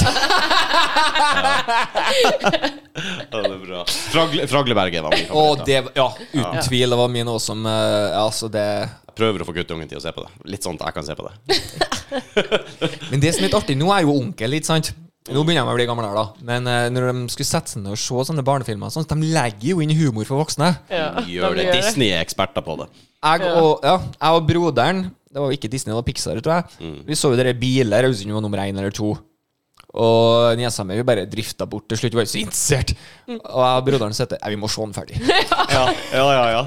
S2: Ja, det er bra. Fragle, Fragleberget var min
S3: Og
S2: favoritt. da.
S3: det Ja, uten tvil. Det var min awesome. eh, altså det
S2: Jeg prøver å få guttungen til å se på det. Litt sånn at jeg kan se på det.
S3: Men det som er litt artig, nå er jeg jo onkel, ikke sant? Nå begynner jeg å bli gammel her, da. Men eh, når de skulle sette seg ned og se sånne barnefilmer, sånn, de legger jo inn humor for voksne.
S4: Ja, da
S2: Gjør
S4: må
S2: det.
S4: jeg gjøre
S2: Disney er eksperter på det.
S3: Jeg og, ja, jeg og broderen Det var jo ikke Disney, det var Pixar, tror jeg. Vi så jo dere biler. Jeg husker ikke om det var nummer én eller to. Og niesa mi vi bare drifta bort til slutt. Vi var jo så interessert. Og jeg og broderen sa at vi må se den ferdig.
S2: Ja, ja, ja. ja.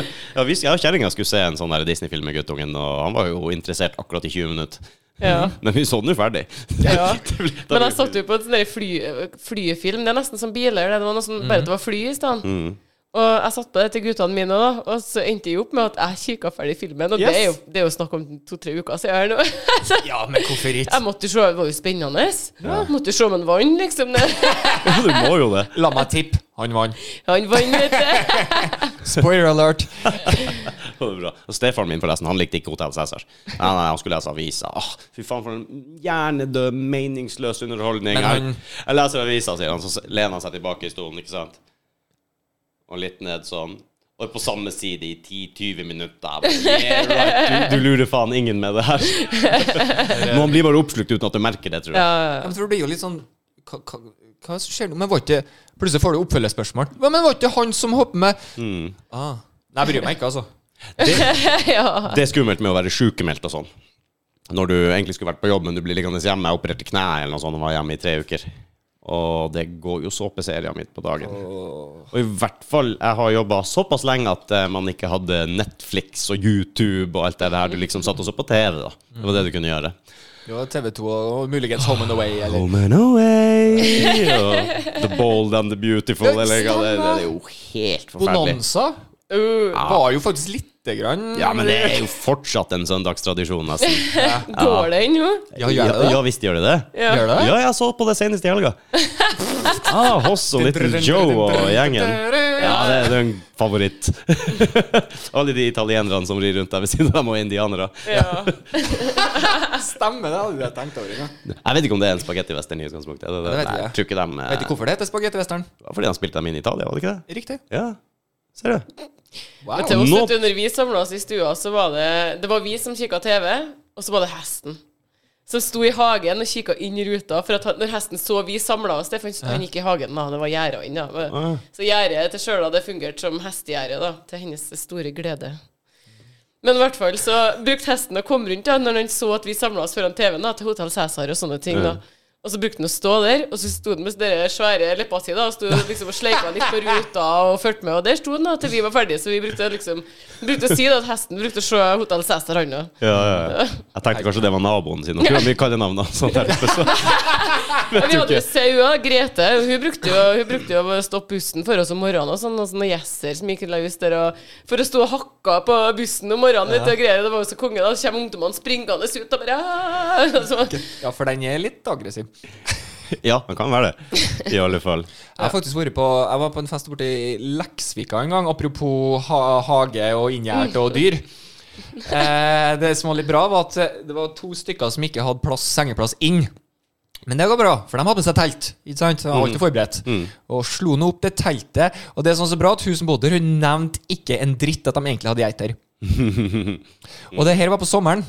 S2: *laughs* ja vi, jeg og kjerringa skulle se en sånn der Disney-film med guttungen, og han var jo interessert akkurat i 20 minutter.
S4: Ja.
S2: Men vi så den jo ferdig.
S4: Ja.
S2: *laughs* Det ble- da
S4: Men
S2: ble-
S4: jeg satt jo på en sånn der fly, flyfilm. Det er nesten som biler. Det var noe sånn,
S2: Mhm.
S4: bare at det var fly i stedet. Og jeg satt på det til guttene mine, da, og så endte jeg opp med at jeg kikka ferdig filmen. Og det, er jo, det er jo snakk om to-tre uker siden her nå. *laughs* Så
S3: Ja, men hvorfor ikke?
S4: jeg måtte jo se, det var jo spennende. Ja. Måtte jo se om han vant, liksom. *laughs*
S2: Du må jo det.
S3: La meg tippe. Han vant.
S4: Han vant,
S2: *laughs*
S4: vet du.
S3: Spoiler alert.
S2: Det var bra. Og Stefaren min forresten, han likte ikke Hotell Cæsar. Nei, nei, han skulle lese avisa. Åh, fy faen, for en hjernedød, meningsløs underholdning.
S3: Men han-
S2: Jeg, jeg leser avisa, sier han, så lener han seg tilbake i stolen, ikke sant? Og litt ned sånn. Og på samme side i 10-20 minutter. Jeg bare, Yeah, right. du, du lurer faen ingen med det
S3: *laughs*
S2: her. Men han blir bare oppslukt uten at du merker det, tror jeg.
S4: Ja,
S3: Jeg tror det blir jo litt sånn Hva, hva, hva er det som skjer nå? Men var ikke Plutselig får du oppfølgespørsmål. Hva, men var ikke han som hopper med
S2: Mm.
S3: ah. Nei, jeg bryr meg ikke, altså.
S2: Det er skummelt med å være sykemeldt og sånn. Når du egentlig skulle vært på jobb, men du blir liggende hjemme. Jeg opererte kneet eller noe sånt og var hjemme i tre uker. Og det går jo såpeserier mitt på dagen. Og i hvert fall, jeg har jobba såpass lenge at eh, man ikke hadde Netflix og YouTube og alt det der. Du liksom satt og så på TV, da. Det var det du kunne gjøre.
S3: Det var TV2 og muligens Home and Away. Eller.
S2: Home and away *laughs* og The Bold and the Beautiful. Eller, hva det, det er jo helt forferdelig.
S3: Bonanza
S4: ja.
S3: var jo faktisk lite grann
S2: Ja, men det er jo fortsatt en søndagstradisjon, nesten.
S4: Går det ennå?
S3: Ja, gjør det det?
S2: ja visst gjør det det.
S4: Ja.
S3: Gjør det?
S2: Ja, jeg så på det senest i *laughs* helga. Ah, Hoss og Little Joe og gjengen. Ja, det det er en favoritt. *laughs* Alle de italienerne som rir rundt der ved siden av dem, og indianere.
S4: Ja.
S3: Stemmer, det hadde jeg tenkt over. Ja.
S2: Jeg vet ikke om det er en spagettivestern i utgangspunktet. Er det det?
S3: Det vet
S2: Nei,
S3: jeg.
S2: jeg tror ikke dem, eh,
S3: Vet du hvorfor det heter spagetti western?
S2: det var Fordi han spilte dem inn i Italia, var det ikke det?
S3: Riktig.
S2: Ja, ser du.
S3: Wow.
S4: Til oss
S2: Nå-
S4: vet du, når vi samla oss i stua, så var det Det var vi som kikka TV, og så var det hesten. som sto i hagen og kikka inn i ruta. For at han, når hesten så vi samla oss det, for han, han gikk i hagen, da. Det var gjerda inne. da.
S2: Ah.
S4: Så gjerdet til Sjøla det fungerte som hestegjerde, da. Til hennes store glede. Men i hvert fall så brukte hesten å komme rundt da, når han så at vi samla oss foran TV-en, da, til Hotell Cæsar og sånne ting. da. Og så brukte han å stå der, og så sto han med de svære leppene sine da, og sto liksom og sleika litt på ruta og fulgte med, og der sto han da til vi var ferdige. Så vi brukte liksom brukte å si da at hesten brukte å se Hotell Cæsar, han òg.
S2: Ja, ja. Jeg tenkte kanskje det var naboen sin. Hun har mye kalde *laughs* navn. da, Sånn derfor, så.
S4: Men vi hadde jo Saua, Grete. Hun brukte, jo, hun brukte jo å stoppe bussen for oss om morgenen. Og sånn, og sånne gjesser som gikk løs der og, for å stå og hakka på bussen om morgenen. vet du, og greier, det var jo så konge. Da Så kommer ungdommene springende ut og bare «Ah!» og så,
S3: Ja, for den er litt aggressiv.
S2: Ja, det kan være det. I alle fall.
S3: Jeg har faktisk vært på Jeg var på en fest borte i Leksvika en gang, apropos ha hage og inngjerde og dyr. Eh, det som var litt bra, var at eh, det var to stykker som ikke hadde plass, sengeplass inn. Men det går bra, for de hadde med seg telt. Ikke sant? De var alltid forberedt. Og slo nå opp det teltet. Og det som var så bra, at hun som bodde der, hun nevnte ikke en dritt at de egentlig hadde geiter. og det her var på sommeren,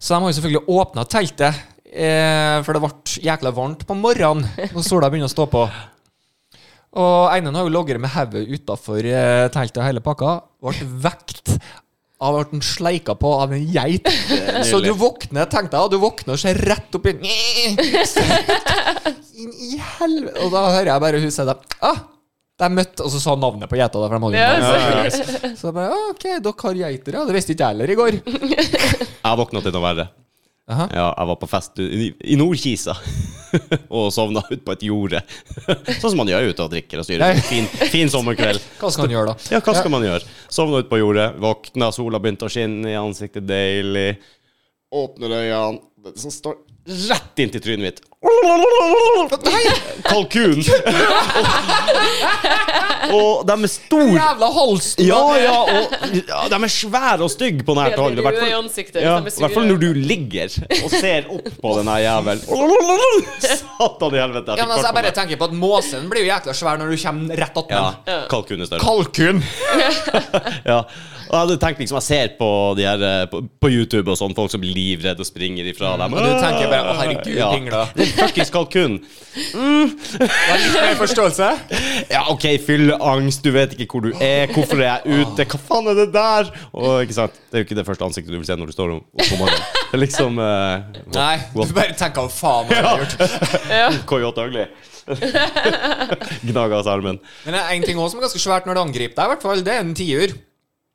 S3: så de har jo selvfølgelig åpna teltet. Eh, for det ble jækla varmt på morgenen når sola begynner å stå på. Og Einan har jo ligget med hodet utafor teltet og hele pakka. Ble vekt av at den sleika på av en geit. Så du våkner, tenk deg, og du våkner og ser rett opp i Inn i helvete Og da hører jeg bare hun si det. Ah, de møtte Og så sa hun navnet på geita, da, for de hadde jo
S4: ja,
S3: navn.
S4: så.
S3: Så jeg bare ah, OK, dere har geiter, ja. Det visste ikke jeg heller i *laughs* går.
S2: Jeg våkna til noe verre.
S3: Aha.
S2: Ja, jeg var på fest i i Nordkisa *laughs* og sovna ut på et jorde. *laughs* Sånn som man gjør ute og drikker og styrer.
S3: Nei.
S2: Fin, fin sommerkveld.
S3: Hva skal han gjøre da?
S2: Ja, hva skal man gjøre? Sovna ut på jordet, våkna, sola begynte å skinne i ansiktet, deilig. Åpner øynene, det som står rett inntil trynet mitt. Kalkun! *laughs* Og de er store.
S3: Jævla halsen!
S2: Ja, ja, og ja, de er svære og stygge på nært hold. i hvert fall-
S4: i ansiktet.
S2: ja,
S4: hvis de er
S2: I hvert fall
S4: sure.
S2: når du ligger og ser opp på denne *laughs* jævelen. Satan
S3: Ja,
S2: i helvete. Jeg
S3: men
S2: fikk
S3: altså, jeg
S2: fart på
S3: bare
S2: meg.
S3: tenker på at måsen blir jo jækla svær når du kommer rett attmed
S2: Ja,
S3: den.
S2: kalkun er større.
S3: Kalkun!
S2: Ja. Og jeg hadde tenkt liksom, jeg ser på de her eh, på, på YouTube og sånn, folk som blir livredde og springer ifra dem.
S3: Og du tenker bare, å, herregud, pingla.
S2: Det er fuckings kalkun.
S3: Litt mer forståelse.
S2: Ja, OK, fylleangst, du vet ikke hvor du er, hvorfor er jeg ute, hva faen er det der? Og ikke sant, det er jo ikke det første ansiktet du vil se når du står om- opp om morgenen. Det er liksom eh,
S3: Nei, du bare tenker hva faen har jeg gjort. *laughs*
S2: Coyote Ugly. Gnaga oss armen.
S3: Men det er en ting også som er ganske svært når det angriper deg, i hvert fall, det er en tiur.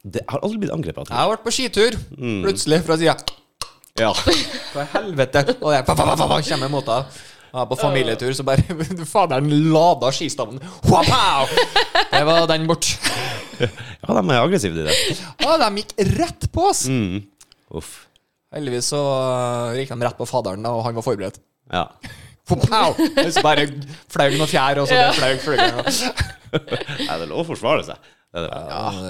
S2: Det har aldri blitt angrepet.
S3: Jeg har vært på skitur, plutselig fra sida
S2: Ja.
S3: For helvete! Og jeg pa, pa, pa, pa, pa, kommer mot deg. Jeg var på familietur, så bare *laughs* du Faderen lada skistaven. Wow! Det var den bort.
S2: ja, de er aggressive, de der.
S3: Ja, de gikk rett på oss!
S2: Mm. Uff.
S3: Heldigvis så øh, gikk de rett på faderen, da, og han var forberedt.
S2: Ja.
S3: Pow! Så bare flaug noen fjær, og så
S4: Ja.
S3: det flaug flugeren.
S2: Nei, det er lov å forsvare seg. Det er det.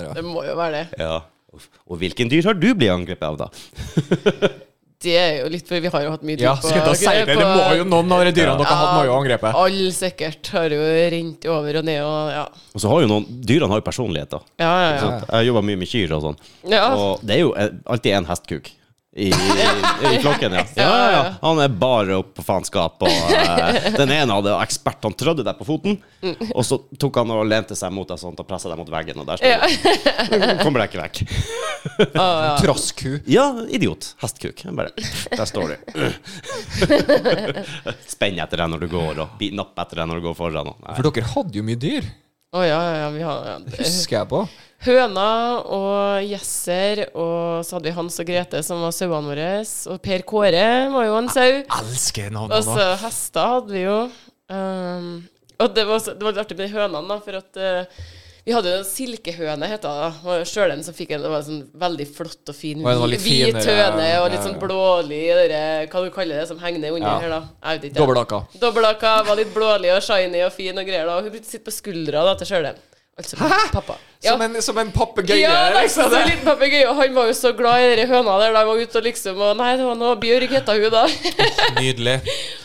S3: Ja.
S4: Det må jo være det.
S2: Ja. Uff. Og hvilken dyr har du blitt angrepet av, da?
S4: Det er jo litt for Vi har jo hatt mye tid
S3: Ja, skal jeg da si det? Det må jo noen av de dyrene dere har hatt, må jo angrepe.
S4: Alle sikkert har jo rent over og ned og ja.
S2: Og så har jo noen Dyrene har jo personligheter.
S4: Ja, ja,
S2: Ikke
S4: ja.
S2: sant? Jeg jobber mye med kyr og sånn.
S4: ja.
S2: Og det er jo eh, alltid en hestkuk. I, i, *laughs* I klokken, ja. Ja, ja, ja. Han er bare opp på faenskap. Og eh, den ene hadde ekspert, han trødde deg på foten. Og så tok han og lente seg mot deg sånn og pressa deg mot veggen, og der står du. Kommer deg ikke vekk.
S3: Trassku.
S2: Ja, idiot. Hestkuk. Jeg Bare, der står du. Spenn etter deg når du går, og bi- napp etter deg når du går foran. og- Nei.
S3: For dere hadde jo mye dyr,
S4: Å ja, ja, ja, vi har ja. det-
S3: husker jeg på.
S4: Høna og Jesser, og så hadde vi Hans og Grete, som var sauene våre. Og Per Kåre var jo en sau.
S3: Elsker
S4: Og
S3: navnene.
S4: så hester hadde vi jo. Ehm, og det var, så- det var litt artig med de hønene, da, for at eh, vi hadde jo en silkehøne, het det da. Det var jo Sjøl den som fikk en det var en sånn veldig flott og fin
S3: Og den var litt
S4: hvit
S3: finere,
S4: høne,
S3: ja,
S4: og litt sånn
S3: ja.
S4: blålig det der, Hva du kaller det som henger ned under
S3: Ja.
S4: her, da. Jeg vet ikke. ja.
S3: Dobbeltdaka.
S4: Dobbeltdaka, var litt blålig og shiny og fin og greier, da. Og hun brukte å sitte på skuldra da, til Sjølen. Altså pappa. Ja.
S3: Som en, som en papegøye.
S4: Ja, det er
S3: liksom.
S4: så liten papegøye, og han var jo så glad i dere høna der. De var ute og liksom Og nei, det var nå Bjørg heta hun, da.
S3: Nydelig.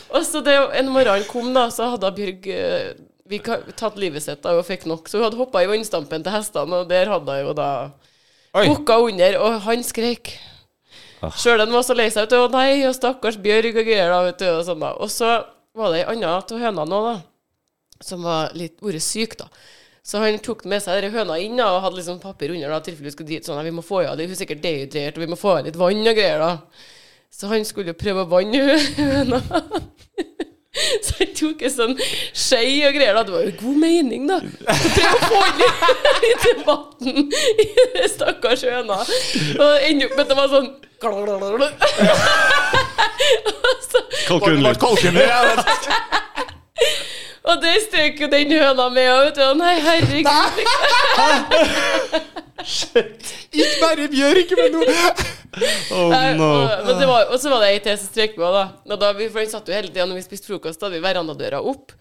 S4: og så det, en morgen han kom, da, så hadde Bjørg eh, vi ka- tatt livet sitt da hun fikk nok. Så hun hadde hoppa i vannstampen til hestene, og der hadde hun jo da
S3: Oi.
S4: bukka under, og han skrek. Sjøl han var så lei seg, vet du. Å nei, og stakkars Bjørg og greier, da, vet du. Og, sånn, da. og så var det ei anna av hønene òg, da, som var litt vært syk, da. Så han tok med seg dere høna inn da, og hadde liksom papir under da, i tilfelle hun skulle dit. Sånn, «Nei, vi må få i henne, hun er sikkert dehydrert, og vi må få i henne litt vann og greier, da. Så han skulle jo prøve å vanne *laughs* hun- høna. *laughs* Så han tok en sånn skje og greier. Da. Det var jo god mening, da. Så prøv å få inn *laughs* litt vann i den stakkars høna. Og det ender opp med at det var sånn Og så-
S2: Kalkunlyd.
S4: Og det strøk jo den høna med òg, vet du. Og Nei, herregud.
S3: Ikke bare Bjørg, men noe
S2: Oh
S4: Nei,
S2: no.
S4: Eh, og- Men det var, og så var det ei til som strøk med òg, da. Og da vi, for han satt jo hele tida når vi spiste frokost, da hadde vi verandadøra opp.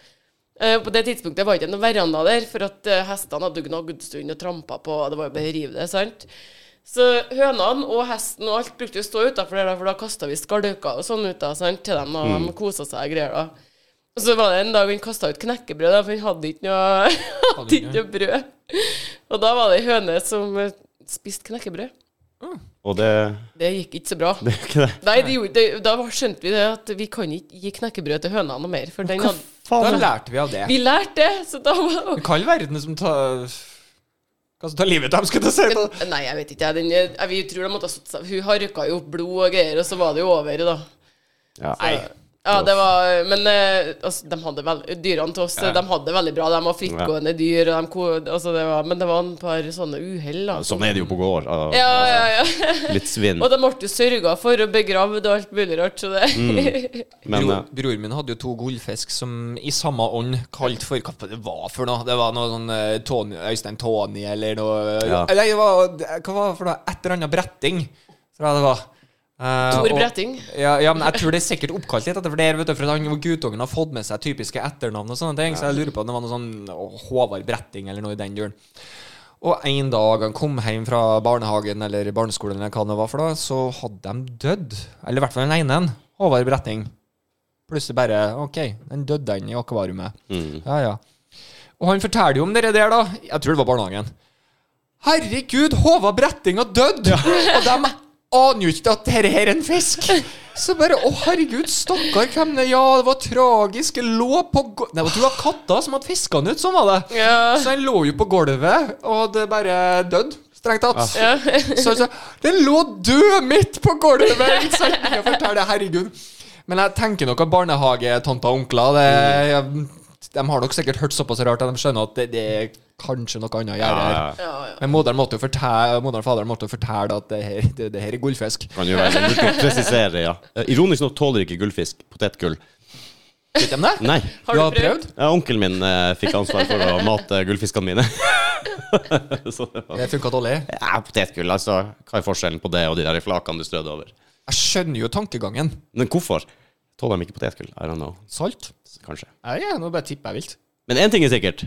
S4: Eh, på det tidspunktet var det ikke noen veranda der, for at eh, hestene hadde gnagd stund og trampa på, og det var jo bare å rive det, sant? Så hønene og hesten og alt brukte jo å stå utafor der, da, for da kasta vi skalker og sånn ut da, sant, til dem, og de kosa seg og greier, da. Og så var det en dag han kasta ut knekkebrød, da, for han hadde ikke noe, *laughs* hadde ikke noe brød. Og da var det ei høne som eh, spiste knekkebrød.
S2: Og det
S4: Det gikk ikke så bra.
S2: Det er jo ikke det.
S4: Nei, det gjorde, det, da skjønte vi det at vi kan ikke gi knekkebrød til høna noe mer. For den hadde,
S3: Da
S2: Faen.
S3: lærte vi av det.
S4: vi lærte det, så da var
S3: Det kan verden som tar Hva som tar livet av dem, skal du si. da.
S4: Nei, jeg vet ikke. Jeg, den, jeg, vi tror de måtte ha satt seg Hun harka jo opp blod og greier, og så var det jo over, da.
S2: Ja.
S4: Ja, det var Men eh, altså, de hadde vel, dyrene til oss
S3: Ja.
S4: de hadde det veldig bra. De var frittgående dyr, og de, ko- altså, det var, men det var et par sånne uhell, da.
S2: Sånn er det jo på gård. ah,
S4: Ja, ja, ja.
S2: Litt svinn.
S4: Og de ble jo sørga for og begravd og alt mulig rart, så det
S2: Men
S3: Bro,
S2: eh,
S3: broren min hadde jo to gullfisk som i samme ånd kalt for Hva faen det var for noe? Det var noe sånn eh, Tony, Øystein Tony eller noe
S2: Ja.
S3: Nei, det var, hva var det for noe? Et eller annet bretting, tror jeg det var. Eh,
S4: Tor
S3: og-
S4: Bretting.
S3: Ja, ja, men jeg tror det er sikkert oppkalt litt etter for det her, vet du, for at han guttungen har fått med seg typiske etternavn og sånne ting, så jeg lurer på om det var noe sånn å, Håvard Bretting eller noe i den duren. Og en dag han kom hjem fra barnehagen eller barneskolen eller hva det var for da, så hadde de dødd. Eller i hvert fall den ene, en, Håvard Bretting. Plutselig bare OK, den døde han i akvariet. Ja, ja. Og han forteller jo om det der, da. Jeg tror det var barnehagen. Herregud, Håvard Bretting har dødd! Og de aner jo ikke at dette her er en fisk. Så bare Å, herregud, stakkar. hvem det- Ja, det var tragisk. Jeg lå på gulvet Nei, jeg tror det var katta som hadde fiska han ut. Sånn var det.
S4: *laughs* Ja.
S3: Så han lå jo på gulvet, og det bare døde. Strengt
S2: Ah.
S3: tatt.
S4: ja.
S3: Så altså, den lå død midt på gulvet! Ikke sant? Jeg forteller, herregud. Men jeg tenker nok at barnehagetanter og onkler det, De har nok sikkert hørt såpass rart at de skjønner at det, det er kanskje noe annet å gjøre her.
S2: ja,
S4: ja,
S3: *laughs*
S4: ja.
S3: Men moderen måtte jo fortelle, moderen og faderen måtte jo fortelle at det her, det, det her er gullfisk.
S2: kan jo være sånn. Du kan presisere, ja. Eh, Ironisk nok tåler ikke gullfisk potetgull.
S3: Vet de det?
S2: Nei.
S4: Har du prøvd?
S2: Ja, onkelen min eh, fikk ansvar for å mate gullfiskene mine. *laughs* Så det var
S3: Det funka dårlig.
S2: ja, Potetgull, altså. Hva er forskjellen på det og de der flakene du strødde over?
S3: Jeg skjønner jo tankegangen.
S2: Men hvorfor tåler de ikke potetgull? I don't know.
S3: Salt?
S2: Kanskje.
S3: Ja, ja, nå bare tipper jeg vilt.
S2: Men én ting er sikkert.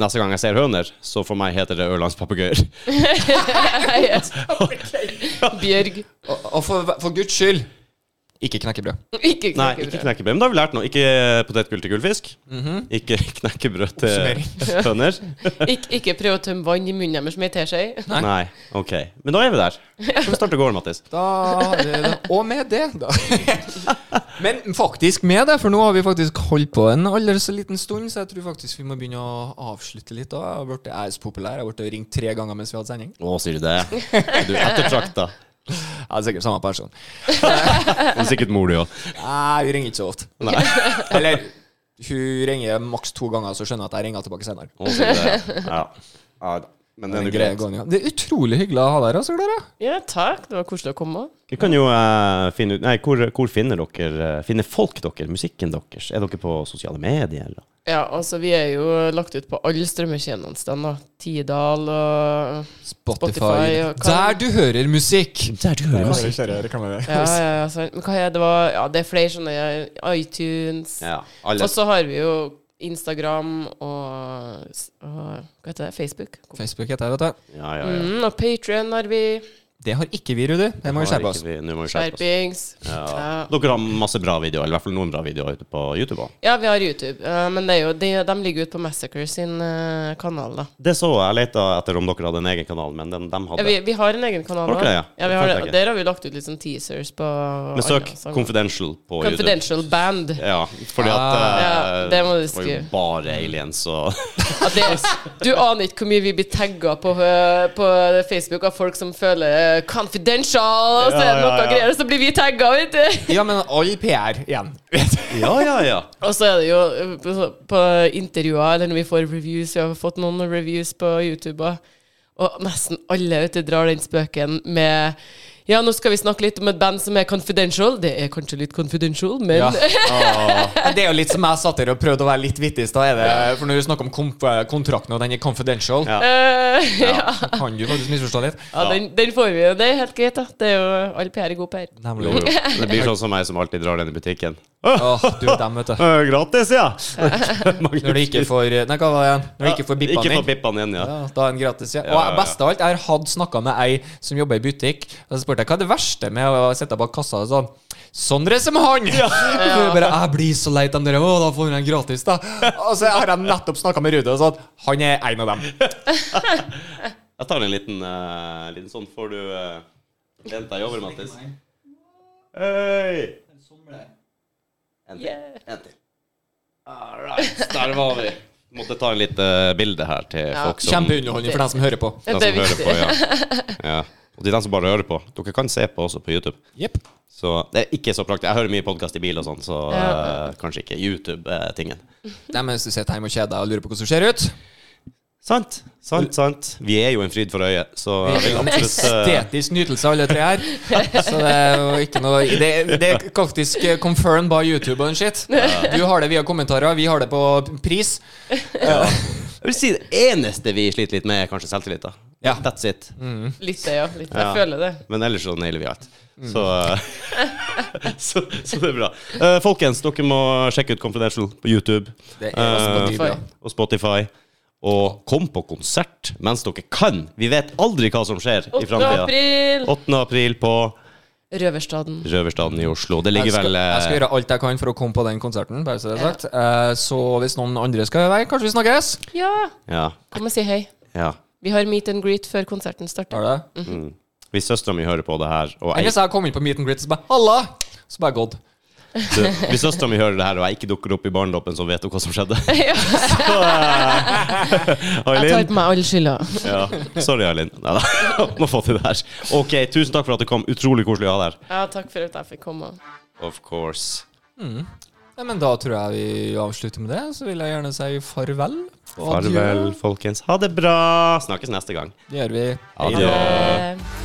S2: Neste gang jeg ser høner, så for meg heter det *laughs* ørlandspapegøyer.
S4: *laughs* Bjørg.
S3: Og, og for, for guds skyld, ikke knekkebrød.
S4: Ikke
S2: Nei, ikke
S4: knekkebrød.
S2: knekkebrød. Mhm. Men da har vi lært noe. Ikke potetgull til gullfisk. Ikke *laughs* knekkebrød til *laughs* høner.
S4: Ikke, ikke prøv å tømme vann i munnen deres med ei teskje.
S2: Nei. OK. Men da er vi der. Skal vi starte gården, Mattis?
S3: Da, og med det, da. *laughs* Men faktisk med det, for nå har vi faktisk holdt på en aller så liten stund, så jeg tror faktisk vi må begynne å avslutte litt. da. Jeg har blitt jeg er så populær. Jeg har blitt ringt tre ganger mens vi hadde sending.
S2: Å, sier du det? Du er ettertrakta.
S3: Jeg er sikkert samme person.
S2: *laughs* Og sikkert mor, du òg.
S3: Nei, vi ringer ikke så ofte. *laughs* Eller hun ringer maks to ganger, så skjønner jeg at jeg ringer tilbake senere.
S2: Å, sier du det? Ja. ja. da. Men det er jo greit.
S3: Gående, ja. Det er utrolig hyggelig å ha deg her, altså, Klara.
S4: Ja, takk. Det var koselig å komme.
S2: Vi kan jo eh, finne ut Nei, hvor, hvor finner dere eh, Finner folk dere musikken deres? Er dere på sosiale medier, eller?
S4: Ja, altså, vi er jo lagt ut på alle strømmetjenestene, da. Tidal og
S3: Spotify.
S4: Spotify og hva-
S3: Der du hører musikk!
S2: Der du hører musikk.
S4: Ja, ja, ja. sant. Men hva er det? det var, ja, det er flere sånne ja, iTunes.
S2: Ja, alle
S4: Og så har vi jo Instagram og, og Hva heter det? Facebook.
S3: Facebook heter jeg, vet du.
S2: Ja, ja, ja.
S4: Mm, og Patrion har vi.
S3: Det har ikke vi, Rudi. Det må vi skjerpe oss.
S2: Har ikke vi- Nå må vi skjerpe oss.
S4: Skjerpings.
S2: Ja.
S4: Ja.
S2: Dere har masse bra videoer, eller i hvert fall noen bra videoer ute på YouTube. Også.
S4: ja, vi har YouTube, eh, men det er jo, de, de ligger ute på Massacre sin eh, kanal, da.
S2: Det så jeg. Jeg leta etter om dere hadde en egen kanal, men den de
S4: Ja,
S2: hadde.
S4: vi, vi har en egen
S2: Har
S4: kanal
S2: dere
S4: også.
S2: det, ja?
S4: Ja,
S2: Det
S4: vi
S2: fant
S4: har det.
S2: jeg ikke.
S4: Og Der har vi lagt ut litt sånn teasers på
S2: Men søk
S4: andre sanger.
S2: Confidential på YouTube.
S4: Confidential Band.
S2: Ja, fordi at
S4: Ah.
S2: eh,
S4: Ja, det må du
S2: var jo
S4: skrive.
S2: bare aliens og *laughs*
S4: Ja, det, du aner ikke hvor mye vi blir tagga på, eh, på Facebook av folk som føler eh, 'confidential', og så er det
S2: Ja,
S4: noe
S2: ja, ja.
S4: greier, og så blir vi tagga, vet du. *laughs*
S3: Ja, men all PR igjen.
S2: Ja, ja, ja.
S4: Og så er det jo eh, på- på intervjuer, eller når vi får reviews, vi har fått noen reviews på YouTube, og, og nesten alle ute drar den spøken med ja, nå skal vi snakke litt om et band som er confidential. Det er kanskje litt confidential, men
S3: *laughs* Ja. Men Det er jo litt som jeg satt der og prøvde å være litt vittig i stad. er det- For når du snakker om komp- kontrakten, og den er confidential,
S2: Ja.
S4: eh, ja.
S3: så kan du faktisk misforstå litt.
S4: Ja,
S2: Ja.
S4: den, den får vi jo. Det er helt greit, da. Det er jo all PR er god PR.
S2: Jo,
S3: Nemlig.
S2: jo. Det blir sånn som meg som alltid drar den i butikken.
S3: Åh, du, dem, vet du.
S2: Eh, gratis,
S4: *laughs*
S2: ja!
S3: Når du ikke får Nei, hva var det igjen? Når du ikke får bippene
S2: Ikke
S3: dine.
S2: får bippene inn, ja.
S3: Ja, da er den gratis, ja.
S2: Ja, ja,
S3: Og
S2: ja.
S3: best av alt, jeg har hatt snakka med ei som jobber i butikk, og så spurte jeg hva er det verste med å sitte bak kassa og sånn Sondre som han! *laughs* For jeg bare, jeg blir så lei av dere, å, da får han gratis, da. Og så har jeg nettopp snakka med Rudi og sånn, han er en av dem.
S2: Jeg tar en liten, eh, liten sånn. Får du uh, lent deg over, Mattis? Hei! En til.
S4: Yeah.
S2: En til. All right, der var vi. Måtte ta en lite bilde her til
S4: Ja.
S2: folk som, de
S3: Kjempeunderholdning for dem som hører på.
S2: som
S4: Det er
S2: hører
S4: viktig.
S2: på. Ja.
S4: *laughs*
S2: Ja. Og til dem som bare hører på. Dere kan se på også på YouTube.
S3: Jepp.
S2: Så det er ikke så praktisk. Jeg hører mye podkast i bil og sånn, så
S4: Ja.
S2: eh, kanskje ikke YouTube-tingen.
S3: Nei, men hvis du sitter hjemme og kjeder deg og lurer på hvordan du ser ut
S2: sant, sant, sant. Vi er jo en fryd for øyet, så jeg vil absolutt eh,
S3: Estetisk nytelse, alle tre her. Så det er jo ikke noe Det, det er faktisk eh, confirmed by YouTube og den shit. Du har det via kommentarer, vi har det på pris.
S2: Jeg vil si det eneste vi sliter litt med, er kanskje selvtillit. da
S3: Ja.
S2: That's it.
S4: Litt det, ja. Litt.
S2: Ja.
S4: Jeg føler det.
S2: Men ellers så nailer vi alt. Så, *laughs* så, så det er bra. Eh, folkens, dere må sjekke ut Confidential på YouTube
S3: Det er altså
S2: Eh,
S3: Spotify.
S2: og Spotify. Og kom på konsert mens dere kan! Vi vet aldri hva som skjer i
S4: 8.
S2: framtida.
S4: april!
S2: 8. april på
S4: Røverstaden.
S2: Røverstaden i Oslo. Det
S3: Jeg
S2: ligger
S3: skal,
S2: vel eh,
S3: jeg skal gjøre alt jeg kan for å komme på den konserten. Bare så, det er sagt. Eh, så hvis noen andre skal være, kanskje vi snakkes?
S4: Ja!
S2: Ja.
S4: Kom og si hei.
S2: ja.
S4: Vi har meet and greet før konserten starter.
S3: Har det?
S2: Hvis søstera mi hører på det her, og
S3: Eller
S2: jeg,
S3: hvis jeg kommer inn på Meet and Greet og bare Halla! Så bare gått.
S2: du, hvis søstera mi hører det her, og jeg ikke dukker opp i barnedåpen, så vet hun hva
S3: *laughs*
S2: som skjedde. *laughs*
S4: Ja.
S2: Så, eh,
S4: Jeg
S2: Eileen,
S4: tar på meg all skylda.
S2: Ja. Sorry, Erlend. Nei da. *laughs* Må få til det her. Ok, tusen takk for at du kom. Utrolig koselig å ha deg her.
S4: Ja, takk for at jeg fikk komme.
S2: Of course.
S3: Ja, men da tror jeg vi avslutter med det. Så vil jeg gjerne si farvel. og adjø.
S2: Farvel, folkens. Ha det bra. Snakkes neste gang.
S3: Det gjør vi.
S2: Adjø.
S4: Eh,